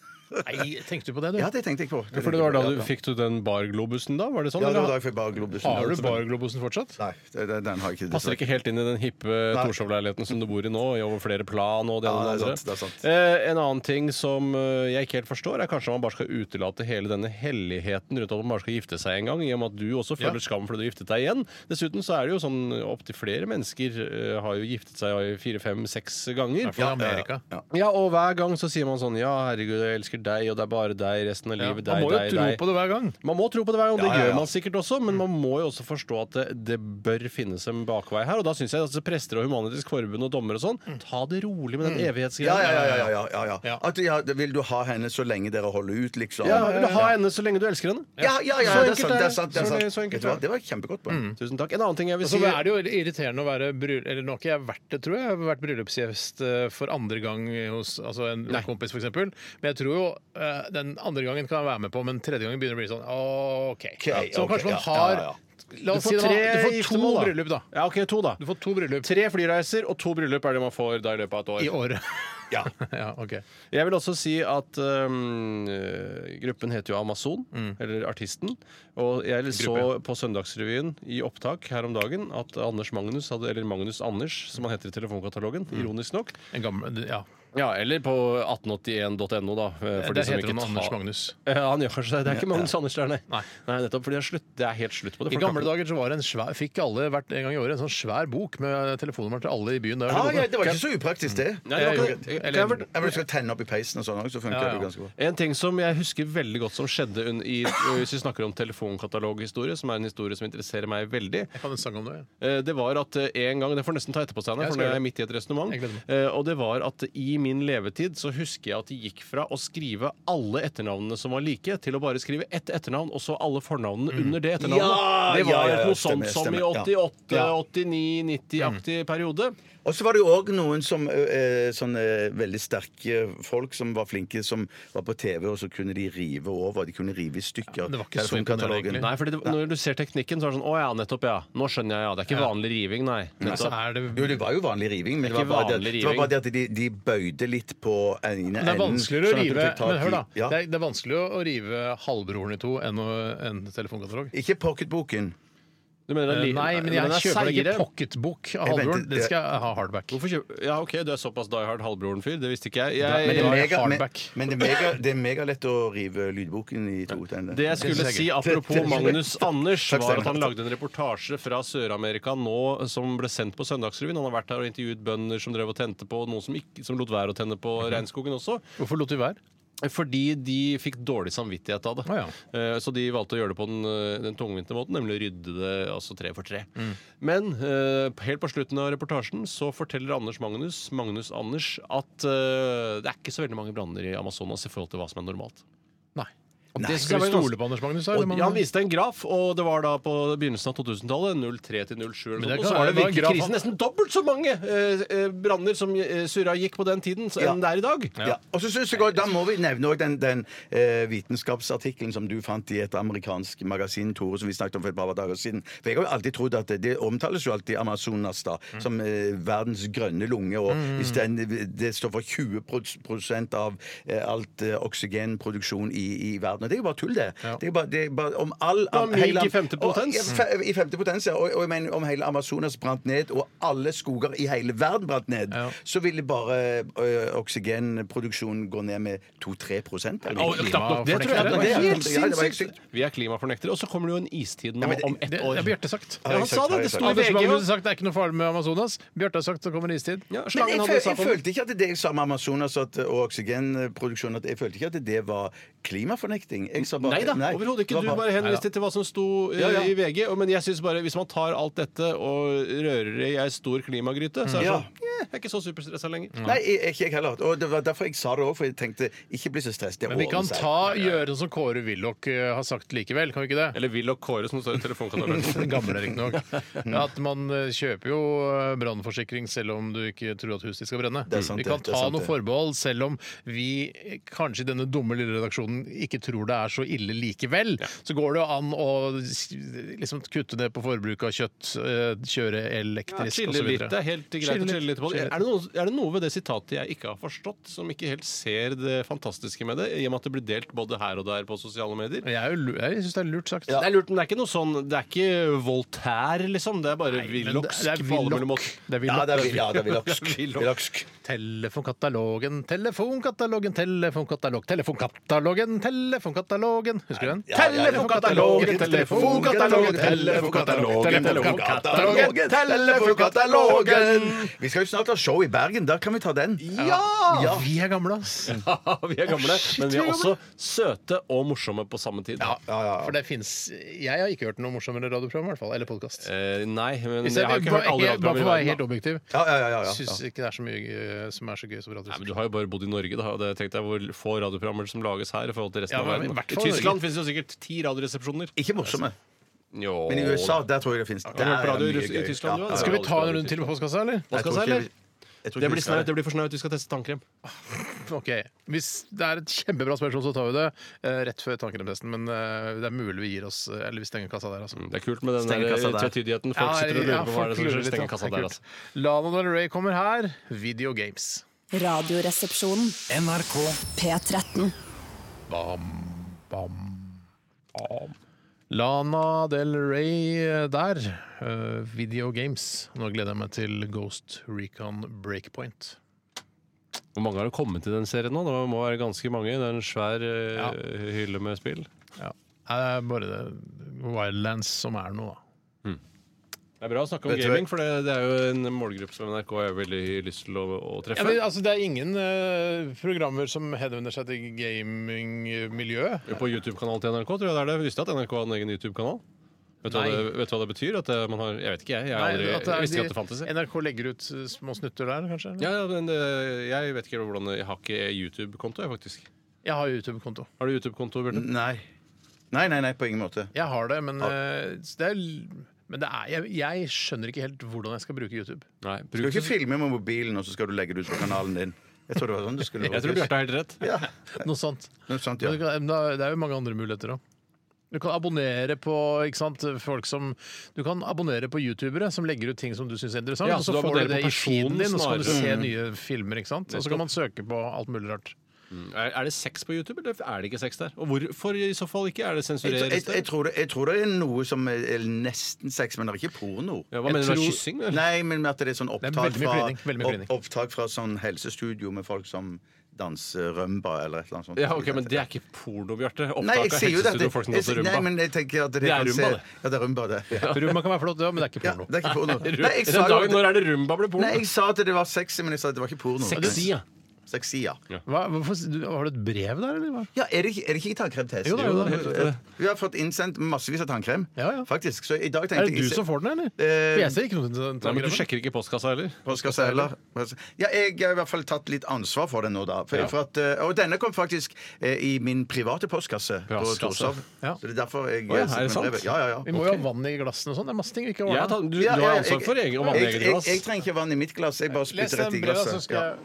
A: Nei, tenkte du på det, du?
B: Ja, det tenkte jeg på.
C: For det var da du fikk du den barglobusen, da? Var det sånn?
B: Ja, det var da
C: eller?
B: jeg fikk bare globusen.
A: Har du
B: Altså, men-
A: barglobusen fortsatt?
B: Nei, det- det- den har jeg ikke.
C: Passer ikke helt inn i den hippe Torshov-leiligheten som du bor i nå. i over flere plan og det ene
B: Ja,
C: og
B: det er
C: det
B: sant, det er
C: andre.
B: sant.
C: Eh, en annen ting som eh, jeg ikke helt forstår, er kanskje om man bare skal utelate hele denne helligheten rundt at man bare skal gifte seg en gang, i og med at du også føler skam fordi du giftet deg igjen. Dessuten så er det jo sånn opptil flere mennesker eh, har jo giftet seg fire, fem, seks ganger.
A: Fra Amerika.
C: Ja, og hver gang så sier man sånn Ja, herregud, jeg elsker deg, og det er bare deg resten av livet.
A: Man
C: Deg,
A: må jo
C: deg,
A: tro
C: deg.
A: på det hver gang.
C: Man må tro på det hver gang, det
B: Ja, ja, ja.
C: gjør man sikkert også, men man må jo også forstå at det, det bør finnes en bakvei her. Og da syns jeg at prester og Humanitisk Forbund og dommere og sånn, ta det rolig med den evighetsgreia.
B: Mm. Ja, ja, ja. ja, ja, ja, ja.
A: Ja.
B: At, ja det- vil du ha henne så lenge dere holder ut, liksom?
C: Ja, vil du ha henne så lenge du elsker henne?
B: ja, ja, ja,
C: Så
B: det er
C: enkelt
B: sant.
C: er
B: Det, er
C: det.
B: sant, det, er
C: Så
B: sant.
C: det- så
B: Vet
C: enkelt
B: du hva?
C: er det. Mm.
B: det var kjempegått poeng.
C: Tusen takk. En annen ting Altså, jeg
A: Og så
C: vil si
A: Altså, er det jo irriterende å være bryllup... Eller nå har ikke jeg vært det, tror jeg. Jeg har vært bryllupsgjest eh, for andre gang hos altså en
C: Nei.
A: kompis, f.eks. Men jeg tror jo eh, Den andre gangen kan jeg være med på, men tredje gangen begynner det å bli sånn OK.
B: Ok,
A: så
B: ok,
A: kanskje man
B: ja,
A: har
B: ja, ja.
A: La oss si det, var- du får to
C: giftermål, da.
A: bryllup, da.
C: Ja, ok, to da.
A: Du får to bryllup
C: Tre flyreiser og to bryllup er det man får da i løpet av et år.
A: i året.
C: Ja.
A: ja, ok.
C: Jeg vil også si at um, eh, gruppen heter jo Amazon, eller Artisten. Og jeg så på Søndagsrevyen i opptak her om dagen at Anders Magnus, hadde, eller Magnus Anders, som han heter i telefonkatalogen, ironisk nok
A: En gammel, ja.
C: Mm. Ja, eller på 1881.no, da. eh,
A: Der
C: For de som
A: heter
C: ikke
A: han
C: tar-
A: Anders Magnus.
C: Ja, han gjør kanskje det. Det er ikke Magnus Anders der, nei.
A: Nei.
C: nettopp, fordi det er, slutt, det er helt slutt på det.
A: I
C: Folk
A: gamle
C: har-
A: dager så var det en svær, fikk alle hvert en gang i året en sånn svær bok med telefonnummer til alle i byen. Der,
B: Ja, Ah, ja, det var ikke så upraktisk, det.
C: Nei, det var ikke det.
A: Eller-
C: Kan jeg fort-
B: Jeg vil skal tenne opp i peisen og sånn også, så funker det ganske bra.
C: En ting som jeg husker veldig godt som skjedde un- i, hvis vi snakker om telefonkataloghistorie, som er en historie som interesserer meg veldig,
A: Jeg kan en sang om det. ja.
C: eh, det var at eh, en gang Det får nesten ta etterpå, Steinar,
A: Jeg
C: for
A: skal
C: nå er
A: gjøre
C: jeg midt i et
A: Jeg gleder
C: resonnement.
A: meg.
C: Eh, Og det var at i min levetid så husker jeg at de gikk fra å skrive alle etternavnene som var like, til å bare skrive ett etternavn, og så alle fornavnene
A: Mm.
C: under det etternavnet.
B: Ja,
C: det var
B: ja, ja,
C: noe
B: stemmer,
C: sånt som
B: stemmer,
C: i
B: ja.
A: Mm.
C: 88-89-90-aktig periode.
B: Og så var det jo òg noen som, eh, sånne veldig sterke folk som var flinke, som var på TV, og så kunne de rive over. De kunne rive i stykker.
A: det var ikke så imponerende, egentlig.
C: Nei, fordi det, når du ser teknikken, så er det sånn Å ja, nettopp, ja. Nå skjønner jeg, ja. Det er ikke vanlig riving, nei.
A: Så
C: Nettopp.
A: er det
B: Jo, det var jo vanlig riving, men det
C: Det
B: var,
C: er ikke
B: bare det,
C: vanlig
B: det var
C: riving.
B: bare det at de, de bøyde litt på ene enden.
A: det er vanskeligere å
B: sånn at du
A: rive
B: fikk tak
A: men hør da,
B: i- Ja.
A: det, er, det er vanskeligere å- å rive halvbroren i to enn å- en telefonkatalog.
B: Ikke pocketboken.
C: Du mener det er li-
A: Eh, Nei, men jeg
C: den er
A: kjøper ikke
C: seigere.
A: pocketbok av
B: Jeg
A: halvbroren.
B: venter-
A: Den skal jeg ha hardback.
C: Hvorfor kjøper Ja, OK, du er såpass Die Hard halvbroren-fyr. Det visste ikke
A: Men
C: jeg. jeg
A: det er
B: mega-
A: hardback.
B: men, men det er mega- det er megalett å rive lydboken i to tender.
C: det jeg skulle si apropos
B: Det- det-
C: Magnus Anders,
B: Takk,
C: var at han
B: Steinar.
C: lagde en reportasje fra Sør-Amerika nå som ble sendt på Søndagsrevyen. Han har vært der og intervjuet bønder som drev og tente på noen som, ikke, som lot være å tenne på
A: Mhm.
C: regnskogen også.
A: Hvorfor lot du være?
C: Fordi de fikk dårlig samvittighet av det.
A: Å ja.
C: Eh, Så de valgte å gjøre det på den, eh, den tungvinte måten, nemlig å rydde det altså tre for tre.
A: Mm.
C: Men eh, helt på slutten av reportasjen så forteller Anders Magnus Magnus Anders, at eh, det er ikke så veldig mange branner i Amazonas i forhold til hva som er normalt.
A: Nei.
C: Og
A: Det
C: det synes
A: skal
C: jeg
A: vi
C: var
A: stole på Anders Magnus. her,
C: Og
A: eller man-
C: ja, Han viste en graf, og det var da på begynnelsen av 2000-tallet. 03 til 07. eller
A: Men
C: sånt,
A: det
C: Og så
A: kan-
C: var
A: det var en
C: det virkelig
A: graf-
C: krisen. Nesten dobbelt så mange eh, eh, branner som eh, surra gikk på den tiden, så-
B: Ja.
C: enn det er i dag.
B: Ja. Og så synes jeg også, Da må vi nevne også den, den eh, vitenskapsartikkelen som du fant i et amerikansk magasin, Tore, som vi snakket om for et par dager siden. For Jeg har jo alltid trodd at det, det omtales jo alltid Amazonas da,
C: Mm.
B: som eh, verdens grønne lunge. og hvis den, Det står for 20 prosent av eh, alt eh, oksygenproduksjon i, i verden. Og det er jo bare tull, det. Det er bare, det er bare om all...
C: var
B: om
C: myk
B: hele-
C: i femte potens.
B: Og- ja, fe- I femte potens, ja. Og, og jeg mener, om hele Amazonas brant ned, og alle skoger i hele verden brant ned, så ville bare ø, oksygenproduksjonen gå ned med 2-3 prosent. eller?
C: Og knapt nok det, tror
A: Ja,
C: jeg.
A: det var
C: Det er
B: helt
C: helt
B: sinnssykt. Ja, det var helt
C: sinnssykt. Vi er klimafornektere. Og så kommer det jo en istid nå
B: Ja, men det-
C: om ett
A: Det
C: år.
A: har Bjarte sagt.
C: Ja, han sa det! Det sto i
A: Anders
C: VG.
A: Magnus har
C: jo.
A: sagt det er ikke noe farlig med Amazonas. Bjarte har sagt det kommer en istid.
C: Ja,
B: Men
C: slangen
B: jeg,
C: hadde
B: føl, jeg
C: sagt om-
B: følte ikke at det jeg sa med Amazonas at, og oksygenproduksjon at Jeg følte ikke at det var klimafornekting. Jeg sa bare,
C: Nei da, overhodet ikke.
B: det
C: Du
B: var
C: bare henviste til hva som sto eh,
B: Ja, ja.
C: i VG. og- Men jeg synes bare, hvis man tar alt dette og rører det i ei stor klimagryte, så er det
B: Ja.
C: sånn eh, Jeg er ikke så superstressa lenger.
B: Nei, jeg- ikke jeg heller. Og det var derfor jeg sa det òg, for jeg tenkte ikke bli så stresset. det
A: Men vi kan
B: ordner seg.
A: ta gjøre sånn som Kåre Willoch eh, har sagt likevel, kan vi ikke det?
C: Eller Will og Kåre, som står i telefonkatalogen.
A: Den gamle, riktignok. Ja, at man eh, kjøper jo eh, brannforsikring selv om du ikke tror at huset ditt skal brenne.
B: Det er sant,
A: vi kan
B: det. Det er
A: ta
B: sant,
A: noe
B: det.
A: forbehold selv om vi eh, kanskje i denne dumme lille redaksjonen ikke tror det er så ille likevel. Så går det jo an å s- liksom kutte ned på forbruket av kjøtt, eh, kjøre elektrisk
C: Chille
A: og så
C: litt. Det
A: videre.
C: er helt greit
A: Chille
C: å chille
A: litt,
C: litt på
A: chille litt.
C: det. Er det, noe, er det noe ved det sitatet jeg ikke har forstått, som ikke helt ser det fantastiske med det, i og med at det blir delt både her og der på sosiale medier?
A: Men Jeg, er jo lu- jeg syns det er lurt sagt.
C: Det er lurt, men det er ikke noe sånn Det er ikke Voltaire, liksom. Det er bare Willochsk
A: det er
C: på alle mulige
A: Willoch.
C: måter.
A: Det er
B: Ja,
A: Willoch.
B: det er vi- ja, det er villoksk. Villoksk.
A: Telefonkatalogen, telefonkatalogen, telefonkatalog, telefonkatalogen, telefonkatalogen. Husker du den?
B: Ja, ja, ja.
A: Telefonkatalogen, telefonkatalogen, telefonkatalogen, telefonkatalogen.
B: Telefonkatalogen! Vi skal jo snart ha show i Bergen. Der kan vi ta den.
A: Ja, vi er gamle, ass.
C: Ja, vi er gamle, men vi er også søte og morsomme på samme tid.
A: For det fins Jeg har ikke hørt noe morsommere radioprogram, i hvert fall. Eller podkast.
C: Eh, nei, men
A: Hvis
C: jeg har ikke hørt alle
A: bare- bare for å være
C: radioprogrammer i
A: helt
C: verden. da.
A: objektiv,
B: Ja, ja, ja, ja, ja.
A: syns ikke det er så mye eh, som er så gøy som
C: Nei, men Du
A: radioprogram.
C: har jo bare bodd i Norge, da. og Det tenkte jeg hvor få radioprogrammer som lages her. I forhold til resten
A: Ja,
C: av
A: men
C: verden.
A: i hvert
C: I
A: fall
C: Tyskland finnes det jo sikkert ti radioresepsjoner.
B: Ikke morsomme.
C: Jo,
B: Men i USA, der tror jeg det fins.
C: hørt på radio i Tyskland, du, da?
A: Skal vi ta en runde til med postkassa, eller?
C: Hva skal jeg si, eller?
B: Jeg tror
C: Det
B: ikke
C: blir
B: vi skal
C: snaut, det blir for snaut. Vi skal teste tannkrem.
A: Ok, Hvis det er et kjempebra spørsmål, så tar vi det eh, rett før tannkremtesten. Men eh, det er mulig vi gir oss eh, Eller vi stenger kassa der, altså.
C: Det er kult med den
B: Stenge kassa
C: der
B: der.
C: tvetydigheten. Folk sitter og lurer på hva er det som skjer.
A: litt,
C: Stenge
A: ja.
C: kassa
A: Det er
C: der,
A: kult.
C: altså.
A: Lana Del Rey kommer her. Video Games.
G: Radioresepsjonen.
D: NRK
G: P13.
A: Lana Del Rey eh, der. eh, Video Games. Nå gleder jeg meg til Ghost Recon Breakpoint.
C: Hvor mange har det kommet i den serien nå? Det må være ganske mange. Det er en svær eh,
A: Ja.
C: hylle med spill.
A: Ja. Det er bare det Wildlands som er noe, da.
C: Det er bra å snakke om
B: Vet du
C: gaming,
B: hva?
C: for det, det er jo en målgruppe som NRK har veldig lyst til å, å treffe.
A: Ja, men, altså, det er ingen eh, programmer som henvender seg til gamingmiljøet.
C: På YouTube-kanalen til NRK tror jeg det er det. Visste at NRK hadde en egen YouTube-kanal? Vet du, hva
A: Nei.
C: det, vet du hva det betyr? At eh, man har, jeg vet ikke, jeg. Jeg, har
A: Nei,
C: aldri,
A: at det er
C: jeg visste
A: de-
C: ikke at det fantes. jeg.
A: NRK legger ut eh, små snutter der, kanskje? eller?
C: Ja, ja, men eh, jeg vet ikke hvordan Jeg har ikke YouTube-konto, jeg, faktisk.
A: Jeg har YouTube-konto.
C: Har du YouTube-konto, Bjarte?
B: Nei. nei, nei, nei, på ingen måte.
A: Jeg har det, men eh, det er, men det er, jeg, jeg skjønner ikke helt hvordan jeg skal bruke YouTube.
C: Nei.
B: Du
C: Bruk,
B: skal ikke filme med mobilen, og så skal du legge det ut på kanalen din. Jeg tror det var sånn det skulle
C: jeg tror Bjarte har helt rett.
B: Ja,
A: Noe sånt.
B: noe sånt,
A: Men
B: ja.
A: du kan, men da- det er jo mange andre muligheter òg. Du kan abonnere på ikke sant, folk som Du kan abonnere på youtubere som legger ut ting som du syns er interessant.
C: Ja,
A: og
C: så
A: så, får
C: du
A: du
C: abonnerer
A: det
C: på
A: i feeden din, og så kan du
C: personen
A: se
C: snarere. Mm.
A: nye filmer. ikke sant? Og så kan man søke på alt mulig rart.
C: Er, er det sex på YouTube, eller er det ikke sex der? Og hvorfor i så fall ikke? Er det
B: Jeg,
C: sensureres
B: jeg, jeg,
C: det?
B: tror det, jeg tror det er noe som er er nesten sex, men det er ikke porno.
C: Ja, hva
A: jeg
C: mener du? Er det
A: tror-
C: kyssing? eller?
B: Nei, men at det er sånn
A: er
B: opptak
A: veldig mye
B: fra,
A: klining, veldig mye klining.
B: opp, opptak fra sånn helsestudio med folk som danser rumba eller et eller annet sånt.
C: Ja, ok, Men det er ikke porno, Bjarte.
B: Nei,
C: Opptak
B: jeg
C: av
B: sier jo det. at
C: helsestudio og folk som
B: jeg sier-
C: danser rumba.
B: Nei, men jeg tenker at det,
C: Det er
B: kan
C: rumba,
B: se-
C: det.
B: Ja, det er rumba, det. Ja.
A: Ruma kan være flott, ja, men det er ikke
B: Ja,
A: porno.
B: det er ikke porno. Nei, jeg
C: Den
B: sa, jo
C: dagen,
B: det.
C: når er det rumba blir porno?
B: Nei, jeg sa at det var sexy, men jeg sa at det var ikke porno.
C: Sexy, ja.
B: Sexy, ja.
A: Hva, hvorfor, du, har du et brev der, eller? hva?
B: Ja, er det, ikke- er det ikke tannkremtest?
A: Jo da, jo da.
B: eh, Vi har fått innsendt massevis av tannkrem,
A: Ja, ja.
B: faktisk. Så i dag tenkte
A: Er det du
B: jeg
A: som får den, eller?
B: Eh,
A: For jeg ser ikke noe til den.
C: Nei, men Du sjekker ikke postkassa heller?
B: Påske eller Ja, jeg har i hvert fall tatt litt ansvar for det nå, da. For, for at, eh, og denne kom faktisk eh, i min private postkasse på Torshov.
C: Postkasse.
A: Ja.
B: Så det er derfor jeg
C: Å ja,
B: eh, sitter
C: er det
B: med
C: sant?
B: brevet. Ja, ja, ja.
A: Vi må jo ha vann i glassene og sånn. Det er masse ting vi ikke har
C: Jeg
A: ordnet.
C: tar, du,
B: Ja,
C: du
B: ja,
C: har
B: jeg-
C: ansvar for egen vann i
B: jeg,
C: eget
B: jeg,
C: glass.
B: jeg trenger ikke vann i mitt glass. Jeg bare
A: Les
B: spytter
A: den
B: rett i
A: brevet, så
B: glasset.
A: skal
B: Ja.
A: jeg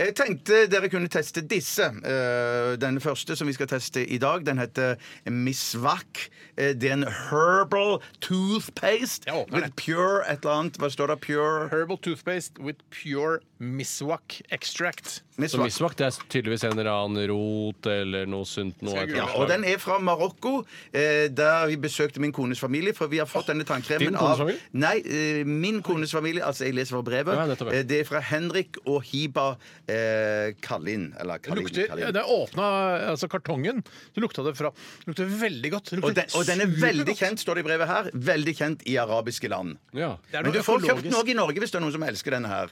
B: Jeg tenkte dere kunne teste disse. Eh, Den første som vi skal teste i dag, den heter Misvak. Eh, Det er en herbal toothpaste
A: Jeg åpner
B: with
A: den.
B: pure et eller annet. Hva står det? Pure
A: Herbal toothpaste with pure miswak extract.
C: Så
B: Misvak.
C: misvakt det er tydeligvis en eller annen rot eller noe sunt noe.
A: jeg
C: et
B: Ja,
C: eller
B: og
C: annet slag.
B: den er fra Marokko, eh, der vi besøkte min kones familie. For vi har fått denne tannkremen
C: Din kones
B: av
C: familie?
B: Nei, eh, min kones familie. Altså, jeg leser fra brevet.
C: Ja, nettopp, ja.
B: Eh, det er fra Henrik og Hiba eh, Kallin. Eller Kallin.
A: Lukter,
B: Kallin.
A: det åpna altså kartongen, så lukta det fra Det lukter veldig godt. Det
B: Og,
A: lukter
B: den, og den er
A: supergodt.
B: veldig kjent, står det i brevet her. Veldig kjent i arabiske land.
C: Ja.
A: Det er noe
B: Men du får kjøpt
A: økologisk-
B: noe i Norge hvis det er noen som elsker denne her.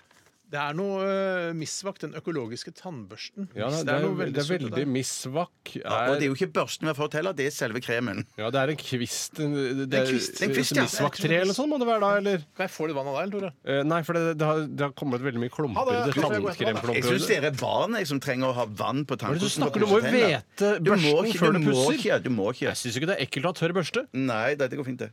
A: Det er noe uh, misvakt, den økologiske tannbørsten.
C: Ja,
A: Mis-
C: det, er,
A: noe
C: det er
A: sunt i
C: veldig
A: det.
C: misvak.
B: Ja, og det er jo
C: Er,
B: ikke børsten vi har fått heller, det er selve kremen.
C: ja, det er en kvist. en- Det
A: er
C: er,
A: en kvist,
B: en kvist, ja.
C: Misvaktre eller sånn må det være da, eller?
A: Kan jeg få litt vann av deg, Tore?
C: Eh, Nei, for det, det, har, det har kommet veldig mye
A: Ha
C: klumper.
A: det, jeg
C: Det
A: tror jeg går etterpå, da.
B: Jeg syns
C: tannkremklumper.
B: dere er barn jeg, som trenger å ha vann på
C: Hva er det du
B: tannkosten.
C: snakker om? Du må jo vete
B: Du må
C: børsten
B: ikke, du
C: før du
B: må
C: pusser.
B: ikke. Du må ikke.
C: Jeg syns ikke det er ekkelt å ha tørr børste.
B: Nei, dette går fint, det.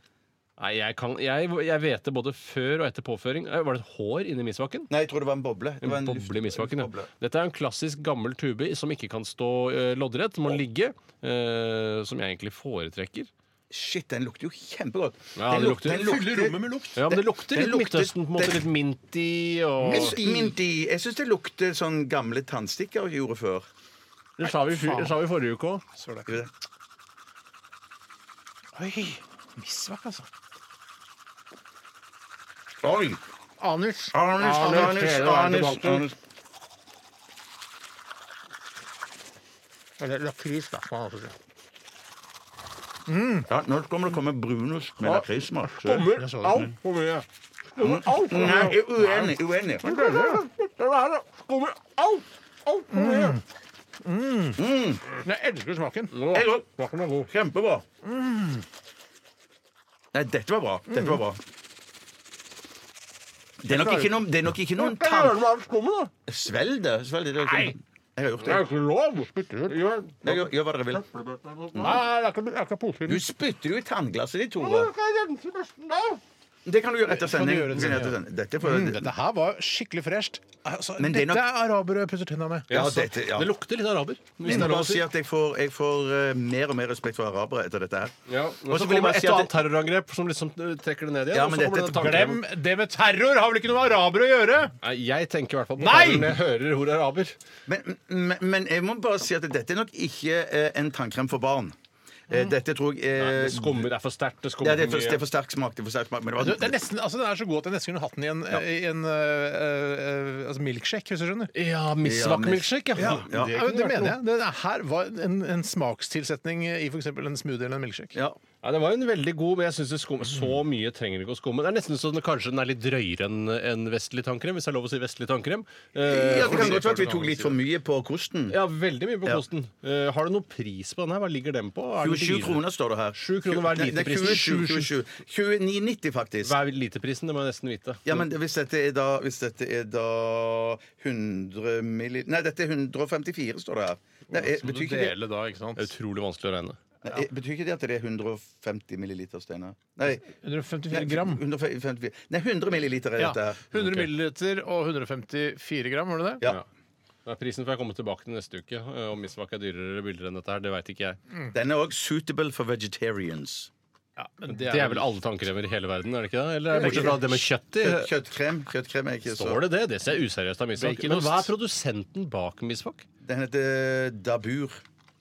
C: Nei, jeg, kan, jeg, jeg vet det både før og etter påføring. Eh, Var det et hår inni misvaken?
B: Nei, jeg tror det var en boble. Det
C: En
B: var luft-
C: boble i misvaken, ja.
B: boble.
C: Dette er en klassisk gammel tube som ikke kan stå eh, loddrett, må ligge. eh, som jeg egentlig foretrekker.
B: Shit, den lukter jo kjempegodt.
C: Ja, det lukter-
B: fyller rommet med lukt.
C: Ja, men det lukter
B: den
C: litt
B: lukter-
C: Midtøsten, på en måte
B: den-
C: litt minty og
B: Minty. Minty. Jeg syns det lukter sånn gamle tannstikker vi gjorde før.
C: Det sa vi, i fjor- det sa vi i forrige uke òg.
B: Gjorde det?
A: Oi! Misvakt, altså.
B: Oi!
A: Anus.
B: Arnus, Arnus, Arnus, Arnus.
A: Eller lakris, da. faen, altså.
B: Ja, nå kommer det komme brunost med lakrismak.
A: Jeg så det ikke.
B: Mm. Nei, jeg er uenig. uenig.
A: Mm. Men Jeg elsker smaken.
B: Det er godt. Kjempebra. Nei, dette var bra. Dette var bra. Det er nok ikke noen, det er nok ikke noen tann... Svelg det. Svelg det. det. er ikke- Jeg har gjort det.
A: ikke lov å spytte ut.
B: Nei, Gjør, gjør hva dere vil.
A: Nei, det er ikke, det er ikke positivt.
C: sånn
B: Du spytter jo i tannglasset ditt, Tore. Det kan du gjøre etter
A: Kan du
B: sending.
A: gjøre etter
B: Kan du gjøre
A: sending, ja.
B: etter sending. Dette får
A: Mm, dette her var skikkelig fresht. Altså,
B: Men det er
A: dette
B: nok-
A: er arabere jeg pusser tenna med.
B: Ja, dette, ja.
C: Det lukter litt araber.
B: Jeg må bare si at jeg får, jeg får eh, mer og mer respekt for arabere etter dette her.
C: Ja,
B: Og
C: og så
B: vil jeg
C: kommer
B: bare
C: et
B: si
C: og
B: at
C: annet terrorangrep som liksom eh, trekker det ned igjen.
B: Ja,
C: og
B: men
C: så kommer
B: dette-
C: det tanken-
A: Glem det med terror! Har vel ikke noe med arabere å gjøre?
C: Nei, jeg tenker i hvert fall på
A: Nei!
C: terror når jeg hører ordet araber.
B: Men, men, men jeg må bare si at dette er nok ikke eh, en tannkrem for barn. Eh, Dette tror jeg eh,
C: Det skummer, det er for sterkt.
B: ja,
C: Det skummer
B: det, er for,
C: mye.
B: det er for sterk smak. Det er for sterk smak men det
A: Du, det
B: var,
A: er nesten, altså, den er så god at jeg nesten kunne hatt den i en, eh, i en øh, øh, altså milkshake, hvis du skjønner.
C: Ja,
B: Ja, men-
C: misvak-milkshake. Ja.
B: Ja.
A: Det, ja, det mener jeg. Det der her var en, en smakstilsetning i f.eks. en smoothie eller en milkshake.
B: ja.
C: Ja, den var jo en veldig god, men jeg synes det skum, så mye trenger det ikke å skumme. Det er nesten sånn at kanskje den er litt drøyere enn en vestlig tannkrem, hvis det er lov å si vestlig tannkrem. Eh,
B: ja, Det kan godt være at vi tok litt for mye på kosten.
C: ja, veldig mye på
B: Ja.
C: kosten. Eh, har du noen pris på den her? Hva ligger den på? Er den
B: 27
C: dyrere?
B: kroner står det her.
C: 7 kroner hver
B: Nei, det er
C: literprisen.
B: 27, 27. 29,90 faktisk.
C: Hva er literprisen? Det må jeg nesten vite.
B: Ja, men hvis dette er da, hvis dette er da 100 milli... Nei, dette er 154, står det her. Nei, jeg, betyr, ikke det,
A: da, ikke
C: Det er utrolig vanskelig å regne.
B: nei, jeg- betyr ikke det at det er 150 milliliter, Steinar? Nei,
A: 154 gram.
B: 154. Nei, 100 milliliter er
A: Ja,
B: dette her.
A: 100 milliliter og 154 gram, var det det?
B: Ja.
C: Nei, Prisen får jeg komme tilbake til neste uke. eh, Om misvak er dyrere eller billigere enn dette her, det veit ikke jeg.
B: Den er òg suitable for vegetarians.
C: Det er vel alle tannkremer i hele verden, er det ikke det? Eller er det
B: Det er
C: bortsett
B: ikke
C: fra det med kjøtt i?
B: Kjøtt, kjøttkrem. Kjøttkrem er ikke så
C: Står det det? Det ser useriøst av Misvak. Men hva er produsenten bak Misvak?
B: Den heter dabur.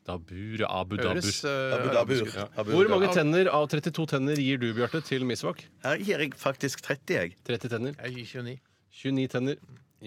C: Dabur, Abu Dabur.
A: Høres, øh,
B: Abu dabur. Abu
C: Hvor mange
B: dabur.
C: tenner av 32 tenner gir du, Bjarte, til Misvak?
B: Her gir jeg faktisk 30, jeg.
C: 30 tenner.
A: Jeg gir 29.
C: 29 tenner.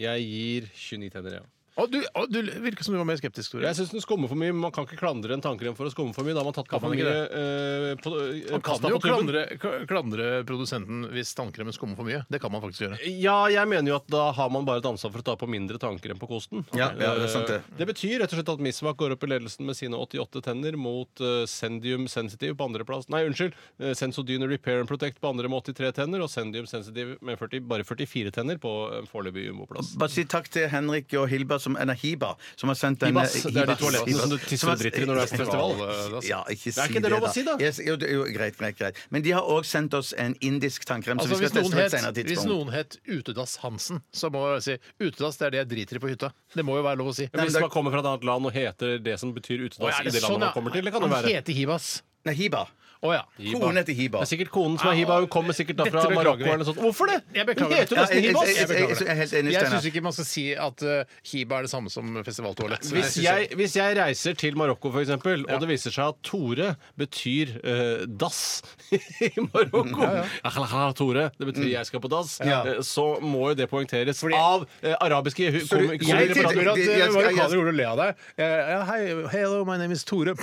C: Jeg gir 29 tenner, ja.
A: Å, du, å, du virker som du var mer skeptisk, Tore.
C: Jeg syns den skummer for mye. Man kan ikke klandre en tannkrem for å skumme for mye. Da har man tatt
A: Kan
C: for
A: man
C: mye
A: ikke
C: eh, på, eh,
A: Man kan
C: pasta
A: jo
C: på tuben.
A: klandre, k- klandre produsenten hvis tannkremen skummer for mye. Det kan man faktisk gjøre.
C: Ja, jeg mener jo at da har man bare et ansvar for å ta på mindre tannkrem på kosten.
B: Ja, ja, det er sant det.
C: Eh, det betyr rett og slett at Misvak går opp i ledelsen med sine 88 tenner mot eh, Sendium Sensitive på andreplass. Nei, unnskyld. eh, Sensodyne Repair and Protect på andre med 83 tenner og Sendium Sensitive med 40, bare 44 tenner på eh, foreløpig jumboplass.
B: Bare si takk til Henrik og Hilba som, nei, Hiba, som har sendt eh, denne
C: Hibas, det er de toalettene som du tisser og driter i når du er på festival.
B: Ja, ikke si
C: Er ikke det lov å si, da?
B: Yes, jo, det- jo, greit, greit, greit. Men de har òg sendt oss en indisk tannkrem.
A: Altså,
B: som vi
A: hvis
B: skal
A: noen,
B: teste på et
A: het,
B: senere
A: hvis
B: tidspunkt.
A: noen het Utedass Hansen, så må jeg si utedass det er det jeg driter i på hytta. Det må jo være lov å si.
C: Hvis man kommer fra et annet land og heter det som betyr
A: Å,
C: utedass
A: er
C: i det landet
A: sånn, ja?
C: man kommer til, det kan jo
A: Han
C: være.
A: heter Hivas.
B: Nei, Hiba.
A: Å ja.
B: Konen heter Hiba.
C: Det er sikkert konen som er hiba. Hun kommer sikkert da
A: Ah, Dette
C: fra
A: beklager
C: Marokko
A: vi.
C: eller noe sånt. Hvorfor det?
A: Jeg
C: Hun
A: beklager det.
C: heter jo nesten
B: Ja, jeg-
C: hibas!
B: jeg- jeg- jeg- jeg- jeg er helt enig,
A: Jeg
B: Steinar.
A: syns ikke man skal si at eh, Hiba er det samme som festivaltoalett.
C: Hvis
A: Jeg synes
C: jeg, hvis jeg reiser til Marokko, for eksempel, og det viser seg at Tore betyr eh, dass i Marokko Ahlaha, Tore, det betyr 'jeg skal på dass',
B: Mm. Ja.
C: eh, så må jo det poengteres av eh, arabiske hu-
B: du-
C: kom-
B: jeg
A: Jeg
C: komikere.
B: tipper-
A: tipper at
B: det-
A: eh,
B: jeg- jeg-
A: marokkanere gjorde å le av deg. Eh, ja, Hei, hello, my name is Tore.
C: De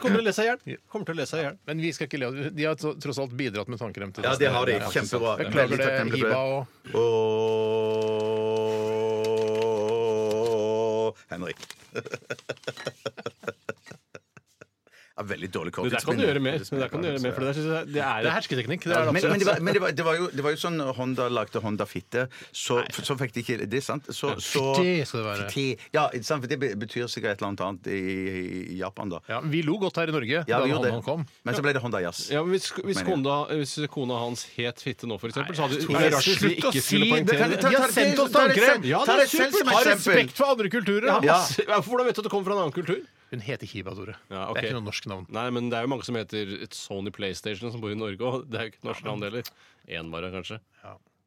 C: kommer til å lese seg i hjel. Kommer til å lese seg i hjel.
A: Men vi skal ikke le av De har tro- tross alt bidratt med tannkrem til
B: Ja, det har de.
A: Ja, ikke sant.
B: Kjempebra.
A: Beklager det,
B: Veldig takknemlig for
A: Hiba
B: det.
A: og
B: Og Henrik. Ja, veldig dårlig
C: Det der kan du gjøre mer. Det der kan du gjøre mer, for det der synes jeg det er
A: Det er hersketeknikk. Det
B: Men,
A: er det
B: men, det,
A: absolutt.
B: var, men det, var, det, var jo, det var jo sånn Honda lagde Honda Fitte, så, så fikk de ikke Det er sant? Så, så,
A: Fitte skal det være.
B: Fitte. Ja, ikke sant? for det be- betyr sikkert et eller annet annet i, i Japan, da.
A: Ja, vi lo godt her i Norge
B: Ja,
A: da
B: vi gjorde
A: han
B: det.
A: kom.
B: Men så ble det Honda Jazz.
C: Ja, men hvis, hvis,
B: Mener jeg.
C: kona, hvis kona hans het fitte nå, for eksempel, så hadde
A: Nei,
C: det er rart hvis vi
A: slutt å
C: ikke skulle
A: si det.
C: poengtere
B: Ta- ta- ta-
A: De har
B: ta-
A: sendt oss
B: ta det
A: tannkrem!
B: selv-
C: Ja,
B: ta
C: det
B: det
C: er
B: selv som
C: supert.
A: Ha
B: eksempel!
A: respekt for andre kulturer!
B: Ja.
A: da.
C: Masse- Ja, Hvordan vet du at det kommer fra en annen kultur?
A: Hun heter Hiba, Tore.
C: Ja, ok.
A: Det er ikke noe norsk navn.
C: Nei, men det er jo mange som heter et Sony PlayStation som bor i Norge, og det er jo ikke et norsk navn heller. Én bare, kanskje.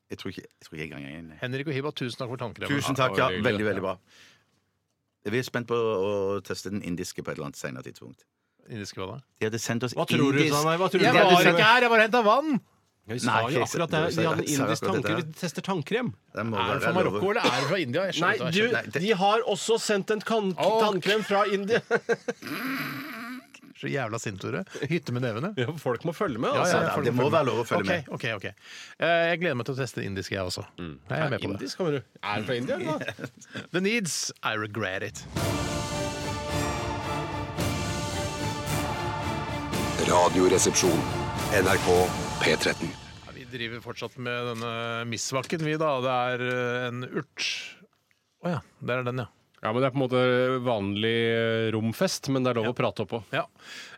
B: Jeg tror ikke jeg tror ikke jeg engang er inne.
A: Henrik og Hiba, tusen takk for tannkremen.
B: Tusen takk. ja,
C: det var
B: Veldig,
C: hyggelig.
B: veldig bra. Vi er spent på å teste den indiske på et eller annet senere tidspunkt.
A: Indiske hva da?
B: De hadde sendt oss
C: Hva tror du,
B: indisk
C: Sanne? Hva tror du?
B: Jeg
C: Ja,
B: var
C: det-
B: ikke
A: her, jeg var og henta vann!
C: Ja, vi sa
B: Nei,
C: jo
B: Chris,
C: akkurat det. her. De hadde en
B: jeg sa
C: indisk
B: akkurat
C: tanke.
B: det.
C: Vi tester tannkrem.
B: Det må
A: Er
B: være
A: du fra
B: lov å-
A: Marokko eller er du fra India? Jeg
C: Nei,
A: skjønner ikke, jeg
C: du,
B: Nei, det-
C: de har også sendt en kan
A: Åh.
C: tannkrem fra India.
A: skjønner ikke. Så jævla sint, Tore. Hytte med nevene.
C: Ja, folk må følge med,
A: Ja,
C: altså.
B: ja,
A: ja,
B: det må være lov å følge med.
A: Ok, ok, ok. Eh, Jeg gleder meg til å teste det indiske, jeg også. Jeg er med på det.
C: Indisk, kommer du. Er du fra India, eller? da?
A: The Needs, I Regret It.
F: Radioresepsjon. NRK P13.
A: Ja, vi driver fortsatt med denne misvakken, vi, da. Det er eh, en urt. Å ja. Der er den, ja.
C: eh, Ja, men Det er på en måte vanlig romfest, men det er lov å prate oppå.
A: Ja.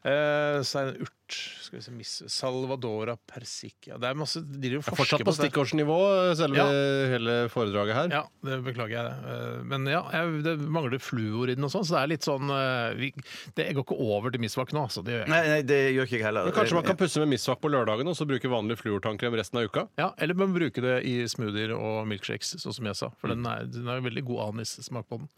A: Eh, så er det en urt skal vi se, mis, Salvadora persica. Det er masse De driver og
C: Det
A: forsker
C: er Fortsatt på
A: dette.
C: stikkordsnivå, eh, selve hele foredraget her.
A: Ja, det beklager jeg. det. Eh, Men ja, jeg, det mangler fluor i den og sånn, så det er litt sånn eh, vi, Det går ikke over til misvak nå, altså. Det gjør jeg ikke.
B: Nei, nei, det gjør ikke jeg heller.
C: Men Kanskje man kan pusse med Misvak på lørdagen og så bruke vanlig fluortannkrem resten av uka?
A: Ja, eller man bruker det i smoothier og milkshakes, sånn som jeg sa. For den er, den er veldig god anissmak på den.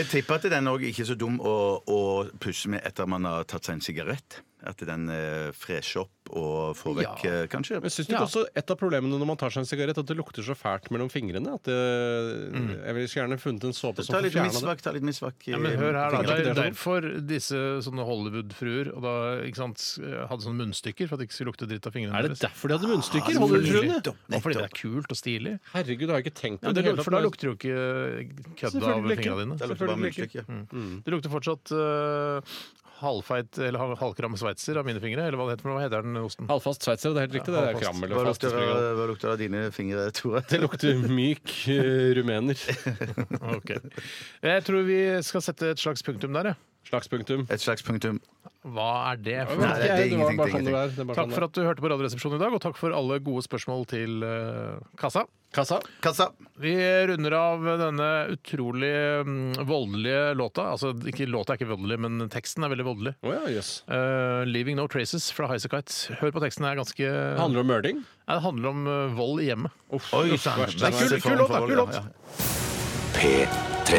B: Jeg tipper at den òg ikke er så dum å, å pusse med etter man har tatt seg en sigarett. At den eh, fresher opp og får vekk eh, Kanskje.
C: Men synes du ikke også Et av problemene når man tar seg en sigarett, at det lukter så fælt mellom fingrene? At det, Jeg ville så gjerne funnet en såpe som
B: Ta
C: får
B: litt
C: fjerna det.
B: misvak. Ta litt misvak eh, i-
A: Ja, men hør her, da.
C: Kanskje
A: Det er sånn.
C: ikke det er
A: derfor disse sånne Hollywood-fruer og da, ikke sant, hadde sånne munnstykker for at det ikke skulle lukte dritt av fingrene
C: Er det derfor de hadde munnstykker?
A: Hollywood
C: Hollywood-fruene?
A: Fordi det er kult og stilig.
C: Herregud, det har jeg ikke tenkt
A: Ja,
C: på. i
A: det,
C: det hele
A: for da
C: tatt.
A: lukter jo ikke kødd av
C: Selvfølgelig ikke.
A: fingrene
B: Det
A: dine.
B: lukter bare
C: Selvfølgelig ikke.
B: munnstykke.
A: Det lukter fortsatt uh, halvfeit eller hal- halvkram sveitser av mine fingre, eller hva det heter. for noe. Hva heter den osten?
C: Halvfast sveitser, det er helt
A: Ja,
C: riktig. Det er
A: halvfast.
C: krammel
B: Hva
C: og fast.
B: lukter eh, det hva lukter det av dine fingre, Tore?
C: Det lukter myk eh, rumener.
A: Ok. Jeg tror vi skal sette et slags punktum der, jeg.
C: Slagspunktum.
B: Et slags punktum.
A: Hva er det for
B: Nei, det er
C: det var
B: ingenting,
C: bare sånn
B: ingenting.
C: det var. Det er bare
A: Takk
C: sånn
A: for
C: det er.
A: at du hørte på Radioresepsjonen i dag, og takk for alle gode spørsmål til eh, kassa.
C: Kassa.
B: Kassa.
A: Vi runder av denne utrolig mm, voldelige låta. Altså, ikke, låta er ikke voldelig, men teksten er veldig voldelig.
C: Å ja, jøss.
A: Eh, 'Leaving No Traces' fra Highasakite. Hør på teksten, det er ganske
C: Det handler om møling.
A: Nei, det handler om eh, vold i hjemmet.
B: Oi sann.
C: verste jeg
A: har sett. Kul låt, da, kul låt.
F: P13.